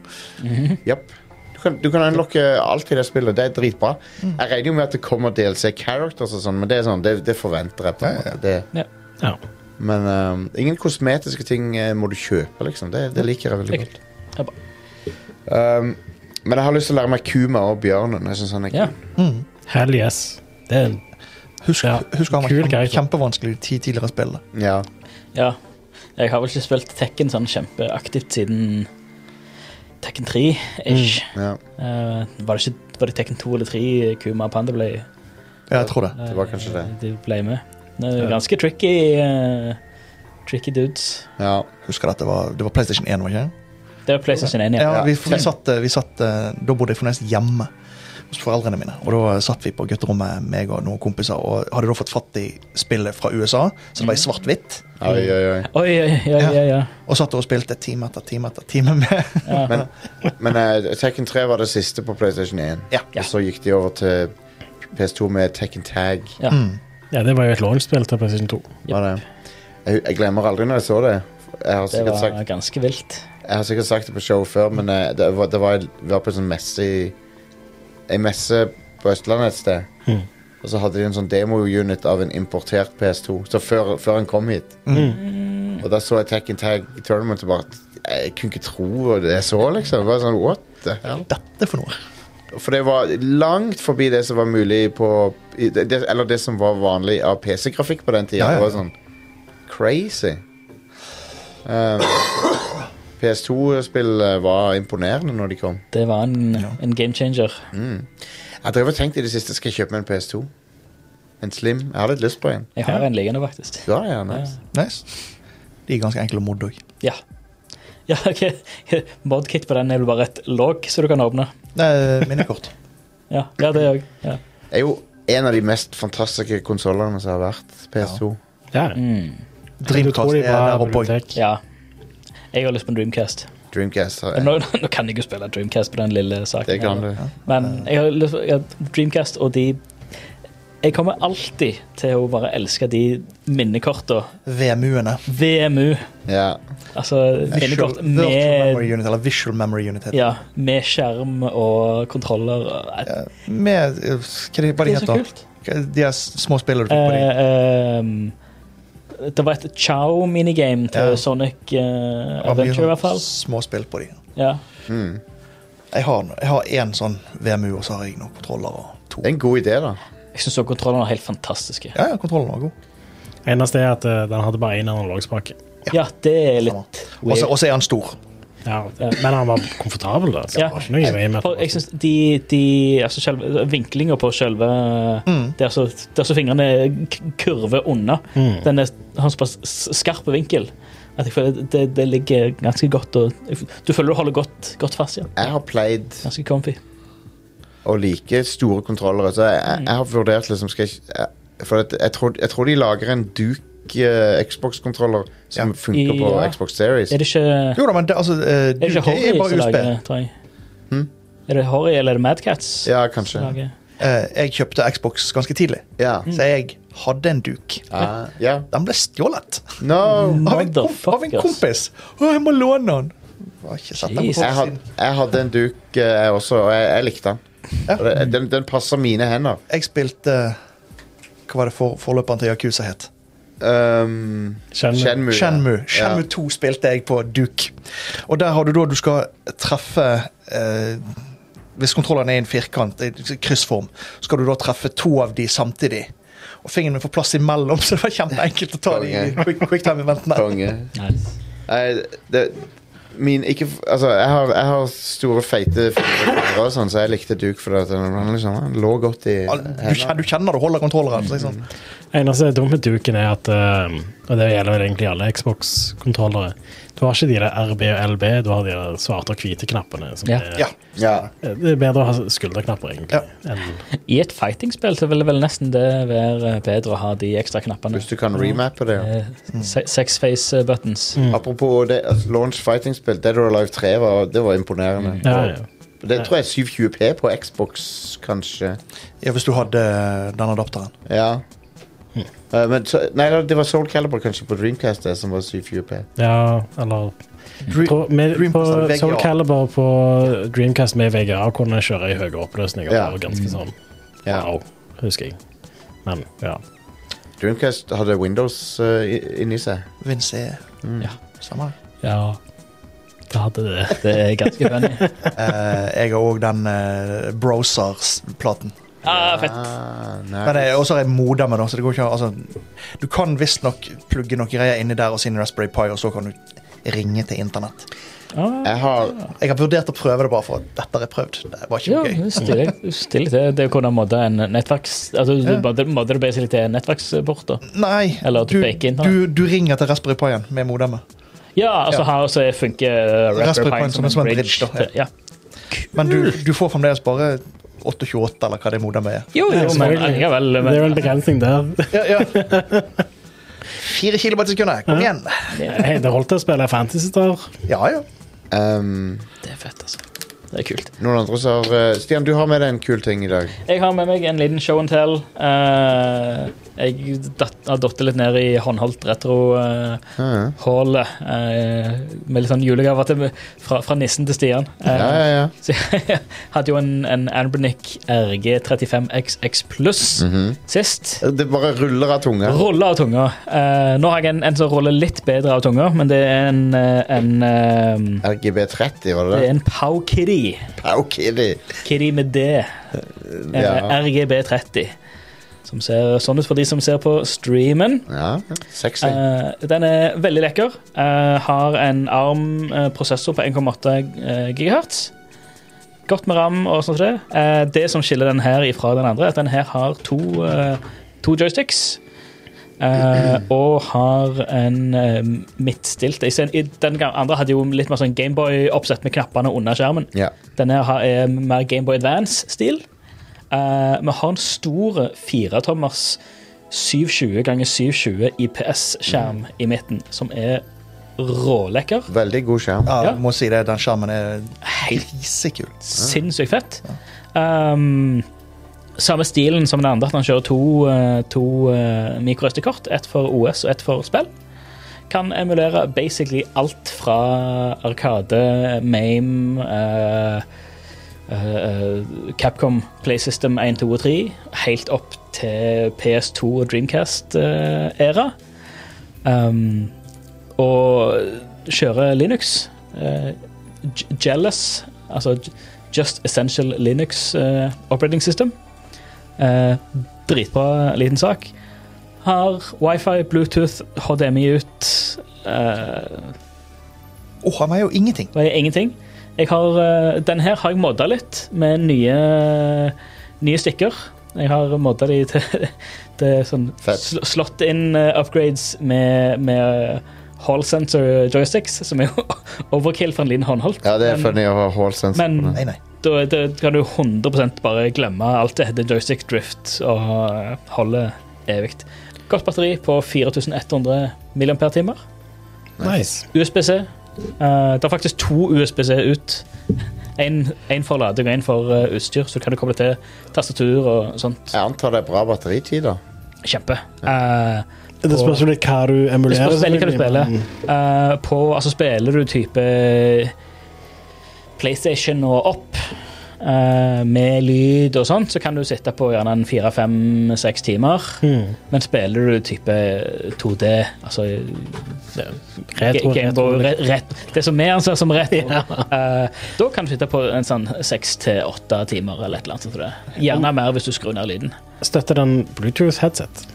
Speaker 1: Japp. Du kan, du kan unlocke alt i det spillet. Det er dritbra. Jeg regner jo med at det kommer DLC characters og sånn, men det er sånn, det, det forventer jeg. på en
Speaker 7: Ja, ja.
Speaker 1: måte. Det,
Speaker 3: Ja.
Speaker 1: men ehm, ingen kosmetiske ting eh, må du kjøpe, liksom. Det, det liker jeg veldig godt.
Speaker 2: Ja, bra.
Speaker 1: Ehm, men jeg har lyst til å lære meg Kuma og bjørnen. Jeg synes han er kul.
Speaker 2: Ja.
Speaker 4: Mm.
Speaker 3: Hell yes. Det er en
Speaker 4: Husk,
Speaker 3: Ja,
Speaker 4: husk han var
Speaker 3: kul
Speaker 4: kjempe,
Speaker 3: karakter.
Speaker 4: kjempevanskelig i ti tidligere spill. da.
Speaker 1: Ja.
Speaker 2: Ja. Jeg har vel ikke spilt Tekken sånn kjempeaktivt siden Tekken 3-ish.
Speaker 1: ja.
Speaker 2: var, det ikke, var det Tekken 2 eller 3 Kuma og Panda ble,
Speaker 4: Ja, jeg tror det.
Speaker 1: Det var kanskje det.
Speaker 2: de ble med? Det er ganske tricky, eh, tricky dudes.
Speaker 1: ja.
Speaker 4: Husker at det var, det var PlayStation 1, var det ikke?
Speaker 2: Det er PlayStation 1, ja.
Speaker 4: Ja, vi, vi satt, eh, vi satt, eh, da bodde jeg fornøyest hjemme hos foreldrene mine. Og da satt vi på gutterommet, meg og noen kompiser, og hadde da fått fatt i spillet fra USA, så det var i svart-hvitt.
Speaker 1: Oi, oi, oi.
Speaker 2: Oi, oi, oi, oi, oi, oi.
Speaker 4: Og satt og spilte time etter time etter time med
Speaker 1: Men, men eh, Tekken 3 var det siste på PlayStation 1.
Speaker 4: Ja.
Speaker 1: Og så gikk de over til PS2 med Tekken Tag.
Speaker 2: Ja.
Speaker 3: Ja, det var jo et launchspill til PlayStation 2.
Speaker 1: Var det. Jeg, jeg glemmer aldri når jeg så det. Jeg har
Speaker 2: Det
Speaker 1: sikkert,
Speaker 2: var
Speaker 1: sagt,
Speaker 2: ganske vilt.
Speaker 1: jeg har sikkert sagt det på show før, men eh, det, var, det var, vi var på en sånn messe i Ei messe på Østlandet et sted. Og så hadde de en sånn demo-unit av en importert PS2. Så før, før han kom hit. Og da så jeg Tekken Tag Tournament og bare Jeg kunne ikke tro det jeg så, liksom. Det var sånn, what the hell?
Speaker 4: dette for noe.
Speaker 1: For det var langt forbi det som var mulig på i- det, Eller det som var vanlig av PC-grafikk på den tida.
Speaker 4: Ja, ja,
Speaker 1: Det var
Speaker 4: ja.
Speaker 1: sånn crazy. Um, PS2-spill eh, var imponerende når de kom.
Speaker 2: Det var en, en game changer.
Speaker 1: Jeg drev og tenkte i det siste skal jeg kjøpe meg en PS2. En Slim. Jeg har litt lyst på en.
Speaker 2: Jeg har en liggende, faktisk.
Speaker 1: Ja, ja, nice.
Speaker 4: Nice. De er ganske enkle å modde òg.
Speaker 2: Ja. Ja, ok. Modkit på den er vel bare et låg så du kan åpne.
Speaker 4: Minnekort.
Speaker 2: Ja, ja det òg. Ja.
Speaker 1: Det er jo en av de mest fantastiske konsollene som har vært. PS2.
Speaker 3: Ja.
Speaker 2: Mm.
Speaker 4: Dreamcast
Speaker 3: Utrolig
Speaker 4: er
Speaker 3: bra
Speaker 4: der oppe òg.
Speaker 3: bibliotek.
Speaker 2: ja. Jeg har lyst på en Dreamcast.
Speaker 1: Dreamcast. har
Speaker 2: Men
Speaker 1: jeg.
Speaker 2: Nå, nå kan jeg jo spille Dreamcast på den lille saken.
Speaker 1: Det kan
Speaker 2: her.
Speaker 1: du.
Speaker 2: Men jeg har lyst jeg har Dreamcast og de Jeg kommer alltid til å bare elske de minnekorta.
Speaker 4: VMU-ene.
Speaker 2: VMU.
Speaker 1: Ja.
Speaker 2: Altså minnekort
Speaker 4: Virtual, virtual
Speaker 2: med
Speaker 4: Memory Unit, eller Visual Memory Unit. heter det.
Speaker 2: ja, med skjerm og kontroller. Det
Speaker 4: Med eh, Hva de, hva de
Speaker 2: er så
Speaker 4: heter
Speaker 2: kult.
Speaker 4: De er s- små spillene du fikk på de.
Speaker 2: Eh, ehm, det var et Chow-minigame til
Speaker 4: Ja.
Speaker 2: Sonic eh,
Speaker 4: Det var mye
Speaker 2: Adventure, i hvert
Speaker 4: sånn
Speaker 2: fall.
Speaker 4: Småspill på de.
Speaker 2: Ja.
Speaker 1: Mm.
Speaker 4: Jeg har, jeg har en sånn VMU, og så har jeg noen kontroller og to.
Speaker 1: Det er en god idé, da.
Speaker 2: Jeg syns kontrollene er helt fantastiske.
Speaker 4: Ja, ja, kontrollen var god.
Speaker 3: Eneste er at eh, den hadde bare én analogspake.
Speaker 2: Ja, det er litt
Speaker 4: Og
Speaker 2: weird.
Speaker 4: så er han stor.
Speaker 3: Ja, men han var komfortabel, da. Så
Speaker 2: Ja.
Speaker 3: det var ikke noe i veien med at
Speaker 2: For jeg
Speaker 3: det var-
Speaker 2: synes de, de altså selve, Vinklinga på selve altså, Der så, der så fingrene k- kurver unna. Den er, har såpass s- skarp vinkel at jeg føler det, det ligger ganske godt og Du føler du holder godt, godt fast, ja.
Speaker 1: Jeg har played
Speaker 2: Ganske comfy.
Speaker 1: og like store kontrollere. Så jeg, jeg, jeg har vurdert liksom skal jeg, jeg- For at jeg, tror, jeg tror de lager en Duke eh, Xbox-kontroller som funker på
Speaker 2: Ja.
Speaker 1: Xbox Series.
Speaker 2: Er det ikke, er
Speaker 4: Jo da, men det, altså, eh,
Speaker 2: det ikke
Speaker 4: det
Speaker 2: Horry
Speaker 4: er
Speaker 2: som
Speaker 4: bare USB.
Speaker 2: lager det, tror jeg? Er det Horry eller er det Madcats?
Speaker 1: Ja,
Speaker 2: som
Speaker 1: kanskje.
Speaker 2: lager- Mm.
Speaker 4: Eh, jeg kjøpte Xbox ganske tidlig,
Speaker 1: Ja.
Speaker 4: så jeg hadde en duk.
Speaker 1: Ah, ja.
Speaker 4: Den ble stjålet
Speaker 1: No!
Speaker 4: av en, komp av en
Speaker 2: Motherfuckers.
Speaker 4: kompis. Å, jeg må låne den! Jeg har ikke sett den på
Speaker 2: Jesus.
Speaker 1: Jeg, had,
Speaker 4: siden.
Speaker 1: jeg hadde en Duke, eh, jeg også, og jeg, jeg likte den.
Speaker 4: Ja.
Speaker 1: Og det- Den, den passer mine hender.
Speaker 4: Jeg spilte eh, Hva var det for, forløperen til Yakuza het?
Speaker 1: Um,
Speaker 3: Shenmue.
Speaker 1: Shenmue. ja.
Speaker 4: Shenmue. Shenmue
Speaker 1: Ja.
Speaker 4: 2 spilte jeg på Duke. Og der har du da du skal treffe eh, Hvis kontrollene er i en firkant, i en kryssform, skal du da treffe to av de samtidig. Og fingeren min får plass imellom, så det var kjempeenkelt å ta de i
Speaker 1: Konge.
Speaker 4: quick, quicktime-eventene.
Speaker 1: Konge.
Speaker 2: Nice.
Speaker 1: Nei, det, min ikke Altså, jeg har, jeg har store, feite fingre og sånn, så jeg likte Duke fordi at den, han liksom, han lå godt i
Speaker 4: Al- Du kjenner, du kjenner du holder kontrolleren. Så liksom.
Speaker 1: Mm.
Speaker 3: Eneste dumme med duken er at eh, Og det gjelder vel egentlig alle Xbox-kontrollere. Du har ikke de der RB og LB, du har de der svarte og hvite knappene. Som
Speaker 2: Ja.
Speaker 3: er,
Speaker 4: Ja.
Speaker 1: Ja.
Speaker 3: Det er bedre å ha skulderknapper, egentlig. Enn,
Speaker 2: I et fightingspill så ville vel nesten det være bedre å ha de ekstra knappene. Eh,
Speaker 1: Hvis du kan remappe det.
Speaker 3: Mm.
Speaker 1: Ja.
Speaker 2: Sex face buttons.
Speaker 1: Apropos det, altså, launch fighting-spill, Dead or Alive 3 var, det var imponerende.
Speaker 3: Mm. ja, ja.
Speaker 1: Det tror jeg er 720P på Xbox, kanskje.
Speaker 4: Ja, hvis du hadde den adapteren.
Speaker 1: Ja.
Speaker 3: Mm.
Speaker 1: Eh, men så, nei, det var Soul Calibur kanskje på Dreamcast det, som var 720P.
Speaker 3: Ja, eller
Speaker 4: Dream,
Speaker 3: på, med,
Speaker 4: Dreamcast
Speaker 3: på
Speaker 4: hadde VGA.
Speaker 3: Soul Calibur på Dreamcast med VGA kunne jeg kjøre i høyere oppløsninger.
Speaker 1: Ja.
Speaker 3: Det var ganske sånn
Speaker 1: Ja.
Speaker 3: wow, husker jeg. Men ja.
Speaker 1: Dreamcast hadde Windows eh, i- inni seg.
Speaker 4: Vince er
Speaker 2: Ja.
Speaker 4: samme.
Speaker 3: ja. Det hadde det.
Speaker 2: Det er ganske funny.
Speaker 4: Eh, jeg har òg den eh, Browsers-platen.
Speaker 2: Ah, fett.
Speaker 1: Ah,
Speaker 4: Men
Speaker 1: nei.
Speaker 4: det er også er modemet, da, så det går ikke an altså, Du kan visstnok plugge noen greier inni der og sin Raspberry Pi, og så kan du ringe til internett.
Speaker 3: Ah,
Speaker 1: Jeg har
Speaker 4: Jeg har vurdert å prøve det bare for at dette har jeg prøvd. Det var ikke
Speaker 2: Ja,
Speaker 4: gøy.
Speaker 2: stilig. stilig det. det å kunne modde en nettverks... Altså, du
Speaker 4: Ja.
Speaker 2: modder- modder det basically til en nettverksport, da.
Speaker 4: Nei,
Speaker 2: Eller at du
Speaker 4: du,
Speaker 2: peker inn, da.
Speaker 4: du, du ringer til Raspberry Pien med modemet.
Speaker 2: Ja, altså
Speaker 4: Ja.
Speaker 2: her så funker uh,
Speaker 4: Raspberry Pi
Speaker 2: Raspberry Pi som en bridge.
Speaker 4: da, ja.
Speaker 2: til- ja.
Speaker 4: Men du, du får fremdeles bare 828, eller hva det modemet er.
Speaker 2: Jo, jo, men
Speaker 3: selvfølgelig.
Speaker 2: allikevel.
Speaker 3: det
Speaker 2: men-
Speaker 3: er jo en begrensning der.
Speaker 4: Ja, ja. Fire kilometer i sekundet. Kom igjen.
Speaker 3: Hei, det holdt til å spille Fantasy der.
Speaker 4: Ja, ja.
Speaker 1: ehm,
Speaker 2: Det er fett, altså. Det er kult.
Speaker 1: noen andre som har eh, Stian, du har med deg en kul ting i dag.
Speaker 2: Jeg har med meg en liten show and tell. Eh, jeg datt, har datt litt ned i håndholdt retro-hålet.
Speaker 1: Ja,
Speaker 2: med litt sånn julegaver til- fra, fra nissen til Stian. Eh,
Speaker 1: ja, ja. ja.
Speaker 2: Så jeg hadde jo en, en Anbernic RG35XX pluss
Speaker 1: Mm. Mhm.
Speaker 2: sist.
Speaker 1: Det bare ruller av tunga.
Speaker 2: Ruller av tunga. Eh, nå har jeg en, en som ruller litt bedre av tunga, men det er en, eh, en eh,
Speaker 1: RGB30, var det
Speaker 2: det er
Speaker 1: det?
Speaker 2: en Pow Kitty.
Speaker 1: Pow Kitty.
Speaker 2: Kitty med D. Eh,
Speaker 1: Ja.
Speaker 2: RGB30. Som ser sånn ut for de som ser på streamen.
Speaker 1: ja. Sexy.
Speaker 2: Eh, den er veldig lekker. Eh, har en ARM-prosessor på 1,8 eh, GHz. Godt med RAM og sånt. som Det. Eh, det som skiller den her ifra den andre, er at den her har to, eh, to joysticks. Eh, og har en eh, midtstilt I sen- i Den gam- andre hadde jo litt mer sånn Gameboy-oppsett med knappene under skjermen.
Speaker 1: ja.
Speaker 2: Denne her har- er mer Gameboy Advance-stil. Eh, Vi har en stor 4-tommers 720 ganger 720 IPS-skjerm i midten, som er rålekker.
Speaker 1: Veldig god skjerm.
Speaker 4: Ja,
Speaker 2: Ja.
Speaker 4: Må si det, den skjermen er
Speaker 2: Helt
Speaker 4: grisekul.
Speaker 2: sinnssykt fett. Um, samme stilen som den andre, at han kjører to, eh, to eh, microSD-kort. Ett for OS og ett for spill. Kan emulere basically alt fra Arkade, Mame eh, eh, Capcom PlaySystem 1, 2 og 3, helt opp til PS2 og Dreamcast-æra. um, og kjøre Linux. eh, J- Jealous, altså J- Just Essential Linux eh, Operating System. Eh, dritbra liten sak. Har wifi, Bluetooth, HDMI ut. eh,
Speaker 4: Åh, han er jo ingenting.
Speaker 2: det er ingenting. Jeg har, eh, den her har jeg modda litt med nye, nye stikker. Jeg har modda de til, til sånn
Speaker 1: Fett.
Speaker 2: sl slått inn eh, upgrades med, med eh, hall sensor joysticks, som er jo overkill for en liten håndholdt.
Speaker 1: Ja, det er
Speaker 2: Men-
Speaker 1: funny å ha hall sensor
Speaker 2: men-
Speaker 1: på den.
Speaker 4: Nei, nei.
Speaker 2: da, da kan du 100 bare glemme alt det heter joystick drift og eh, holde evig. Godt batteri på 4100 mAh.
Speaker 3: Nice.
Speaker 2: USB-C. Eh, det er faktisk to USB-C ut. En, en for lading og en for eh, utstyr, så kan du koble til tastatur og sånt.
Speaker 1: Jeg antar det er bra batteritid, da.
Speaker 2: Kjempe. Eh,
Speaker 3: Det spørs jo litt hva du
Speaker 2: Det
Speaker 3: emulerer.
Speaker 2: spørs veldig hva du spiller.
Speaker 3: selvfølgelig.
Speaker 2: Eh, på, altså spiller du type PlayStation og opp eh, med lyd og sånt, så kan du sitte på gjerne en fire-fem-seks timer.
Speaker 3: Mm.
Speaker 2: Men spiller du type 2D, altså
Speaker 3: Retro, retro,
Speaker 2: Gameboy rett, Det som vi anser som rett, eh, da kan du sitte på en sånn seks til åtte timer eller et eller annet. sånt som det. Gjerne mer hvis du skrur ned lyden.
Speaker 3: Støtter den Bluetooth-headset?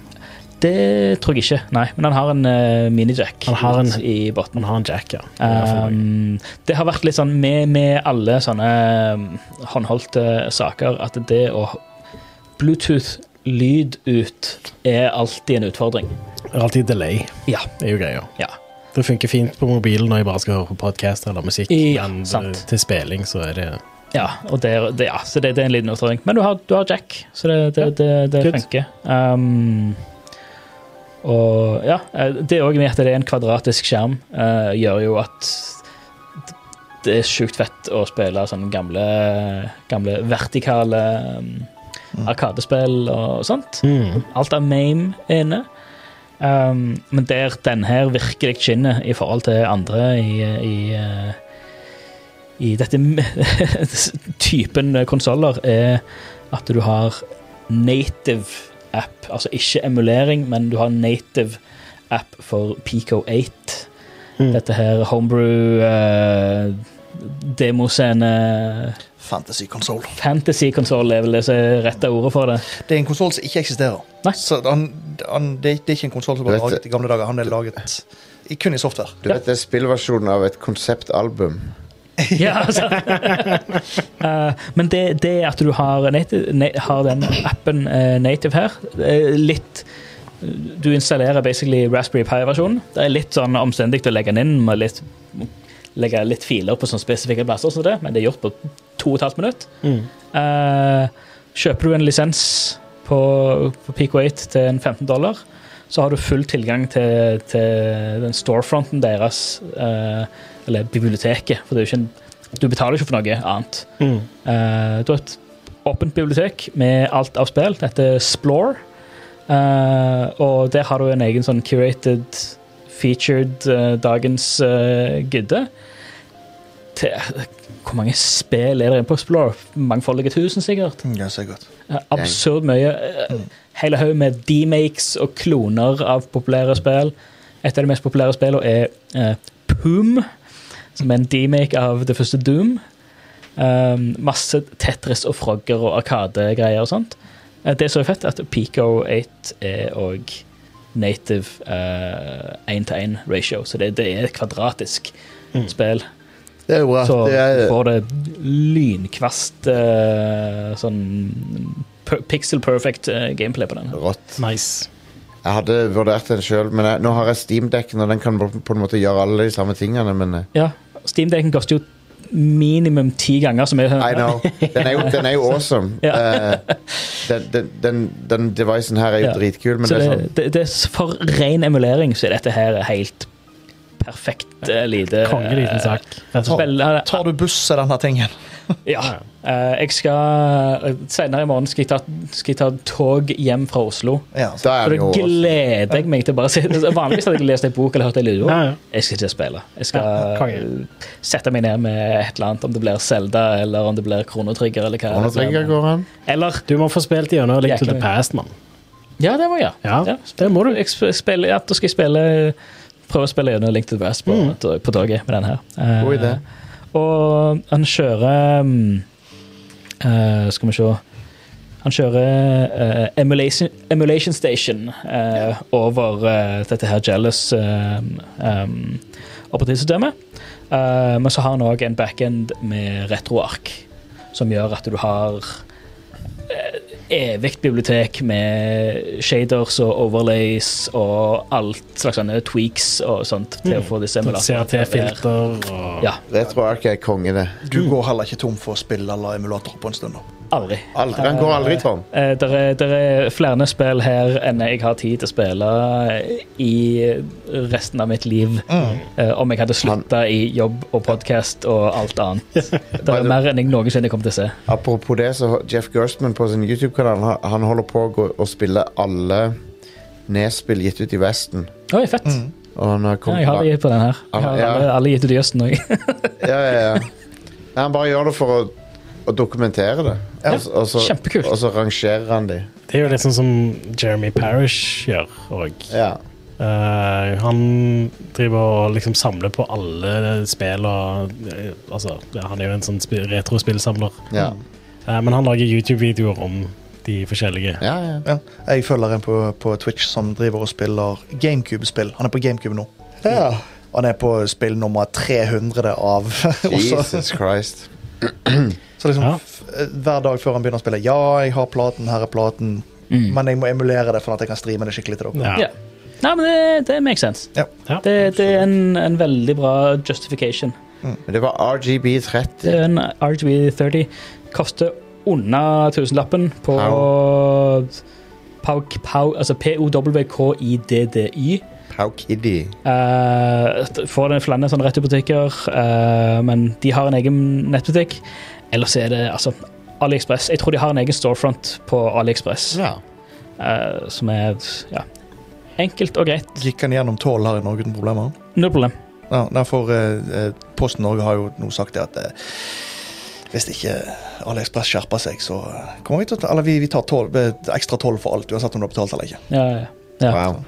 Speaker 2: Det tror jeg ikke, nei. Men han har en eh, minijack
Speaker 3: Han har en-
Speaker 2: i båten.
Speaker 3: Man har en jack, ja.
Speaker 2: Eh, Um, det har vært litt sånn med, med alle sånne um, håndholdte saker at det å Bluetooth-lyd ut er alltid en utfordring.
Speaker 3: Det er alltid delay.
Speaker 2: Ja.
Speaker 3: Det er jo greia.
Speaker 2: Ja.
Speaker 3: Det funker fint på mobilen når jeg bare skal høre på podkast eller musikk,
Speaker 2: Ja,
Speaker 3: men
Speaker 2: sant.
Speaker 3: eh, til spilling så er det
Speaker 2: ja, og det, er- det, ja så det, det er en liten utfordring. Men du har, du har Jack, så det, det, det, det,
Speaker 3: good.
Speaker 2: funker. Um, og ja, eh, det òg med at det er en kvadratisk skjerm, eh, gjør jo at det er sjukt fett å spille sånne gamle, gamle vertikale um, arkadespill og sånt.
Speaker 3: Mm.
Speaker 2: Alt av mame er inne. Um, men der den her virkelig skinner i forhold til andre i, i, eh, i dette typen konsoller, er at du har native app, altså ikke emulering, men du har native app for Pico 8.
Speaker 3: Mm.
Speaker 2: Dette her homebrew eh, demoscene
Speaker 4: Fantasy-konsoll.
Speaker 2: Fantasy-konsoll er vel det som er rette ordet for det.
Speaker 4: Det er en konsoll som ikke eksisterer.
Speaker 2: Nei.
Speaker 4: Så han, han, det, er- det er ikke en konsoll som ble
Speaker 1: Vet du-
Speaker 4: laget i gamle dager. Han er laget i, kun i software.
Speaker 1: Du vet, det er spillversjonen av et konseptalbum.
Speaker 2: Ja, altså. Eh, men det, det at du har, nati- na- har den appen eh, native her, det er litt Du installerer basically Raspberry Pi-versjonen. Det er litt sånn omstendig å legge den inn, med litt, legge litt filer på sånne spesifikke plasser, som det, men det er gjort på to og et halvt minutt.
Speaker 3: Mm.
Speaker 2: Eh, kjøper du en lisens på, på Pico 8 til en 15 dollar, så har du full tilgang til, til den storefronten deres, eh, eller biblioteket, for det er jo ikke en, du betaler ikke for noe annet.
Speaker 3: Mm.
Speaker 2: Eh, du har et åpent bibliotek med alt av spill. Det heter Splore. Eh, og der har du en egen sånn curated, featured eh, dagens uh, gidde. Til, hvor mange spill er det inne på Splore? Mangfoldige tusen, sikkert.
Speaker 4: Mm, Ja, så er det godt.
Speaker 2: Eh, Absurd mye. Eh, Hele haug med demakes og kloner av populære spill. Et av de mest populære spillene er eh, Poom, som er en demake av det første Doom. Um, masse Tetris og Frogger og Arkade-greier og sånt. Eh, det som er fett, er at Pico 8 er òg native én-til-én-ratio, så det, det er et kvadratisk spill.
Speaker 1: Det er jo bra.
Speaker 2: Så
Speaker 1: det
Speaker 2: du
Speaker 1: er,
Speaker 2: får det lynkvast eh, sånn per pixel perfect eh, gameplay på den. her.
Speaker 1: rått.
Speaker 3: Nice.
Speaker 1: Jeg hadde vurdert den sjøl, men jeg, nå har jeg Steam-dekken, og den kan på på en måte gjøre alle de samme tingene, men eh,
Speaker 2: Ja, Steam-dekken koster jo minimum ti ganger så mye.
Speaker 1: I know. Den er jo, den er jo awesome. Eh, den, den, den, den devicen her er jo
Speaker 2: Ja.
Speaker 1: dritkul, men
Speaker 2: så
Speaker 1: det er
Speaker 2: det,
Speaker 1: sånn
Speaker 2: det, det er s- for ren emulering så er dette her helt perfekt eh, lite
Speaker 3: Kongeliten sak. Rett og slett.
Speaker 2: Spill, ja,
Speaker 4: Tar du buss, er denne tingen.
Speaker 2: ja. Eh, jeg skal eh, Senere i morgen skal jeg, ta, skal jeg ta tog hjem fra Oslo.
Speaker 4: Ja,
Speaker 1: sånn- Da
Speaker 2: Og
Speaker 1: er
Speaker 2: det
Speaker 1: den jo awesome.
Speaker 2: gleder jeg meg til å bare se. Vanligvis hadde jeg lest en bok eller hørt en lydbok.
Speaker 3: Ja, ja.
Speaker 2: Jeg skal ikke spille. Jeg
Speaker 3: Ja,
Speaker 2: skal
Speaker 3: konge.
Speaker 2: sette meg ned med et eller annet, om det blir Zelda eller om det blir Kronotrigger. Eller hva
Speaker 1: Nå
Speaker 2: det
Speaker 1: trenger jeg
Speaker 2: blir.
Speaker 1: går an.
Speaker 2: Eller
Speaker 3: Du må få spilt gjennom Link to the
Speaker 2: Jækla mye.
Speaker 3: Past, mann.
Speaker 2: Ja, det må jeg gjøre.
Speaker 3: Ja, det må du.
Speaker 2: Jeg sp- spiller, ja, da skal jeg spille prøve å spille gjennom Link to the Past på, på toget med den her. Eh,
Speaker 1: Mm. God idé.
Speaker 2: og han kjører mm, eh, Skal vi se Han kjører eh, emulation, emulation Station eh, over eh, dette her Jealous eh, em, operativsystemet. Eh, men så har han òg en backend med retroark, som gjør at du har eh, Evig bibliotek med shaders og overlays og alt slags sånne tweaks og sånt til å få disse emulatorene til å være-
Speaker 3: CRT-filter og
Speaker 2: Ja,
Speaker 1: Retroark er konge, det.
Speaker 4: Du går heller ikke tom for spill eller emulator på en stund. da.
Speaker 2: aldri.
Speaker 1: Aldri, den går aldri tom.
Speaker 2: Eh, der, er, der er flere spill her enn jeg har tid til å spille i resten av mitt liv. Eh, om jeg hadde slutta i jobb og podkast og alt annet. Det er mer enn jeg noensinne kommer til å se.
Speaker 1: Apropos det, så ho- Jeff Gerstmann på sin YouTube-kanal han- Han holder på å gå- å spille alle nedspill gitt ut i Vesten.
Speaker 2: Oi, fett.
Speaker 1: Og han har
Speaker 2: Ja,
Speaker 1: kommet
Speaker 2: jeg har det på den her. Jeg har
Speaker 1: Ja.
Speaker 2: alle, alle gitt ut i Jøsten òg.
Speaker 1: ja, ja, ja. Nei, Han bare gjør det for å, å dokumentere det. Og, s- og, så,
Speaker 2: kjempekult.
Speaker 1: og så rangerer han de.
Speaker 3: Det er jo litt sånn som Jeremy Parish gjør òg.
Speaker 1: Ja.
Speaker 3: Eh, han driver og liksom samler på alle spill og eh, Altså, ja, han er jo en sånn spi- retrospillsamler.
Speaker 1: Ja.
Speaker 2: Mm.
Speaker 3: Eh, men han lager YouTube-videoer om de forskjellige.
Speaker 1: Ja, ja.
Speaker 4: Ja. Jeg følger en på, på Twitch som driver og spiller GameCube-spill. Han er på GameCube nå. Mm. Han er på spill nummer 300 av også.
Speaker 1: Jesus Christ.
Speaker 4: Så liksom,
Speaker 3: Ja.
Speaker 4: f- Hver dag før han begynner å spille Ja, jeg har platen, her er platen. Men jeg må emulere det for at jeg kan streame det skikkelig til dere.
Speaker 3: Ja.
Speaker 2: Ja. Nei, men det, det makes sense.
Speaker 4: Ja.
Speaker 3: Ja.
Speaker 2: Det, det er en, en veldig bra justification.
Speaker 1: Men det var RGB30.
Speaker 2: Det er en RGB30. Koster under tusenlappen på
Speaker 1: Pow.
Speaker 2: Pau, Pau, altså POWKIDDY.
Speaker 1: How kiddy.
Speaker 2: Eh, t- får den flanne sånn rett i butikker, eh, men de har en egen nettbutikk. Ellers er det altså AliExpress. Jeg tror de har en egen storefront på AliExpress,
Speaker 1: Ja.
Speaker 2: eh, som er ja, enkelt og greit.
Speaker 4: Gikk han gjennom tollen her i Norge uten problemer?
Speaker 2: Null problem.
Speaker 4: Ja, nei, for eh, eh, Posten Norge har jo nå sagt det at eh, hvis ikke AliExpress skjerper seg, så eh, kommer vi til å ta Eller vi, vi tar tolv- eh, ekstra toll for alt, uansett om du har betalt eller ikke.
Speaker 2: Ja, ja. Ja.
Speaker 1: Wow.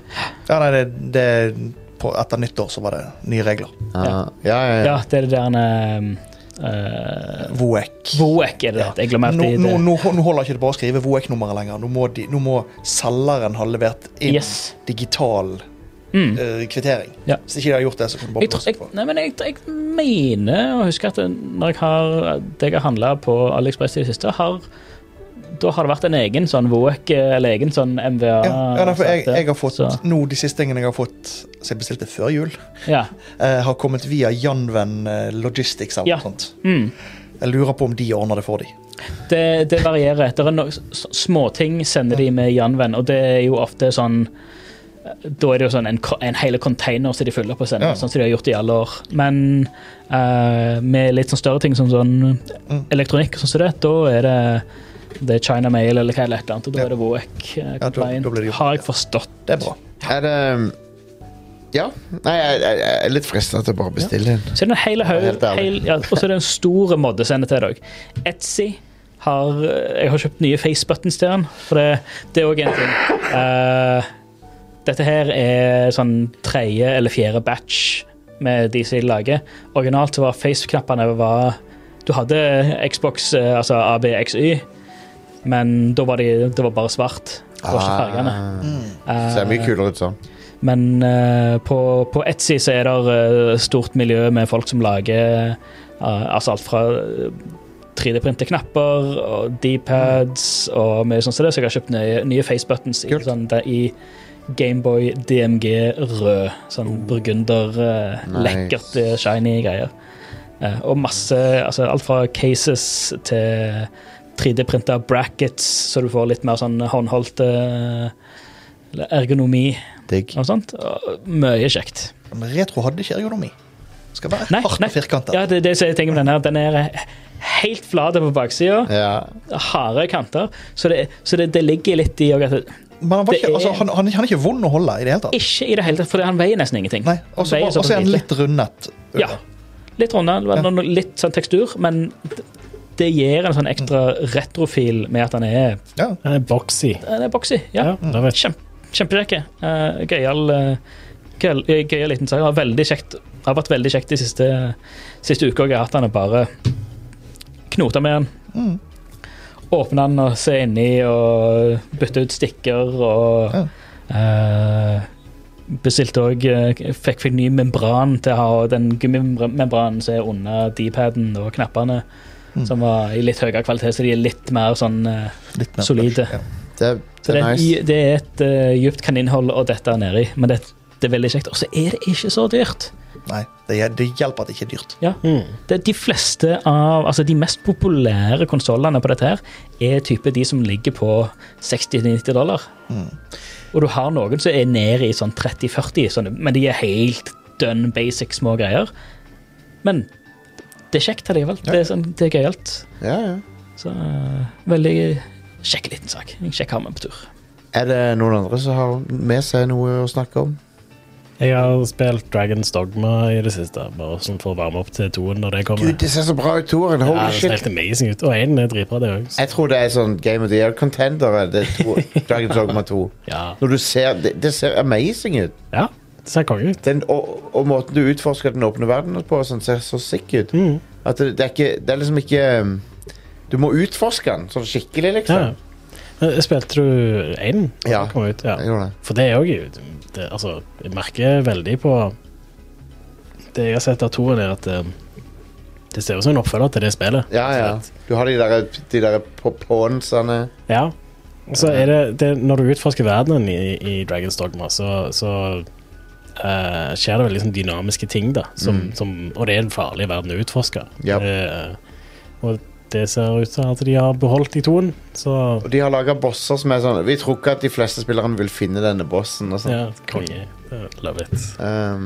Speaker 4: Ja, nei, det, det på, Etter nyttår så var det nye regler.
Speaker 1: Ja, ja, ja.
Speaker 2: ja,
Speaker 1: ja.
Speaker 2: det er det der en uh,
Speaker 4: Voek.
Speaker 2: Voek er det det. heter. Jeg glemmer
Speaker 4: Nå,
Speaker 2: alltid
Speaker 4: nå,
Speaker 2: det.
Speaker 4: nå, nå holder ikke det bare å skrive Voek-nummeret lenger. Nå må, de, nå må selgeren ha levert inn
Speaker 2: Yes.
Speaker 4: digital
Speaker 2: Mm.
Speaker 4: eh, kvittering.
Speaker 2: Ja.
Speaker 4: Hvis ikke de har gjort det, så kan du bare
Speaker 2: Jeg, tror-
Speaker 4: blåse
Speaker 2: jeg,
Speaker 4: på.
Speaker 2: nei, men jeg, jeg mener å huske at når jeg har, det jeg har handla på AliExpress i det siste, har da har det vært en egen sånn Voek eh, eller egen sånn MVA.
Speaker 4: Ja, ja, nei, for jeg, jeg har fått,
Speaker 2: Så-
Speaker 4: nå De siste tingene jeg har fått som jeg bestilte før jul,
Speaker 2: Ja.
Speaker 4: eh, har kommet via Janven eh, Logistics. Eller
Speaker 2: Ja.
Speaker 4: noe sånt.
Speaker 2: Mm.
Speaker 4: Jeg lurer på om de ordner det for dem.
Speaker 2: Det, det varierer. Det er no, s- småting sender de med Janven, og det er jo ofte sånn Da er det jo sånn en, ko- en hele container som de fyller opp og sender,
Speaker 4: Ja.
Speaker 2: sånn som de har gjort i alle år. Men eh, med litt sånn større ting som sånn
Speaker 4: Mm.
Speaker 2: elektronikk og sånn som det, da er det det er China Mail eller hva eller et eller annet, og da
Speaker 4: Ja.
Speaker 2: er det Voek. eh,
Speaker 4: da- da
Speaker 2: compliant,
Speaker 4: blir det gjort,
Speaker 2: har jeg
Speaker 4: ja.
Speaker 2: forstått.
Speaker 4: Det er bra.
Speaker 1: Er det um, Ja. Nei, jeg, jeg, jeg er litt frista til å bare bestille en.
Speaker 2: Så er det en hel haug
Speaker 1: Helt ærlig.
Speaker 2: hel, ja, Og så er det en stor moddesender til deg. Etsy har eh, Jeg har kjøpt nye facebuttons til den, for det, det er òg en ting. Eh, dette her er sånn tredje eller fjerde batch med de som de lager. Originalt så var face-knappene var Du hadde Xbox, eh, altså ABXY, men da var de, det var bare svart. Det var ikke fargene.
Speaker 1: Ah, ser mye kulere ut sånn.
Speaker 2: Men eh, på, på Etsy så er det eh, stort miljø med folk som lager eh, altså alt fra 3D-printe knapper og D-pads og mye sånt som det, så jeg har kjøpt nye, nye facebuttons i,
Speaker 1: Kult.
Speaker 2: sånn, der, i Gameboy DMG rød. Sånn burgunder, eh,
Speaker 1: Mm. Nice.
Speaker 2: lekkert, eh, shiny greier. Eh, og masse altså Alt fra cases til 3D-printa brackets, så du får litt mer sånn håndholdt eh, eller ergonomi.
Speaker 1: Digg.
Speaker 2: Noe sånt. Og Mye kjekt.
Speaker 4: Men retro hadde ikke ergonomi. Skal være
Speaker 2: Nei,
Speaker 4: hardt
Speaker 2: nei.
Speaker 4: og firkantet.
Speaker 2: Ja, det er det som er tingen med den her. Den er helt flat på baksida.
Speaker 1: Ja.
Speaker 2: Harde kanter. Så det, så det, det ligger litt i òg at det,
Speaker 4: Men han, var
Speaker 2: det
Speaker 4: ikke,
Speaker 2: er-
Speaker 4: altså, han, han, han er ikke vond å holde i det hele tatt.
Speaker 2: Ikke i det hele tatt, for han veier nesten ingenting.
Speaker 4: Nei, Og så
Speaker 2: Veier
Speaker 4: og så
Speaker 2: såpass
Speaker 4: er han
Speaker 2: lite.
Speaker 4: litt rundet. under.
Speaker 2: Ja. Litt runda, det var
Speaker 4: Ja.
Speaker 2: noe- litt sånn tekstur, men det- det gir en sånn ekstra retrofil med at han er,
Speaker 4: Ja.
Speaker 3: Den er boxy.
Speaker 2: han er boxy. Ja.
Speaker 1: Mm.
Speaker 3: Ja, da vet jeg.
Speaker 2: Kjempe, kjempekjekke. Uh, Gøyal eh, gøyal- eh, gøyal liten sak. Det har Veldig kjekt. Det har vært veldig kjekt de siste, siste uka. Jeg har hatt den og bare knota med den.
Speaker 4: Mm.
Speaker 2: Åpne den og se inni og bytte ut stikker og eh, Bestilte òg Fikk fikk ny membran til å ha den gummimembranen som er under D-paden og knappene,
Speaker 4: Mm.
Speaker 2: som var i litt høyere kvalitet, så de er litt mer sånn eh,
Speaker 4: Litt mer
Speaker 2: Solide.
Speaker 4: Ja.
Speaker 1: Det,
Speaker 2: så
Speaker 1: det
Speaker 2: det,
Speaker 1: er
Speaker 2: er et
Speaker 1: nice.
Speaker 2: dy- det er et eh, djupt kaninhold å dette er nedi, men det, det er veldig kjekt. Og så er det ikke så dyrt.
Speaker 4: Nei, det, hjel- det hjelper at det ikke er dyrt.
Speaker 3: Mm.
Speaker 2: Det, de fleste av, altså de mest populære konsollene på dette her, er type de som ligger på 60-90 dollar.
Speaker 4: Mm.
Speaker 2: Og du har noen som er nede i sånn 30-40, sånne- men de er helt dønn basic små greier. Men det er kjekt allikevel. Det er, sånn, det er gøyalt.
Speaker 1: Ja, ja.
Speaker 2: Så eh, veldig kjekk liten sak. En kjekk harme på tur.
Speaker 1: Er det noen andre som har med seg noe å snakke om?
Speaker 3: Jeg har spilt Dragons Dogma i det siste, bare sånn for å varme opp til toen når det
Speaker 1: Gud,
Speaker 3: kommer.
Speaker 1: det ser så bra ut, Toren.
Speaker 3: Ja,
Speaker 1: Holy
Speaker 3: det ser
Speaker 1: shit.
Speaker 3: helt amazing ut. Og én er dritbra, det òg.
Speaker 1: Jeg tror det er sånn Game of the Year-contendere. Det er to- Dragon's Dogma 2.
Speaker 3: Ja.
Speaker 1: Når du ser, det, det ser amazing ut.
Speaker 3: ja, det ser konge ut.
Speaker 1: Den, og, og måten du utforsker den åpne verden på, og sånn, ser så sick ut.
Speaker 3: Mm.
Speaker 1: At det, det, er ikke, det er liksom ikke um, Du må utforske den sånn skikkelig,
Speaker 3: Ja.
Speaker 1: liksom.
Speaker 3: Men eh, Spilte du én?
Speaker 1: Ja.
Speaker 3: Kom ut, ja.
Speaker 1: Jeg gjorde det.
Speaker 3: For det er òg Altså, jeg merker veldig på Det jeg har sett av toen, er at eh, det ser ut som en oppfølger til det spillet.
Speaker 1: Ja, ja. Du har de der, de der på- pawnsene.
Speaker 3: Ja. Så er det, det Når du utforsker verdenen i, i Dragons Dogma, så, så eh, skjer det veldig sånn
Speaker 1: Mm.
Speaker 3: dynamiske ting, da. Som, som, og det er en farlig verden å utforske.
Speaker 1: Ja.
Speaker 3: Eh, og det ser ut til at de har beholdt de toen. Så
Speaker 1: Og de har laga bosser som er sånn Vi tror ikke at de fleste spillerne vil finne denne bossen. Og sånn.
Speaker 3: ja, konge. Eh, Love it.
Speaker 1: Ehm,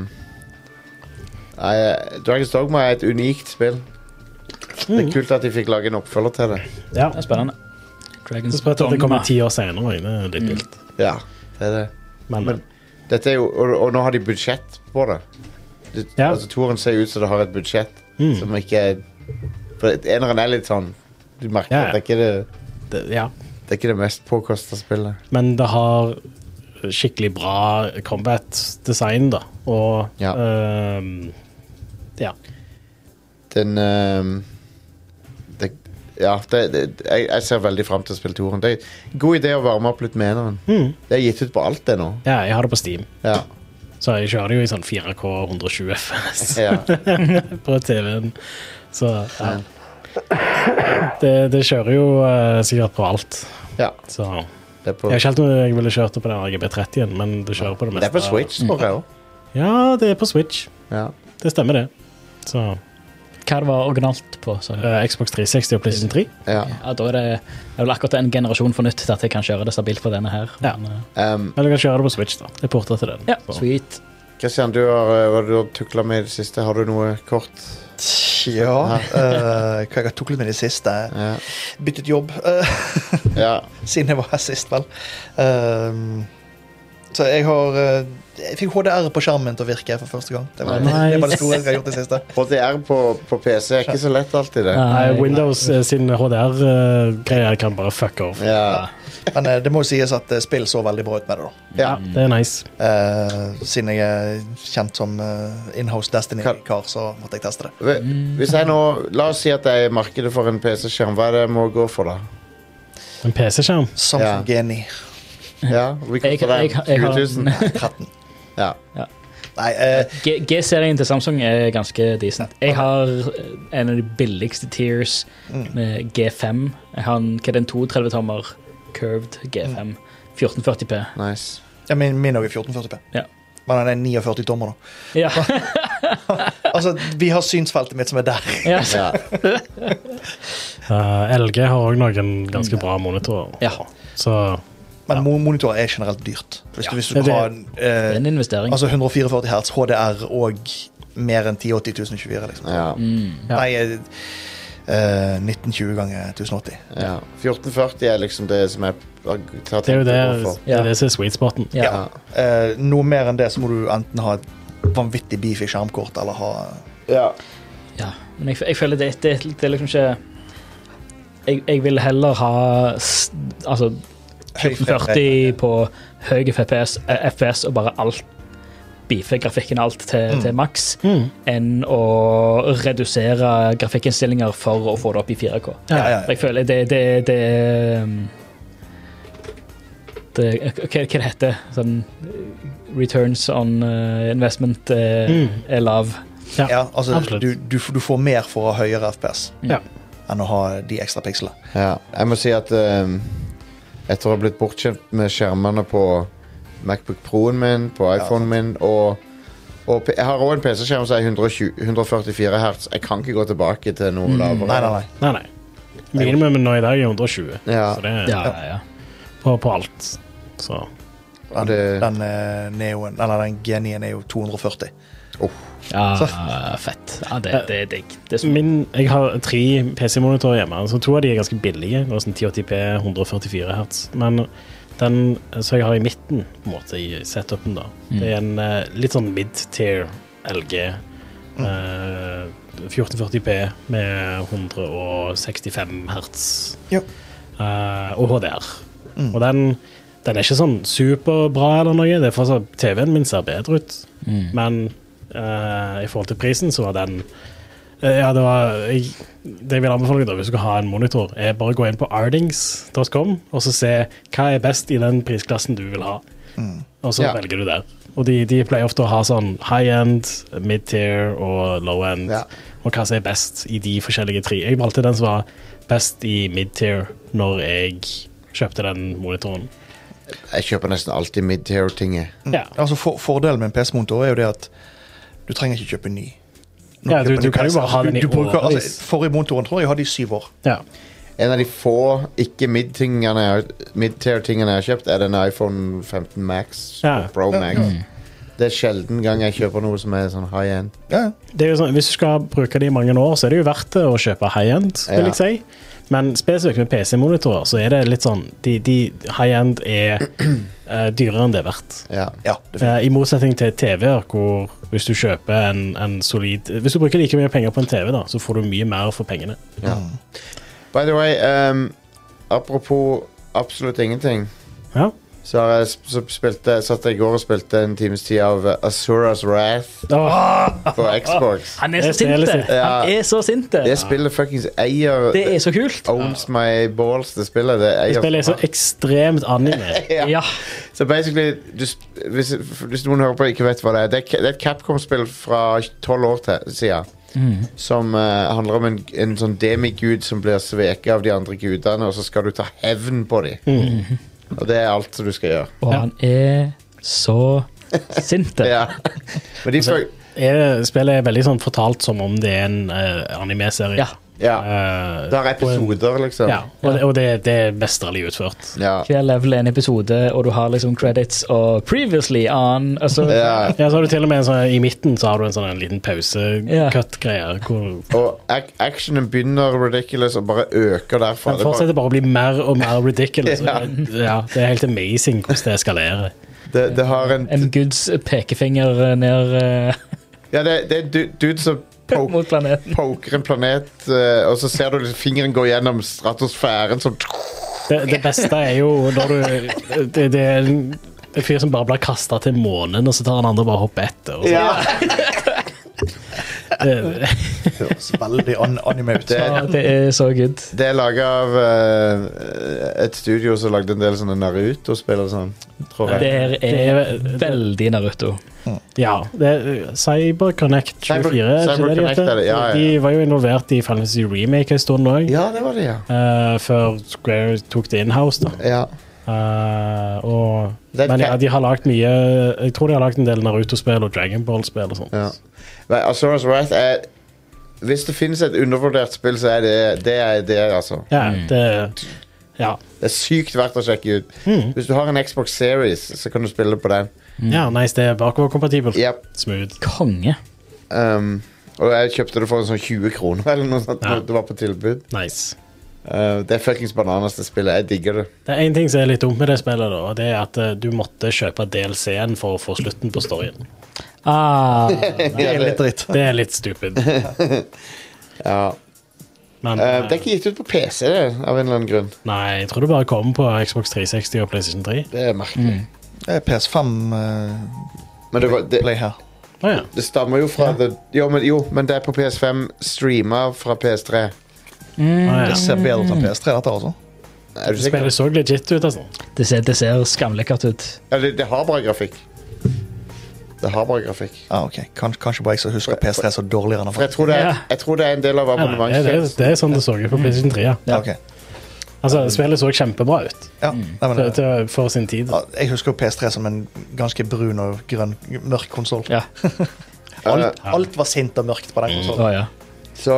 Speaker 1: nei, Dragons Dogma er et unikt spill. Det er kult at de fikk lage en oppfølger til det.
Speaker 3: Ja.
Speaker 2: Det er spennende. Dragons
Speaker 3: Så sprøtt at det
Speaker 2: Dogma.
Speaker 3: kommer ti år senere. Det er litt vilt.
Speaker 1: Ja, det er det.
Speaker 3: Men,
Speaker 1: Mm. Men- Dette er jo, og, og nå har de budsjett på det. det
Speaker 3: Ja. Mm.
Speaker 1: Altså Toren ser ut som det har et budsjett som ikke er For eneren er litt sånn Du merker
Speaker 3: Ja, ja.
Speaker 1: at det er ikke det,
Speaker 3: det, ja.
Speaker 1: det er ikke det mest påkosta spillet.
Speaker 3: Men det har skikkelig bra combat-design, da. Og
Speaker 1: Ja.
Speaker 3: ehm, ja.
Speaker 1: Den ehm, det, Ja, det, det, jeg, jeg ser veldig fram til å spille toeren. Det er en god idé å varme opp litt med eneren.
Speaker 3: Mm.
Speaker 1: Det er gitt ut på alt, det nå.
Speaker 3: ja, jeg har det på Steam.
Speaker 1: Ja.
Speaker 3: Så jeg kjører det jo i sånn 4K 120 FPS
Speaker 1: ja.
Speaker 3: på TV-en. Så ja. Det, det kjører jo eh, sikkert på alt.
Speaker 1: ja.
Speaker 3: Så
Speaker 1: Det, er på,
Speaker 3: Jeg vet ikke helt om jeg ville kjørt det på den RGB30-en, men det kjører på det
Speaker 1: det
Speaker 3: meste.
Speaker 1: er på Switch, tror jeg òg.
Speaker 3: Ja, det er på Switch.
Speaker 1: Ja.
Speaker 3: Det stemmer, det. Så
Speaker 2: Hva det var originalt på? Så.
Speaker 3: eh, Xbox 360 og PlayStation 3.
Speaker 1: Ja.
Speaker 2: Ja, da er det, det er vel akkurat en generasjon for nytt til at jeg kan kjøre det stabilt på denne her.
Speaker 3: Ja.
Speaker 2: Men, eh,
Speaker 1: Ehm,
Speaker 3: Eller du kan kjøre det på Switch, da. Jeg porter til den.
Speaker 2: ja,
Speaker 3: Så.
Speaker 2: sweet.
Speaker 1: Christian, du har, eh, hva du har tukla med i det siste? Har du noe kort?
Speaker 4: Ja, eh, hva jeg har tuklet med i det siste?
Speaker 1: Ja.
Speaker 4: Byttet jobb eh,
Speaker 1: ja.
Speaker 4: siden jeg var her sist, vel. Ehm, så jeg har eh, Jeg fikk HDR på skjermen til å virke for første gang. Det var,
Speaker 3: Nice.
Speaker 4: det, var det store jeg har gjort i det siste.
Speaker 1: HDR på, på PC er ikke så lett alltid, det.
Speaker 3: Nei,
Speaker 2: Nei,
Speaker 3: Windows eh, sin HDR-greier eh, kan bare fuck off.
Speaker 1: Ja.
Speaker 4: Men eh, det må jo sies at eh, spill så veldig bra ut med det, da.
Speaker 1: ja.
Speaker 3: Det er nice.
Speaker 4: Eh, siden jeg er kjent som eh, inhouse Destiny-kar, så måtte jeg teste det.
Speaker 1: Hv- Hvis jeg nå La oss si at jeg er i markedet for en PC-skjerm. Hva er det jeg må gå for, da?
Speaker 3: En PC-skjerm.
Speaker 4: Samsung
Speaker 1: Ja.
Speaker 4: Geni
Speaker 1: Ja, vi
Speaker 2: Jeg-
Speaker 1: koster deg
Speaker 2: jeg- jeg har-
Speaker 1: 20 000.
Speaker 4: 13.
Speaker 1: Ja.
Speaker 4: Nei, eh,
Speaker 2: G- G-serien til Samsung er ganske decent. Jeg har eh, en av de billigste tiers
Speaker 4: mm.
Speaker 2: med G5. Jeg har en, hva er det, en 32-tommer curved G5. 1440p.
Speaker 1: Nice.
Speaker 4: ja, min min også er 1440p.
Speaker 2: Ja.
Speaker 4: Men han er 49 tommer, da.
Speaker 2: Ja,
Speaker 4: Altså, vi har synsfeltet mitt som er der.
Speaker 2: ja, så-
Speaker 1: Ja.
Speaker 3: Eh, LG har òg noen ganske bra monitorer.
Speaker 2: ja.
Speaker 3: Så
Speaker 4: Men mo- monitorer er generelt dyrt. Hvis du, hvis du
Speaker 3: Ja, det-
Speaker 4: har en,
Speaker 2: Det er
Speaker 4: eh,
Speaker 2: en investering.
Speaker 4: altså 144 hertz HDR og mer enn 1080-1024, liksom.
Speaker 1: Ja.
Speaker 3: Ja.
Speaker 4: Nei, eh, eh, 1920 ganger 1080.
Speaker 1: ja. 1440 er liksom det som jeg har tatt
Speaker 3: det er jo det,
Speaker 1: å gå for.
Speaker 3: det, er det som er sweet spoten.
Speaker 2: Ja.
Speaker 4: Ja. Eh, noe mer enn det så må du enten ha et vanvittig beefy skjermkort eller ha
Speaker 1: Ja.
Speaker 2: Ja, men jeg, jeg føler det, det, det er liksom ikke jeg, jeg vil heller ha s- altså
Speaker 4: høy
Speaker 2: 40 på høy FPS, eh, FPS og bare alt beefe grafikken og alt til, til maks,
Speaker 3: Mm.
Speaker 2: enn å redusere grafikkinnstillinger for å få det opp i 4K.
Speaker 4: Ja, ja, ja.
Speaker 2: Jeg føler det det, det, um, det Hva hva det heter det? Sånn eh, Returns on eh, investment eh, er lav.
Speaker 4: Ja, altså,
Speaker 3: Absolutt.
Speaker 4: du, du, f- du får mer for å ha høyere FPS
Speaker 3: Ja.
Speaker 4: enn å ha de ekstra pikslene.
Speaker 1: ja. Jeg må si at ehm, etter å ha blitt bortskjemt med skjermene på Macbook Pro-en min, på iPhonen min og og P- jeg har òg en PC-skjerm som er 120, 144 hertz. Jeg kan ikke gå tilbake til noe lavere.
Speaker 4: Mm. Nei, nei, nei.
Speaker 3: Nei, nei. Minimum nå i dag er 120,
Speaker 1: Ja.
Speaker 3: så det er
Speaker 2: Ja, ja, ja.
Speaker 3: på, på alt. Så
Speaker 1: Og
Speaker 4: Den,
Speaker 1: det-
Speaker 4: den, eh, neoen, eller den genien er jo 240.
Speaker 2: Ja, fett. Ja, det, det er digg. Det er så
Speaker 3: Min, jeg har tre PC-monitorer hjemme, så to av de er ganske billige. Det er Sånn 1080p, 144 hertz. Men den som jeg har i midten, på en måte, i setupen, da,
Speaker 2: Mm.
Speaker 3: det er en eh, litt sånn mid-tier LG.
Speaker 2: Mm.
Speaker 3: eh, 1440p med 165 hertz
Speaker 4: Ja.
Speaker 3: eh, og HDR. Og den, den er ikke sånn superbra eller noe. Det er fortsatt, TV-en min ser bedre ut, men eh, i forhold til prisen så var den eh, Ja, det var jeg, Det jeg vil anbefale deg da, hvis du skal ha en monitor, er bare gå inn på ardings.com og så se hva er best i den prisklassen du vil ha. Og så
Speaker 1: Ja.
Speaker 3: velger du der. Og de, de pleier ofte å ha sånn high-end, mid-tier og low-end.
Speaker 1: Ja.
Speaker 3: Og hva som er best i de forskjellige tre. Jeg valgte den som var best i mid-tier når jeg kjøpte den monitoren.
Speaker 1: Jeg kjøper nesten alltid
Speaker 4: Mm.
Speaker 1: mid-tier-tinget.
Speaker 3: Ja.
Speaker 4: Altså, for, fordelen med en PC-monitor er jo det at du trenger ikke kjøpe ny. når
Speaker 3: Ja, du-
Speaker 4: kjøper
Speaker 3: du
Speaker 4: ny
Speaker 3: kan jo
Speaker 4: PC.
Speaker 3: bare ha den i
Speaker 4: Du bruker- altså,
Speaker 3: årevis.
Speaker 4: Forrige motoren tror jeg jeg hadde i syv år.
Speaker 3: Ja.
Speaker 1: En av de få ikke mid-tingene jeg har- mid-tier-tingene jeg har kjøpt, er den iPhone 15 Max
Speaker 3: Ja.
Speaker 1: og Pro Max.
Speaker 4: Mm.
Speaker 1: Det er sjelden gang jeg kjøper noe som er sånn high end.
Speaker 4: Ja, ja.
Speaker 3: Det er jo sånn, hvis du skal bruke det i mange år, så er det jo verdt det å kjøpe high-end. vil
Speaker 1: Ja.
Speaker 3: jeg si. Men spesifikt med PC-monitorer så er det litt sånn de, de High-end er eh, dyrere enn det er verdt.
Speaker 1: Ja.
Speaker 4: ja det,
Speaker 3: Eh, I motsetning til TV-er, hvor hvis du kjøper en, en solid Hvis du bruker like mye penger på en TV, da, så får du mye mer for pengene.
Speaker 1: Mm. By the way, ehm, apropos absolutt ingenting,
Speaker 3: Ja,
Speaker 1: så, har jeg, sp- så spilte, satt jeg i går og spilte en times tid av eh, Asuras Wrath
Speaker 3: Åh,
Speaker 1: på Xbox.
Speaker 2: Han er
Speaker 3: Jeg
Speaker 2: så
Speaker 3: ser
Speaker 2: sint,
Speaker 3: litt-
Speaker 2: det. Han er så sint,
Speaker 1: Det
Speaker 2: det.
Speaker 1: spillet fuckings eier
Speaker 2: Det er så kult.
Speaker 1: Owns my balls, det spillet. Det eier
Speaker 3: det spillet er så ekstremt anime.
Speaker 1: Ja.
Speaker 2: Ja.
Speaker 1: Så basically, du, sp- hvis, hvis noen hører på og ikke vet hva det er Det er, ca- det er et Capcom-spill fra tolv år til, siden. Som eh, handler om en, en sånn demigud som blir sveket av de andre gudene, og så skal du ta hevn på dem. Og det er alt som du skal gjøre.
Speaker 2: Og han er så sint, det.
Speaker 1: Ja. Men de fuck-
Speaker 3: Altså, Er, spillet er veldig sånn fortalt som om det er en eh, anime-serie.
Speaker 2: Ja.
Speaker 1: ja.
Speaker 3: Eh,
Speaker 1: Det har episoder, liksom.
Speaker 3: ja, og, det- og det, det er mesterlig utført.
Speaker 1: Ja.
Speaker 2: Hver level er en episode, og du har liksom credits og previously on altså,
Speaker 1: Ja.
Speaker 3: Ja, så har du til og med en sånn, I midten så har du en sånn en liten pause-cut-greie. Hvor
Speaker 1: Og ac actionen begynner ridiculous og bare øker derfra.
Speaker 3: den
Speaker 1: Det er bare-
Speaker 3: fortsetter bare å bli mer og mer ridiculous. ja, det er helt amazing hvordan det eskalerer.
Speaker 1: Det, det har en
Speaker 2: En guds pekefinger ned eh,
Speaker 1: Ja, det, det er en du- dude som poker
Speaker 2: mot planeten.
Speaker 1: poker en planet, eh, og så ser du liksom fingeren gå gjennom stratosfæren som
Speaker 3: Det, det beste er jo når du Det, det er en en fyr som bare blir kasta til månen, og så tar han andre og bare hopper etter. Og så, det,
Speaker 4: høres veldig an anime ut.
Speaker 1: Det,
Speaker 2: Ja, det er så good.
Speaker 1: det er laga av eh, et studio som lagde en del sånne Naruto-spill og sånn, tror
Speaker 2: Det
Speaker 1: jeg.
Speaker 2: her
Speaker 3: det
Speaker 2: er
Speaker 3: er, det,
Speaker 2: veldig Naruto.
Speaker 3: ja, det er CyberConnect 24.
Speaker 1: Cyber-
Speaker 3: er ikke det de
Speaker 1: CyberConnect
Speaker 3: heter?
Speaker 1: er det, ja, ja.
Speaker 3: De var jo involvert i Final Fantasy Remake en stund òg,
Speaker 1: Ja, det var det, ja.
Speaker 3: før Square tok det inhouse. da.
Speaker 1: ja.
Speaker 3: Eh, og,
Speaker 1: Det er
Speaker 3: men ja,
Speaker 1: fe-
Speaker 3: de har lagt mye Jeg tror de har lagt en del Naruto-spill og Dragon Ball-spill og sånt.
Speaker 1: ja. Men Azoras Wrath er Hvis det finnes et undervurdert spill, så er det det, er det altså.
Speaker 3: Ja, det, ja.
Speaker 1: Det er sykt verdt å sjekke ut.
Speaker 2: Hmm.
Speaker 1: Hvis du har en Xbox Series, så kan du spille på den.
Speaker 3: ja nice, det er bakoverkompatibelt.
Speaker 1: Yep.
Speaker 3: Smooth.
Speaker 2: Konge.
Speaker 1: Um, og jeg kjøpte det for sånn 20 kroner eller noe sånt.
Speaker 3: Ja.
Speaker 1: når Det var på tilbud.
Speaker 3: Nice.
Speaker 1: Uh, det er fuckings bananas, det spillet. Jeg digger det.
Speaker 3: Det er én ting som er litt dumt med det spillet, da, og det er at eh, du måtte kjøpe DLC-en for å få slutten på storyen.
Speaker 2: Ah,
Speaker 4: Det er litt dritt.
Speaker 3: Det er litt stupid.
Speaker 1: Ja.
Speaker 3: Men
Speaker 1: Eh, det er
Speaker 3: eh,
Speaker 1: ikke gitt ut på PC, det, av en eller annen grunn.
Speaker 3: Nei, jeg tror det bare kommer på Xbox 360 og PlayStation 3.
Speaker 1: Det er merkelig.
Speaker 3: Mm.
Speaker 4: Det er PS5-play
Speaker 1: Men det, var, det,
Speaker 4: eh, her.
Speaker 3: Å ja.
Speaker 1: det stammer jo fra the, jo, men, jo, men det er på PS5 streama fra PS3.
Speaker 3: Å, ja.
Speaker 4: Det ser bedre ut enn PS3, dette, altså.
Speaker 1: Er du sikker?
Speaker 3: Spillet så legit ut, altså.
Speaker 2: det ser, det ser skamlekkert ut.
Speaker 1: Ja, det, det har bra grafikk. Det har bra grafikk.
Speaker 4: Ah, ok. Kans kanskje bare jeg som husker PS3 så dårligere enn
Speaker 1: For jeg tror det er,
Speaker 2: Ja.
Speaker 1: jeg tror det er en del av
Speaker 3: Nei, nei, det, det,
Speaker 1: abonnementstjenesten.
Speaker 3: det er sånn det så ut på PlayStation 3. Ja.
Speaker 4: Ja, ok.
Speaker 3: Altså, spillet så kjempebra ut
Speaker 4: ja. Nei, men,
Speaker 3: til, til, for sin tid.
Speaker 4: ja, jeg husker jo PS3 som en ganske brun og grønn, mørk konsoll.
Speaker 2: Ja.
Speaker 4: Alt, alt var sint og mørkt på den konsollen.
Speaker 2: Å, ja.
Speaker 1: Så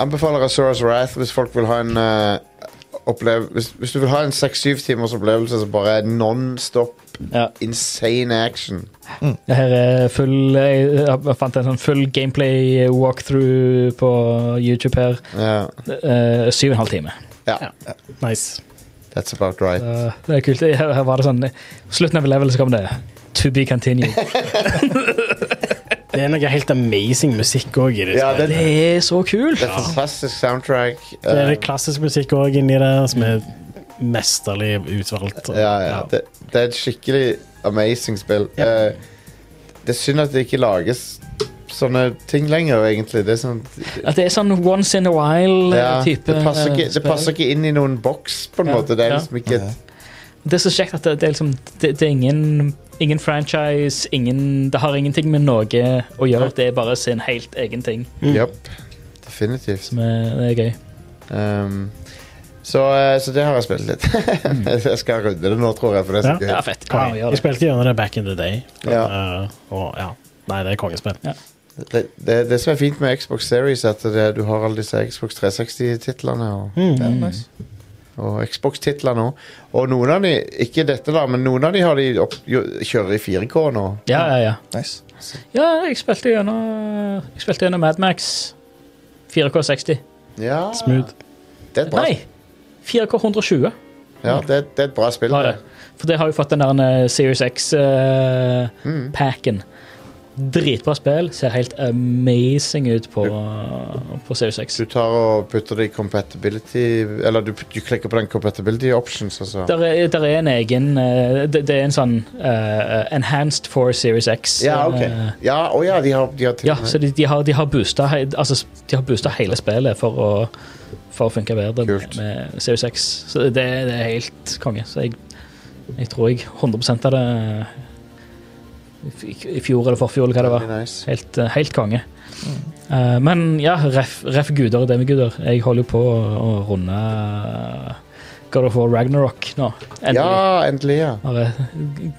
Speaker 1: anbefaler jeg Sora's Wrath hvis folk vil ha en eh, opplev hvis, hvis du vil ha en 6-7 timers opplevelse som bare er non-stop
Speaker 2: Ja.
Speaker 1: insane action.
Speaker 2: Det her er full Jeg jeg fant en sånn full gameplay walkthrough på YouTube her.
Speaker 1: Ja,
Speaker 2: Eh, Syv og en halv time.
Speaker 1: ja
Speaker 3: Nice.
Speaker 1: that's about right.
Speaker 2: Eh, det er kult. Her, her var det sånn Slutten av level så kom det To be continued.
Speaker 3: Det er noe helt amazing musikk òg i det.
Speaker 1: Ja,
Speaker 3: spillet.
Speaker 1: det,
Speaker 2: Det er så kult!
Speaker 1: det er fantastisk soundtrack.
Speaker 3: Det er
Speaker 1: eh,
Speaker 3: litt klassisk musikk òg inni der, som er mesterlig utvalgt.
Speaker 1: Ja, ja. Det, det er et skikkelig amazing spill. Eh, det er synd at det ikke lages sånne ting lenger, egentlig. Det, er sånn,
Speaker 2: At det er sånn once in a eh,
Speaker 1: ja,
Speaker 2: while-type.
Speaker 1: det, passer ikke, det passer ikke inn i noen boks, på en
Speaker 2: Ja,
Speaker 1: måte. Det er
Speaker 2: ja.
Speaker 1: liksom ikke et-
Speaker 2: Det er så kjekt at det, det er liksom Det, det er ingen, ingen franchise, ingen Det har ingenting med noe å gjøre. Det er bare sin helt egen ting.
Speaker 1: Japp. Definitivt.
Speaker 2: Som er, det er gøy.
Speaker 1: Um, så, eh, så det har jeg spilt litt. jeg skal runde det nå, tror jeg. For det er så
Speaker 3: Ja.
Speaker 2: Ja,
Speaker 1: gøy.
Speaker 2: fett. Kom,
Speaker 3: Konge.
Speaker 2: gjør
Speaker 3: Jeg
Speaker 2: det.
Speaker 3: spilte gjennom det back in the day.
Speaker 1: Ja.
Speaker 3: Eh, og ja. Nei, det er kongespill.
Speaker 2: Ja.
Speaker 1: Det, det, det som er fint med Xbox Series, er at det, du har alle disse Xbox 360-titlene. Og
Speaker 4: Det er nice.
Speaker 1: og Xbox-titler nå. Og noen av de, ikke dette da, men noen av de har de opp, jo, kjører i 4K nå.
Speaker 2: Ja, ja, ja.
Speaker 4: nice.
Speaker 2: Ja, jeg spilte gjennom, jeg spilte gjennom Mad Max 4K60.
Speaker 1: Ja,
Speaker 3: Smooth.
Speaker 1: Det er et bra,
Speaker 2: Nei! 4K120
Speaker 1: ja, det, er- det er et bra spill.
Speaker 2: har det. For det har jo fått den der eh, Series
Speaker 1: Mm.
Speaker 2: X-packen. Dritbra spill. Ser helt amazing ut på, på Series X.
Speaker 1: Du tar og putter det i compatibility Eller du, du klikker på den compatibility options, og så
Speaker 2: Der er, der er en egen eh, Det, det er en sånn eh, Enhanced for Series X.
Speaker 1: Ja, ok.
Speaker 2: eh,
Speaker 1: Ja, å ja, de har, de har til
Speaker 2: Ja,
Speaker 1: og med-
Speaker 2: så de, de har, de har boosta he- altså, de har boosta hele spillet for å, for å funke bedre
Speaker 1: Kult.
Speaker 2: med Series X. Så det, det er helt konge. Så jeg, jeg tror jeg 100 av det eh, i f- i fjor eller forfjor eller hva det var.
Speaker 1: Veldig nice.
Speaker 2: Helt, eh, helt konge. Eh, men ja, ref, ref guder og demiguder. Jeg holder jo på å, å runde eh, God of War Ragnarok nå. Endelig.
Speaker 1: Ja, endelig, ja.
Speaker 2: Har et g-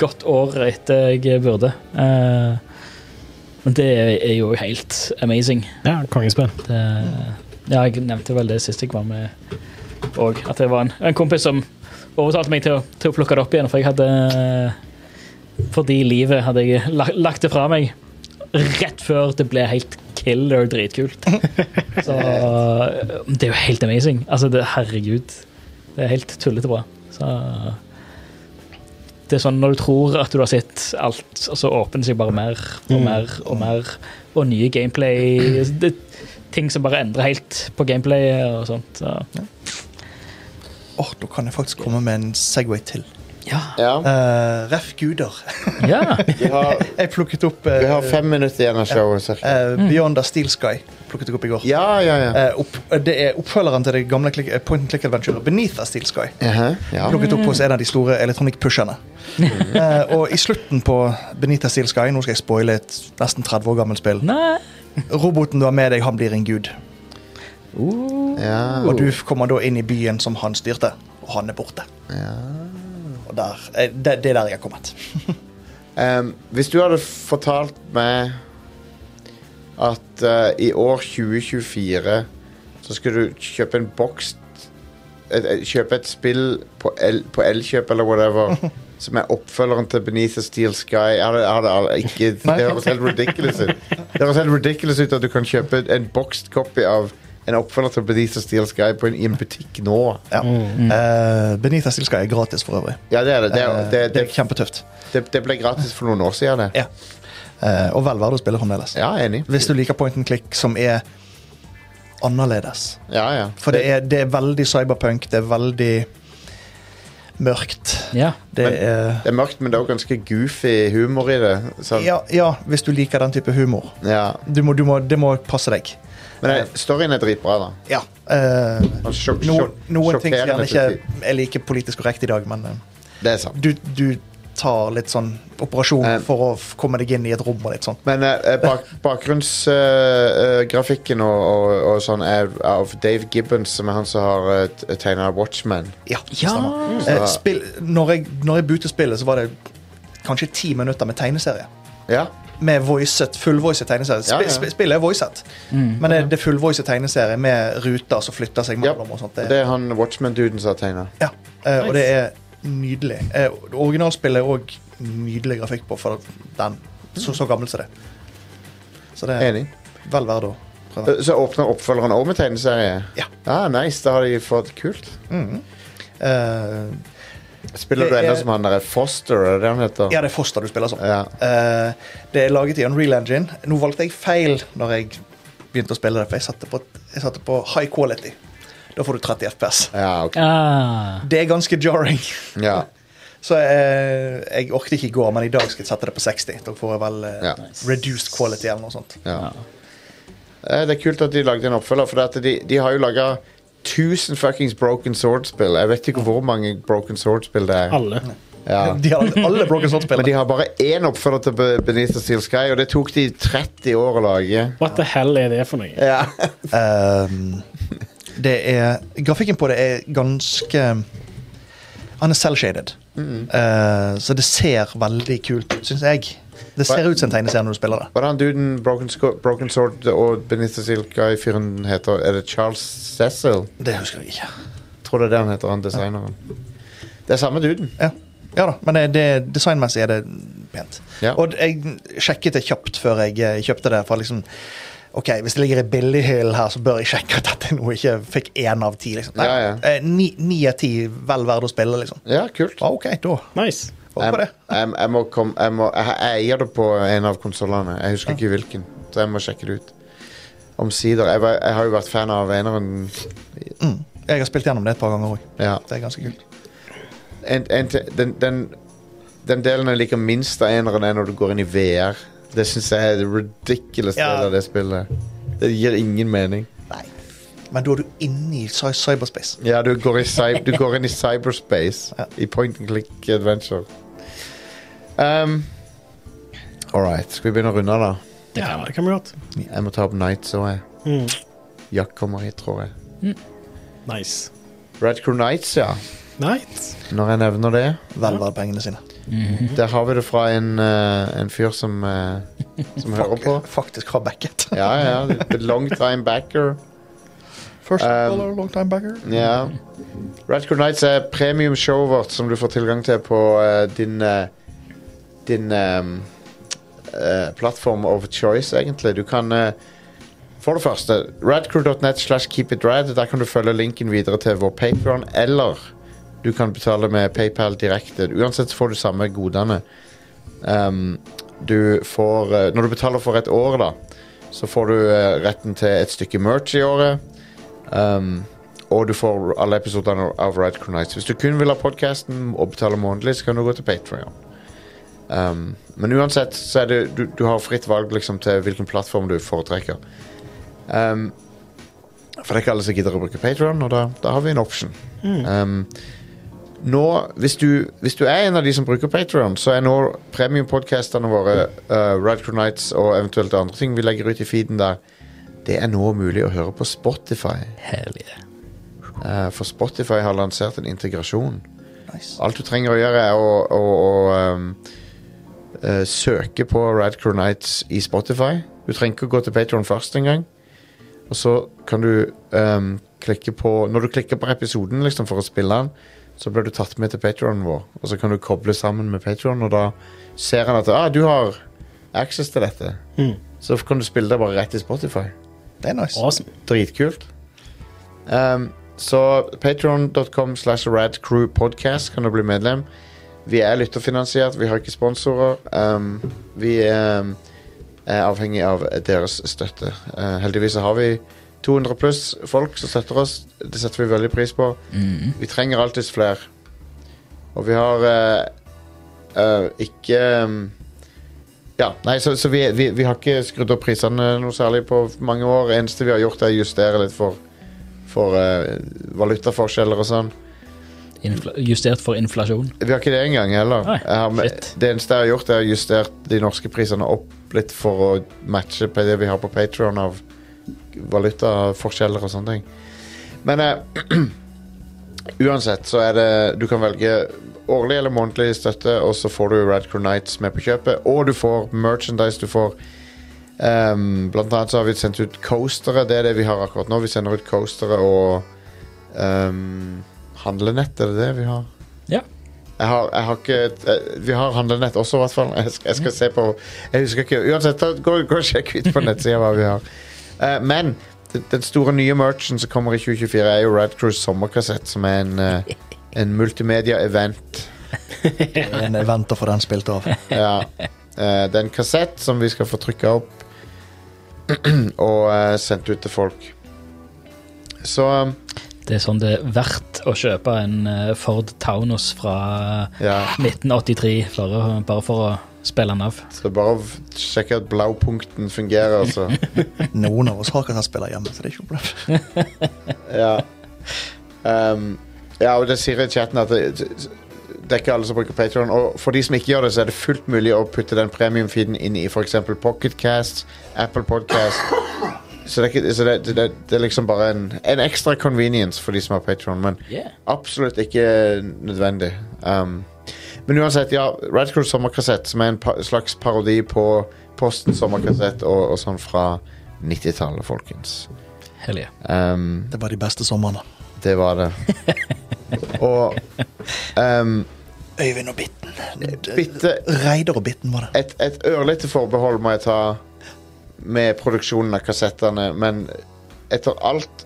Speaker 2: godt år etter jeg burde. Eh, men det er jo helt amazing.
Speaker 3: Ja, kongespill.
Speaker 2: Det, eh, ja, jeg nevnte vel det sist jeg var med òg, at det var en, en kompis som overtalte meg til å, til å plukke det opp igjen, for jeg hadde eh, Fordi livet hadde jeg la- lagt det fra meg rett før det ble helt killer dritkult. Så eh, det er jo helt amazing. Altså, det, herregud. Det er helt tullete bra. Så det er sånn når du tror at du har sett alt, og så åpner det seg bare mer og mer og mer, og nye gameplay det, Ting som bare endrer helt på gameplayet og sånt. Så.
Speaker 4: Åh, Nå kan jeg faktisk komme med en Segway til.
Speaker 2: Ja.
Speaker 1: ja.
Speaker 4: Eh, ref guder.
Speaker 2: ja.
Speaker 1: Vi, har,
Speaker 4: Jeg plukket opp eh,
Speaker 1: vi har fem minutter igjen av showet, cirka.
Speaker 4: eh, Beyond the Steel Sky. Plukket jeg opp i går.
Speaker 1: Ja, ja, ja.
Speaker 4: Eh, opp, det er oppfølgeren til det gamle click, eh, point and click adventuret Beneath the Steel Sky.
Speaker 1: Jaha, ja.
Speaker 4: Plukket opp hos en av de store elektronikkpusherne. Eh, og i slutten på Beneath the Steel Sky, nå skal jeg spoile et nesten 30 år gammelt spill,
Speaker 2: Nei.
Speaker 4: roboten du har med deg, han blir en gud.
Speaker 1: ja. Oh.
Speaker 4: Og du kommer da inn i byen som han styrte, og han er borte. Og der, eh, det, det er der jeg har kommet.
Speaker 1: Ehm, hvis du hadde fortalt meg at eh, i år 2024 så skulle du kjøpe en boks et- et- Kjøpe et spill på el- på Elkjøp eller whatever som er oppfølgeren til Beneath the Steel Sky jeg hadde, jeg hadde, aldri- ikke, Det høres helt ridiculous ut. Det høres helt ridiculous ut at du kan kjøpe en boxed copy av en oppfølger til Beneath the Steel Sky på en, i en butikk nå.
Speaker 4: Ja. Eh, Beneath the Steel Sky er gratis for øvrig.
Speaker 1: Ja, det er det. Det, er-
Speaker 4: Eh,
Speaker 1: det,
Speaker 4: det er
Speaker 1: det,
Speaker 4: kjempetøft.
Speaker 1: det, det ble gratis for noen år siden, det.
Speaker 4: Ja. Eh, og vel verdt å spille fremdeles.
Speaker 1: Ja, enig.
Speaker 4: Hvis du liker point and click som er annerledes.
Speaker 1: Ja, ja.
Speaker 4: For det er, det er veldig cyberpunk, det er veldig mørkt.
Speaker 2: Ja.
Speaker 4: Det
Speaker 1: Men-
Speaker 4: er
Speaker 1: Det er mørkt, men det er også ganske goofy humor i det. sant?
Speaker 4: ja, ja, hvis du liker den type humor.
Speaker 1: Ja.
Speaker 4: Du må, du må, det må passe deg.
Speaker 1: Men det, storyen er dritbra, da.
Speaker 4: Ja. eh,
Speaker 1: Han sjok,
Speaker 4: noen,
Speaker 1: sjok,
Speaker 4: noen ting som gjerne
Speaker 1: sjokkerende til
Speaker 4: ikke er like politisk korrekt i dag, men eh,
Speaker 1: tid. Det er sant.
Speaker 4: du, du tar litt sånn operasjon
Speaker 1: Eh.
Speaker 4: for å f- komme deg inn i et rom og litt sånn.
Speaker 1: Men eh, bak, bakgrunnsgrafikken og, og, og sånn er av Dave Gibbons, som er han som har uh, tegna Watchman.
Speaker 4: Ja,
Speaker 2: Ja.
Speaker 4: stemmer. Eh, spill, når, jeg, når jeg begynte spillet, så var det kanskje ti minutter med tegneserie.
Speaker 1: Ja.
Speaker 4: Med voicet, fullvoicet tegneserie. Sp
Speaker 1: Ja, ja.
Speaker 4: sp- Spillet er voicet, men det, det er fullvoicet tegneserie med ruter som flytter seg
Speaker 1: ja.
Speaker 4: mellom. og sånt.
Speaker 1: Det er han Watchman-duden som har tegna.
Speaker 4: Ja, eh, og det er nydelig. Eh, originalspillet er òg nydelig grafikk på for den. Så, så gammel som det. Så det er
Speaker 1: Enig.
Speaker 4: vel verdt å prøve.
Speaker 1: Eh, Så åpner oppfølgeren òg med tegneserie.
Speaker 4: Ja.
Speaker 1: Ah, nice, da har de fått kult.
Speaker 4: Eh,
Speaker 1: Spiller
Speaker 4: Det
Speaker 1: du ennå
Speaker 4: er-
Speaker 1: som han derre Foster, er det det han heter?
Speaker 4: ja, det er Foster du spiller som.
Speaker 1: Ja.
Speaker 4: Eh, det er laget i Unreal Engine. Nå valgte jeg feil når jeg begynte å spille det, for jeg satte på, jeg satte på high quality. Da får du 30 FPS.
Speaker 1: ja ok.
Speaker 2: Ah.
Speaker 4: Det er ganske jarring.
Speaker 1: Ja.
Speaker 4: Så eh, jeg orket ikke i går, men i dag skal jeg sette det på 60. Da får jeg vel eh,
Speaker 1: Ja.
Speaker 4: reduced quality eller noe sånt.
Speaker 1: Ja. Eh, Det er kult at de lagde en oppfølger, for at de, de har jo laga 1000 fuckings Broken Sword-spill. Jeg vet ikke hvor mange Broken Sword-spill det er.
Speaker 3: Alle.
Speaker 1: Ja.
Speaker 4: De har alle Broken Sword-spillene.
Speaker 1: Men de har bare én oppfølger til Be- Beneath the Steel Sky, og det tok de 30 år å lage.
Speaker 3: What the hell er det for noe?
Speaker 1: Ja.
Speaker 4: Ehm, det er Grafikken på det er ganske Han er cell-shaded.
Speaker 1: Mm.
Speaker 4: Eh, så det ser veldig kult ut, syns jeg. Det ser ut som en tegneserie når du spiller det.
Speaker 1: Hva er det han duden Broken, Sco- Broken Sword og Benita Silka-fyren heter? Er det Charles Cecil?
Speaker 4: Det husker jeg ikke.
Speaker 1: Tror det er det han heter, han designeren. Det er samme duden.
Speaker 4: Ja, ja da, men det, det, designmessig er det pent.
Speaker 1: Ja.
Speaker 4: Og jeg sjekket det kjapt før jeg eh, kjøpte det. For liksom, ok, Hvis det ligger i billighyll her, så bør jeg sjekke at dette er noe jeg ikke fikk én av ti. Liksom. Nei,
Speaker 1: Ja, ja.
Speaker 4: eh, Ni ni av ti vel verdt å spille, liksom.
Speaker 1: Ja, kult.
Speaker 4: Ja, OK, da.
Speaker 3: Nice.
Speaker 4: Håper på det.
Speaker 1: Jeg, jeg, jeg må komme jeg, må, jeg, jeg eier det på en av konsollene. Jeg husker ikke hvilken, så jeg må sjekke det ut. Omsider. Jeg, var- jeg har jo vært fan av eneren.
Speaker 4: Mm. Jeg har spilt gjennom det et par ganger òg.
Speaker 1: Ja.
Speaker 4: Det er ganske kult.
Speaker 1: En, en, til- den, den, den delen jeg liker minst av eneren, er når du går inn i VR. Det syns jeg er det ridiculous
Speaker 4: Ja.
Speaker 1: del av det spillet. Det gir ingen mening.
Speaker 4: Nei. Men da er du inne i cy- cyberspace.
Speaker 1: Ja, du går, i cy- du går inn i cyberspace
Speaker 4: Ja.
Speaker 1: i point and click adventure. Um, All right. Skal vi begynne å runde, da?
Speaker 3: Det kan, det kan bli godt.
Speaker 1: Jeg må ta opp Night, så jeg.
Speaker 3: Mm.
Speaker 1: Jack kommer hit, tror jeg.
Speaker 3: Nice.
Speaker 1: Red Crew Nights, ja.
Speaker 3: Night.
Speaker 1: Når jeg nevner det.
Speaker 4: Vel verdt pengene sine.
Speaker 1: Der har vi det fra en, eh, en fyr som, eh, som hører på.
Speaker 4: Faktisk har backet.
Speaker 1: Ja, ja. The long time backer.
Speaker 4: First
Speaker 1: Um,
Speaker 4: dollar, long time backer.
Speaker 1: Ja. Red Crew Nights er premiumshowet vårt som du får tilgang til på eh, din eh, Din ehm, eh, plattform of choice, egentlig. Du kan eh, For det første, radcrew.net slash keepitrad. Der kan du følge linken videre til vår Patreon eller du kan betale med PayPal direkte. Uansett så får du samme godene. Ehm, du får eh, Når du betaler for et år, da, så får du eh, retten til et stykke merch i året. Ehm, og du får alle episodene av Red Crew Nights. Hvis du kun vil ha podkasten og betale månedlig, så kan du gå til Patreon Um, men uansett så er det du, du har fritt valg liksom, til hvilken plattform du foretrekker. Um, for det er ikke alle som gidder å bruke Patreon og da, da har vi en option. Um, nå, hvis du, hvis du er en av de som bruker Patreon, så er nå premiumpodkastene våre, uh, Red Crew Nights og eventuelt andre ting vi legger ut i feeden der, det er nå mulig å høre på Spotify.
Speaker 2: Hell yeah.
Speaker 1: Eh, For Spotify har lansert en integrasjon.
Speaker 4: Nice.
Speaker 1: Alt du trenger å gjøre, er å, å, å um, eh, søke på Radcrow Nights i Spotify. Du trenger ikke å gå til Patron først engang. Og så kan du um, klikke på Når du klikker på episoden liksom, for å spille den, så blir du tatt med til Patronen vår. Og så kan du koble sammen med Patron, og da ser han at ah, du har access til dette.
Speaker 3: Mm.
Speaker 1: Så kan du spille det bare rett i Spotify.
Speaker 4: Det er nice.
Speaker 3: Awesome.
Speaker 1: Dritkult. Um, så patreon.com slash radcrewpodcast kan du bli medlem. Vi er lytterfinansiert, vi har ikke sponsorer. Um, vi um, er avhengig av deres støtte. Uh, heldigvis så har vi 200 pluss folk som støtter oss. Det setter vi veldig pris på. Vi trenger alltids flere. Og vi har eh, eh, ikke um, Ja, nei, så, så vi, vi, vi har ikke skrudd opp prisene noe særlig på mange år. Det eneste vi har gjort, er å justere litt for, for eh, valutaforskjeller og sånn.
Speaker 2: Infla justert for inflasjon.
Speaker 1: Vi har ikke det engang heller.
Speaker 2: Nei,
Speaker 1: Jeg har, med-
Speaker 2: shit.
Speaker 1: det eneste jeg har gjort, er å justert de norske prisene opp litt for å matche på det vi har på Patreon av valutaforskjeller og sånne ting. Men eh, uansett så er det Du kan velge årlig eller månedlig støtte, og så får du Radcrow Nights med på kjøpet, og du får merchandise. Du får ehm, Blant annet så har vi sendt ut coastere. Det er det vi har akkurat nå. Vi sender ut coastere og ehm, handlenett. Er det det vi har?
Speaker 2: Ja.
Speaker 1: Jeg har, jeg har ikke eh, Vi har handlenett også, i hvert fall. Jeg skal, jeg skal se på Jeg husker ikke Uansett, ta- gå, gå og sjekk ut på nettsida hva vi har. Eh, men den- den store nye merchen som kommer i 2024, er jo Rad Crews sommerkassett, som er en, eh, en multimedia-event.
Speaker 4: Men jeg venter for den spilt av.
Speaker 1: Ja. Eh, det er en kassett som vi skal få trykka opp og eh, sendt ut til folk. Så um,
Speaker 2: Det er sånn det er verdt å kjøpe en eh, Ford Taunus fra
Speaker 1: ja.
Speaker 2: 1983 for å, bare for å spille den av.
Speaker 1: Så bare v- sjekke at blaupunkten fungerer, altså.
Speaker 4: Noen av oss har kassettspiller hjemme, så det er ikke noe problem.
Speaker 1: Ja. Ehm, ja, og det sier i chatten at det, det er ikke alle som bruker Patreon. Og for de som ikke gjør det, så er det fullt mulig å putte den premiumfeeden inn i f.eks. Pocketcast, Apple Podcast. Så, det er, ikke, så det, det, det er liksom bare en, en ekstra convenience for de som har Patreon, men absolutt ikke nødvendig. Ehm, Men uansett, ja, Radcrow sommerkassett, som er en pa slags parodi på Posten sommerkassett og, og sånn fra 90-tallet, folkens.
Speaker 2: Helje.
Speaker 1: Um,
Speaker 4: Det var de beste somrene.
Speaker 1: det var det. Og um,
Speaker 4: Øyvind og Bitten.
Speaker 1: bitte
Speaker 4: Reidar og Bitten var det.
Speaker 1: et, et ørlite forbehold må jeg ta med produksjonen av kassettene, men etter alt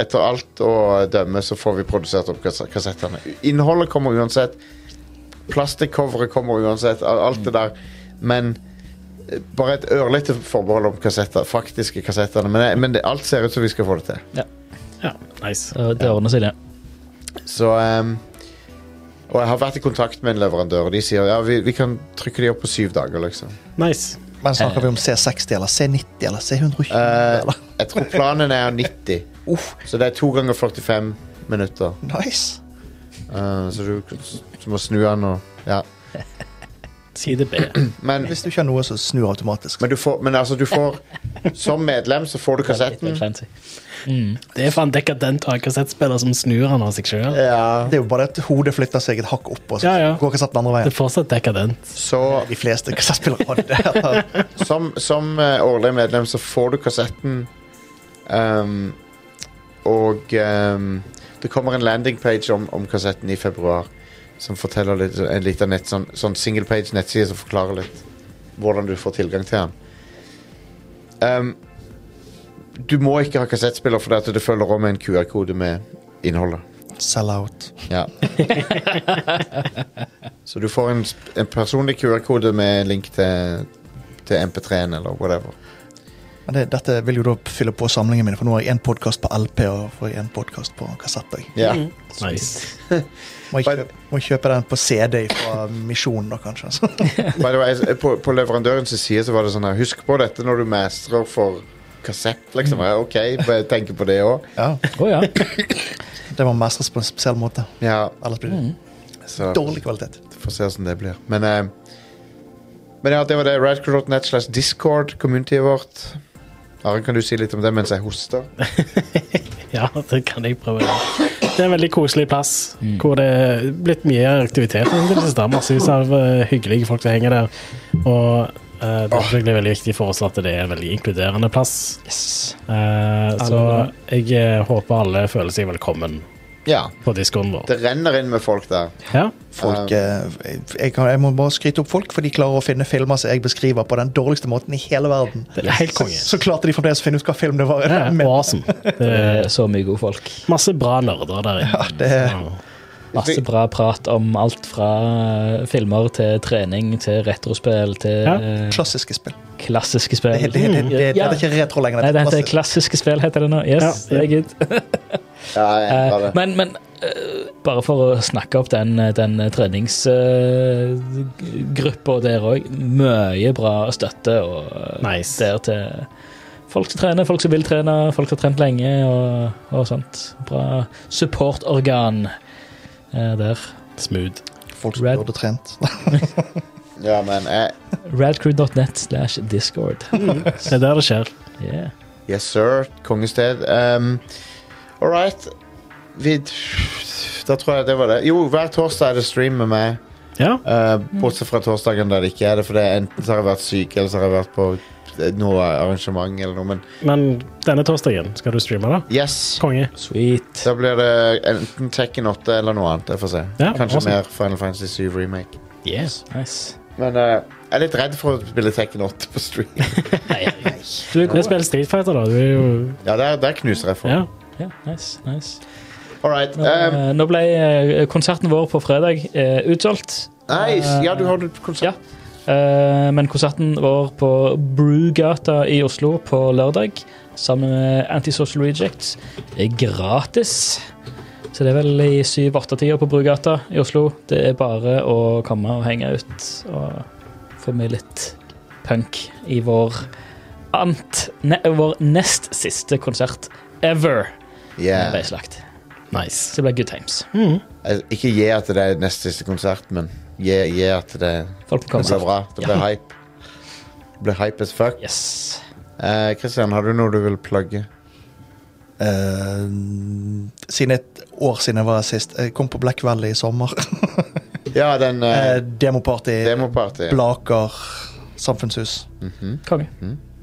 Speaker 1: etter alt å dømme så får vi produsert opp kas- kassettene. Innholdet kommer uansett. Plastikcoveret kommer uansett. al- Alt det der. Men eh, bare et ørlite forbehold om kassetter, faktiske kassettene. Men, jeg- men det, alt ser ut som vi skal få det til.
Speaker 3: Ja, nice.
Speaker 2: Så det ordner seg, det.
Speaker 1: Så ehm, Og jeg har vært i kontakt med en leverandør, og de sier ja, vi, vi kan trykke de opp på syv dager, liksom.
Speaker 3: Nice.
Speaker 4: Men snakker vi om C60 Eh. eller C90 eller C120?
Speaker 1: Eh,
Speaker 4: eller?
Speaker 1: jeg tror planen er 90,
Speaker 4: Uff,
Speaker 1: så det er to ganger 45 minutter.
Speaker 4: nice.
Speaker 1: Eh, så du kan- så må snu den og Ja.
Speaker 3: Side B.
Speaker 1: Men,
Speaker 4: Hvis du ikke har noe som snur automatisk.
Speaker 1: men, du får, men altså, du får Som medlem så får du kassetten.
Speaker 2: Litt fancy.
Speaker 3: Det er faen dekadent å ha kassettspiller som snur han av seg sjøl.
Speaker 1: Ja.
Speaker 4: Det er jo bare at hodet flytter seg et hakk opp, og så
Speaker 3: Ja, ja.
Speaker 4: går kassetten andre
Speaker 3: Det
Speaker 4: veien.
Speaker 3: er fortsatt dekadent.
Speaker 1: Så
Speaker 4: De fleste kassettspillere har det.
Speaker 1: som, som eh, årlig medlem så får du kassetten ehm, Og ehm, det kommer en landingpage om, om kassetten i februar Som forteller litt En liten nett, sånn, sånn single page nettside som forklarer litt Hvordan du får tilgang til den Ehm, Du må ikke ha kassettspiller For det, at det følger om en QR-kode med innholdet
Speaker 4: Sell-out.
Speaker 1: ja. Så du får en, sp- en personlig QR-kode med en link til, til MP3-en eller whatever.
Speaker 4: Men det, dette vil jo da fylle på samlingen min, for nå har jeg én podkast på LP og får én podkast på kassett. Jeg
Speaker 1: Ja.
Speaker 3: Nice.
Speaker 4: Må jeg kjøpe, må jeg kjøpe den på CD fra Misjonen, da, kanskje. Så.
Speaker 1: By the way, s- på, på leverandørens side så var det sånn her Husk på dette når du mastrer for kassett, liksom. Ja, OK, bare tenke på det òg.
Speaker 4: Ja,
Speaker 2: Å ja.
Speaker 4: det må mestres på en spesiell måte.
Speaker 1: Ja,
Speaker 4: Ellers blir det
Speaker 1: så
Speaker 4: dårlig kvalitet.
Speaker 1: får se hvordan det blir. Men, eh, men ja, det var det. Radcrow.net slash discord, communityet vårt. Are, kan du si litt om det mens jeg hoster?
Speaker 3: Ja, det kan jeg prøve. Det er en veldig koselig plass hvor det er blitt mye aktivitet. Det er massevis av eh, hyggelige folk som henger der. Og eh, det er selvfølgelig veldig viktig for oss at det er en veldig inkluderende plass.
Speaker 2: Yes.
Speaker 3: Eh, så jeg eh, håper alle føler seg velkommen
Speaker 1: Ja.
Speaker 3: på discoen vår.
Speaker 1: Det renner inn med folk der.
Speaker 3: Ja.
Speaker 4: Folk, eh, jeg, kan, jeg må bare skryte opp folk, for de klarer å finne filmer som jeg beskriver på den dårligste måten i hele verden.
Speaker 3: Det er helt
Speaker 4: Så,
Speaker 3: konge.
Speaker 4: så klarte de fremdeles å finne ut hva film det var.
Speaker 3: Det er
Speaker 4: Men,
Speaker 3: awesome. Det
Speaker 2: Det
Speaker 3: er
Speaker 2: er Eh, så mye gode folk.
Speaker 3: masse bra nerder der inne.
Speaker 4: det er
Speaker 3: Ja.
Speaker 2: Masse bra prat om alt fra eh, filmer til trening til retrospill til
Speaker 3: Ja.
Speaker 2: eh,
Speaker 4: klassiske spill.
Speaker 2: klassiske
Speaker 4: Det,
Speaker 2: spill.
Speaker 4: det, det, det, det, det,
Speaker 2: Ja.
Speaker 4: er ikke retro lenger.
Speaker 2: Nei,
Speaker 4: Det
Speaker 2: det
Speaker 4: er
Speaker 2: heter
Speaker 4: klassisk.
Speaker 2: klassiske spill, heter det nå. Yes,
Speaker 3: Ja.
Speaker 2: det er good.
Speaker 1: Ja, jeg
Speaker 2: Eh,
Speaker 1: var det.
Speaker 2: men, men eh, bare for å snakke opp den, den treningsgruppa der òg. Mye bra støtte og eh,
Speaker 3: Nice.
Speaker 2: der til folk som trener, folk som vil trene, folk som har trent lenge og, og sånt. Bra supportorgan eh, der.
Speaker 3: Smooth.
Speaker 4: Folk som
Speaker 2: Red.
Speaker 4: burde trent.
Speaker 1: Ja, men eh, jeg
Speaker 2: Radcrew.net slash discord.
Speaker 3: Det er der det skjer.
Speaker 2: Yeah.
Speaker 1: Yes, sir. Kongested. Um, All right. Vi, da tror jeg det var det. Jo, hver torsdag er det stream med meg.
Speaker 3: Ja.
Speaker 1: Eh,
Speaker 3: Mm.
Speaker 1: bortsett fra torsdagen der det ikke er det. For det er enten så har jeg vært syk, eller så har jeg vært på eh, noe arrangement eller noe. Men
Speaker 3: Men denne torsdagen skal du streame, da?
Speaker 1: yes.
Speaker 3: Konge.
Speaker 2: Sweet.
Speaker 1: Da blir det enten Tekken 8 eller noe annet. Jeg får se.
Speaker 3: Ja,
Speaker 1: Kanskje
Speaker 3: awesome.
Speaker 1: mer Final Fantasy 7 Remake.
Speaker 3: Yes.
Speaker 2: Nice.
Speaker 1: Men eh, jeg er litt redd for å spille Tekken 8 på stream.
Speaker 3: Du er god til å spille Street Fighter, da. Du er jo
Speaker 1: ja, der, der knuser jeg for.
Speaker 3: Ja.
Speaker 2: Ja, nice, nice.
Speaker 1: All right.
Speaker 2: Nå,
Speaker 1: Um,
Speaker 2: eh, nå ble eh, konserten vår på fredag eh, utsolgt.
Speaker 1: nice. Ja, du har du
Speaker 2: Ja.
Speaker 1: konsert.
Speaker 2: Eh, men konserten vår på Brugata i Oslo på lørdag sammen med Antisocial Rejects er gratis. Så det er vel i 7-8-tida på Brugata i Oslo. Det er bare å komme og henge ut og få med litt punk i vår, ant, ne, vår nest siste konsert ever. Yeah.
Speaker 1: Yeah.
Speaker 2: Ble slakt.
Speaker 3: Nice.
Speaker 2: Så det ble good times.
Speaker 1: Altså, Ikke gi at det er nest siste konsert, men gi, gi at det,
Speaker 2: Folk
Speaker 1: det blir
Speaker 2: kommer.
Speaker 1: bra. Det blir hype. Det blir hype as fuck.
Speaker 2: Yes.
Speaker 1: Eh, Christian, har du noe du vil plugge?
Speaker 4: Eh, siden et år siden jeg var her sist. Jeg kom på Black Valley i sommer.
Speaker 1: Ja, den
Speaker 4: Eh,
Speaker 1: eh,
Speaker 4: Demoparty,
Speaker 1: demoparty.
Speaker 4: Blaker, Samfunnshus.
Speaker 2: Konge.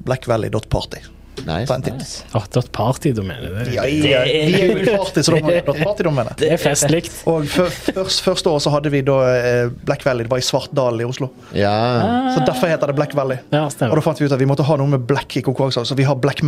Speaker 4: Blackvalley.party. Ta
Speaker 1: Nice.
Speaker 4: en titt.
Speaker 3: Åh, dot party-domenet. Det, er-
Speaker 4: Ja, ja,
Speaker 2: Det er-
Speaker 4: vi er jo i party, så da må vi ha partydommene.
Speaker 3: det er festlikt.
Speaker 4: Og før- først, første året så hadde vi da eh, Black Valley. Det var i Svartdalen i Oslo.
Speaker 1: Ja.
Speaker 4: Så derfor heter det Black Valley.
Speaker 3: Ja,
Speaker 4: Og da
Speaker 3: stemmer.
Speaker 4: fant vi ut at vi måtte ha noe med black i konkurranser. Så vi har black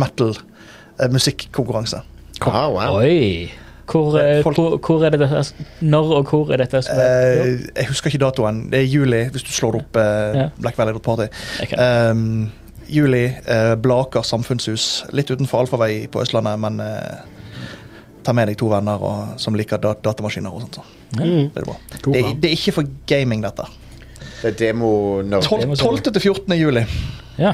Speaker 4: eh, metal-musikkonkurranse.
Speaker 1: Ah, wow.
Speaker 2: Oi. Hvor, eh,
Speaker 4: Folk-
Speaker 2: hvor, hvor er det dette Når og hvor er dette?
Speaker 4: Eh, jeg husker ikke datoen. Det er juli, hvis du slår opp eh,
Speaker 2: Ja.
Speaker 4: Black Valley Party.
Speaker 2: Ok.
Speaker 4: Ehm, juli, eh, Blaker samfunnshus. Litt utenfor allfarvei på Østlandet, men eh, ta med deg to venner og, som liker da datamaskiner og sånt. Så.
Speaker 3: Mm.
Speaker 4: Det, er bra.
Speaker 3: God
Speaker 4: Det,
Speaker 3: plan.
Speaker 4: det er ikke for gaming, dette.
Speaker 1: Det er demo-nerd.
Speaker 2: det må
Speaker 4: 12.
Speaker 2: så-
Speaker 4: til 14. juli.
Speaker 2: Ja.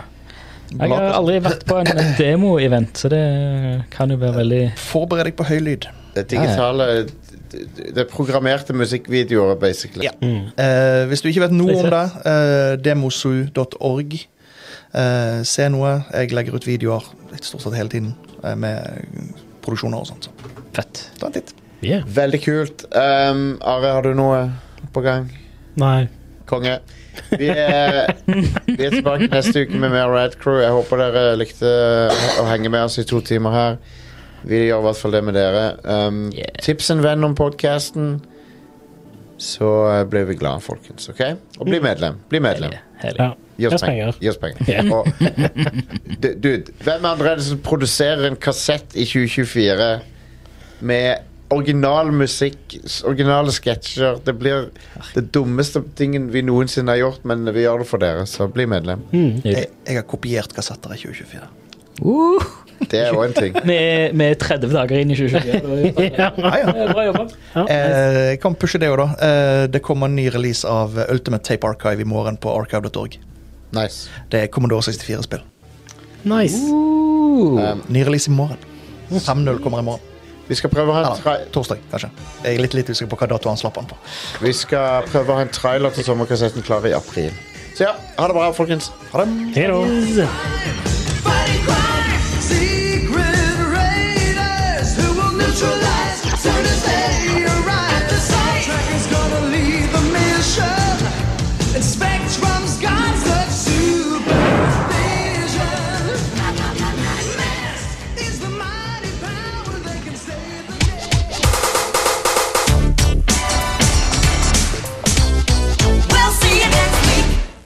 Speaker 2: Jeg har aldri vært på en demo-event, så det kan jo være veldig
Speaker 4: Forbered deg på høylyd.
Speaker 1: Det er digitale Det er programmerte musikkvideoer, basically.
Speaker 4: Ja.
Speaker 3: Mm.
Speaker 4: Eh, hvis du ikke vet noe om det, eh, demosu.org. Eh, se noe. Jeg legger ut videoer stort sett hele tiden eh, med produksjoner og sånt. Så
Speaker 2: fett.
Speaker 4: ta en titt.
Speaker 3: Yeah.
Speaker 1: Veldig kult. Um, Are, har du noe på gang?
Speaker 3: Nei.
Speaker 1: Konge. Vi er, vi er tilbake neste uke med mer Rad Crew. Jeg håper dere likte å henge med oss i to timer her. Vi gjør i hvert fall det med dere. Um,
Speaker 2: Yeah.
Speaker 1: Tips en venn om podkasten, så eh, blir vi glad, folkens. ok? Og bli medlem. Bli medlem.
Speaker 2: Herlig.
Speaker 3: Ja.
Speaker 1: Gi oss
Speaker 3: Gi oss
Speaker 1: penger.
Speaker 3: penger.
Speaker 1: Gi oss penger. Og, Du- dude, hvem andre er det som produserer en kassett i 2024 med original musikk, s- originale sketsjer? Det blir det dummeste tingen vi noensinne har gjort, men vi gjør det for dere, så bli medlem.
Speaker 2: Nydelig.
Speaker 4: Jeg, jeg har kopiert kassetter i 2024.
Speaker 2: Uh,
Speaker 1: Det er jo en ting.
Speaker 2: vi, er, vi er 30 dager inn i 2024. Det var jo-
Speaker 4: Ja, Ah, ja.
Speaker 2: Det er Bra jobba.
Speaker 4: Eh, jeg kan pushe det òg, da. Eh, det kommer en ny release av Ultimate Tape Archive i morgen på archive.org.
Speaker 1: Nice.
Speaker 4: Det er Commodore 64-spill.
Speaker 3: Nice.
Speaker 1: Um,
Speaker 4: Ny release i morgen. 5.0 kommer i morgen.
Speaker 1: vi skal prøve å ha en tra
Speaker 4: Eller torsdag, kanskje. Jeg er litt, litt usikker på hva dato han slapp han på.
Speaker 1: Vi skal prøve å ha en trailer til sommerkassetten klar i april. Så ja, ha det bra, folkens.
Speaker 4: Ha det.
Speaker 3: Hei da.
Speaker 6: Thank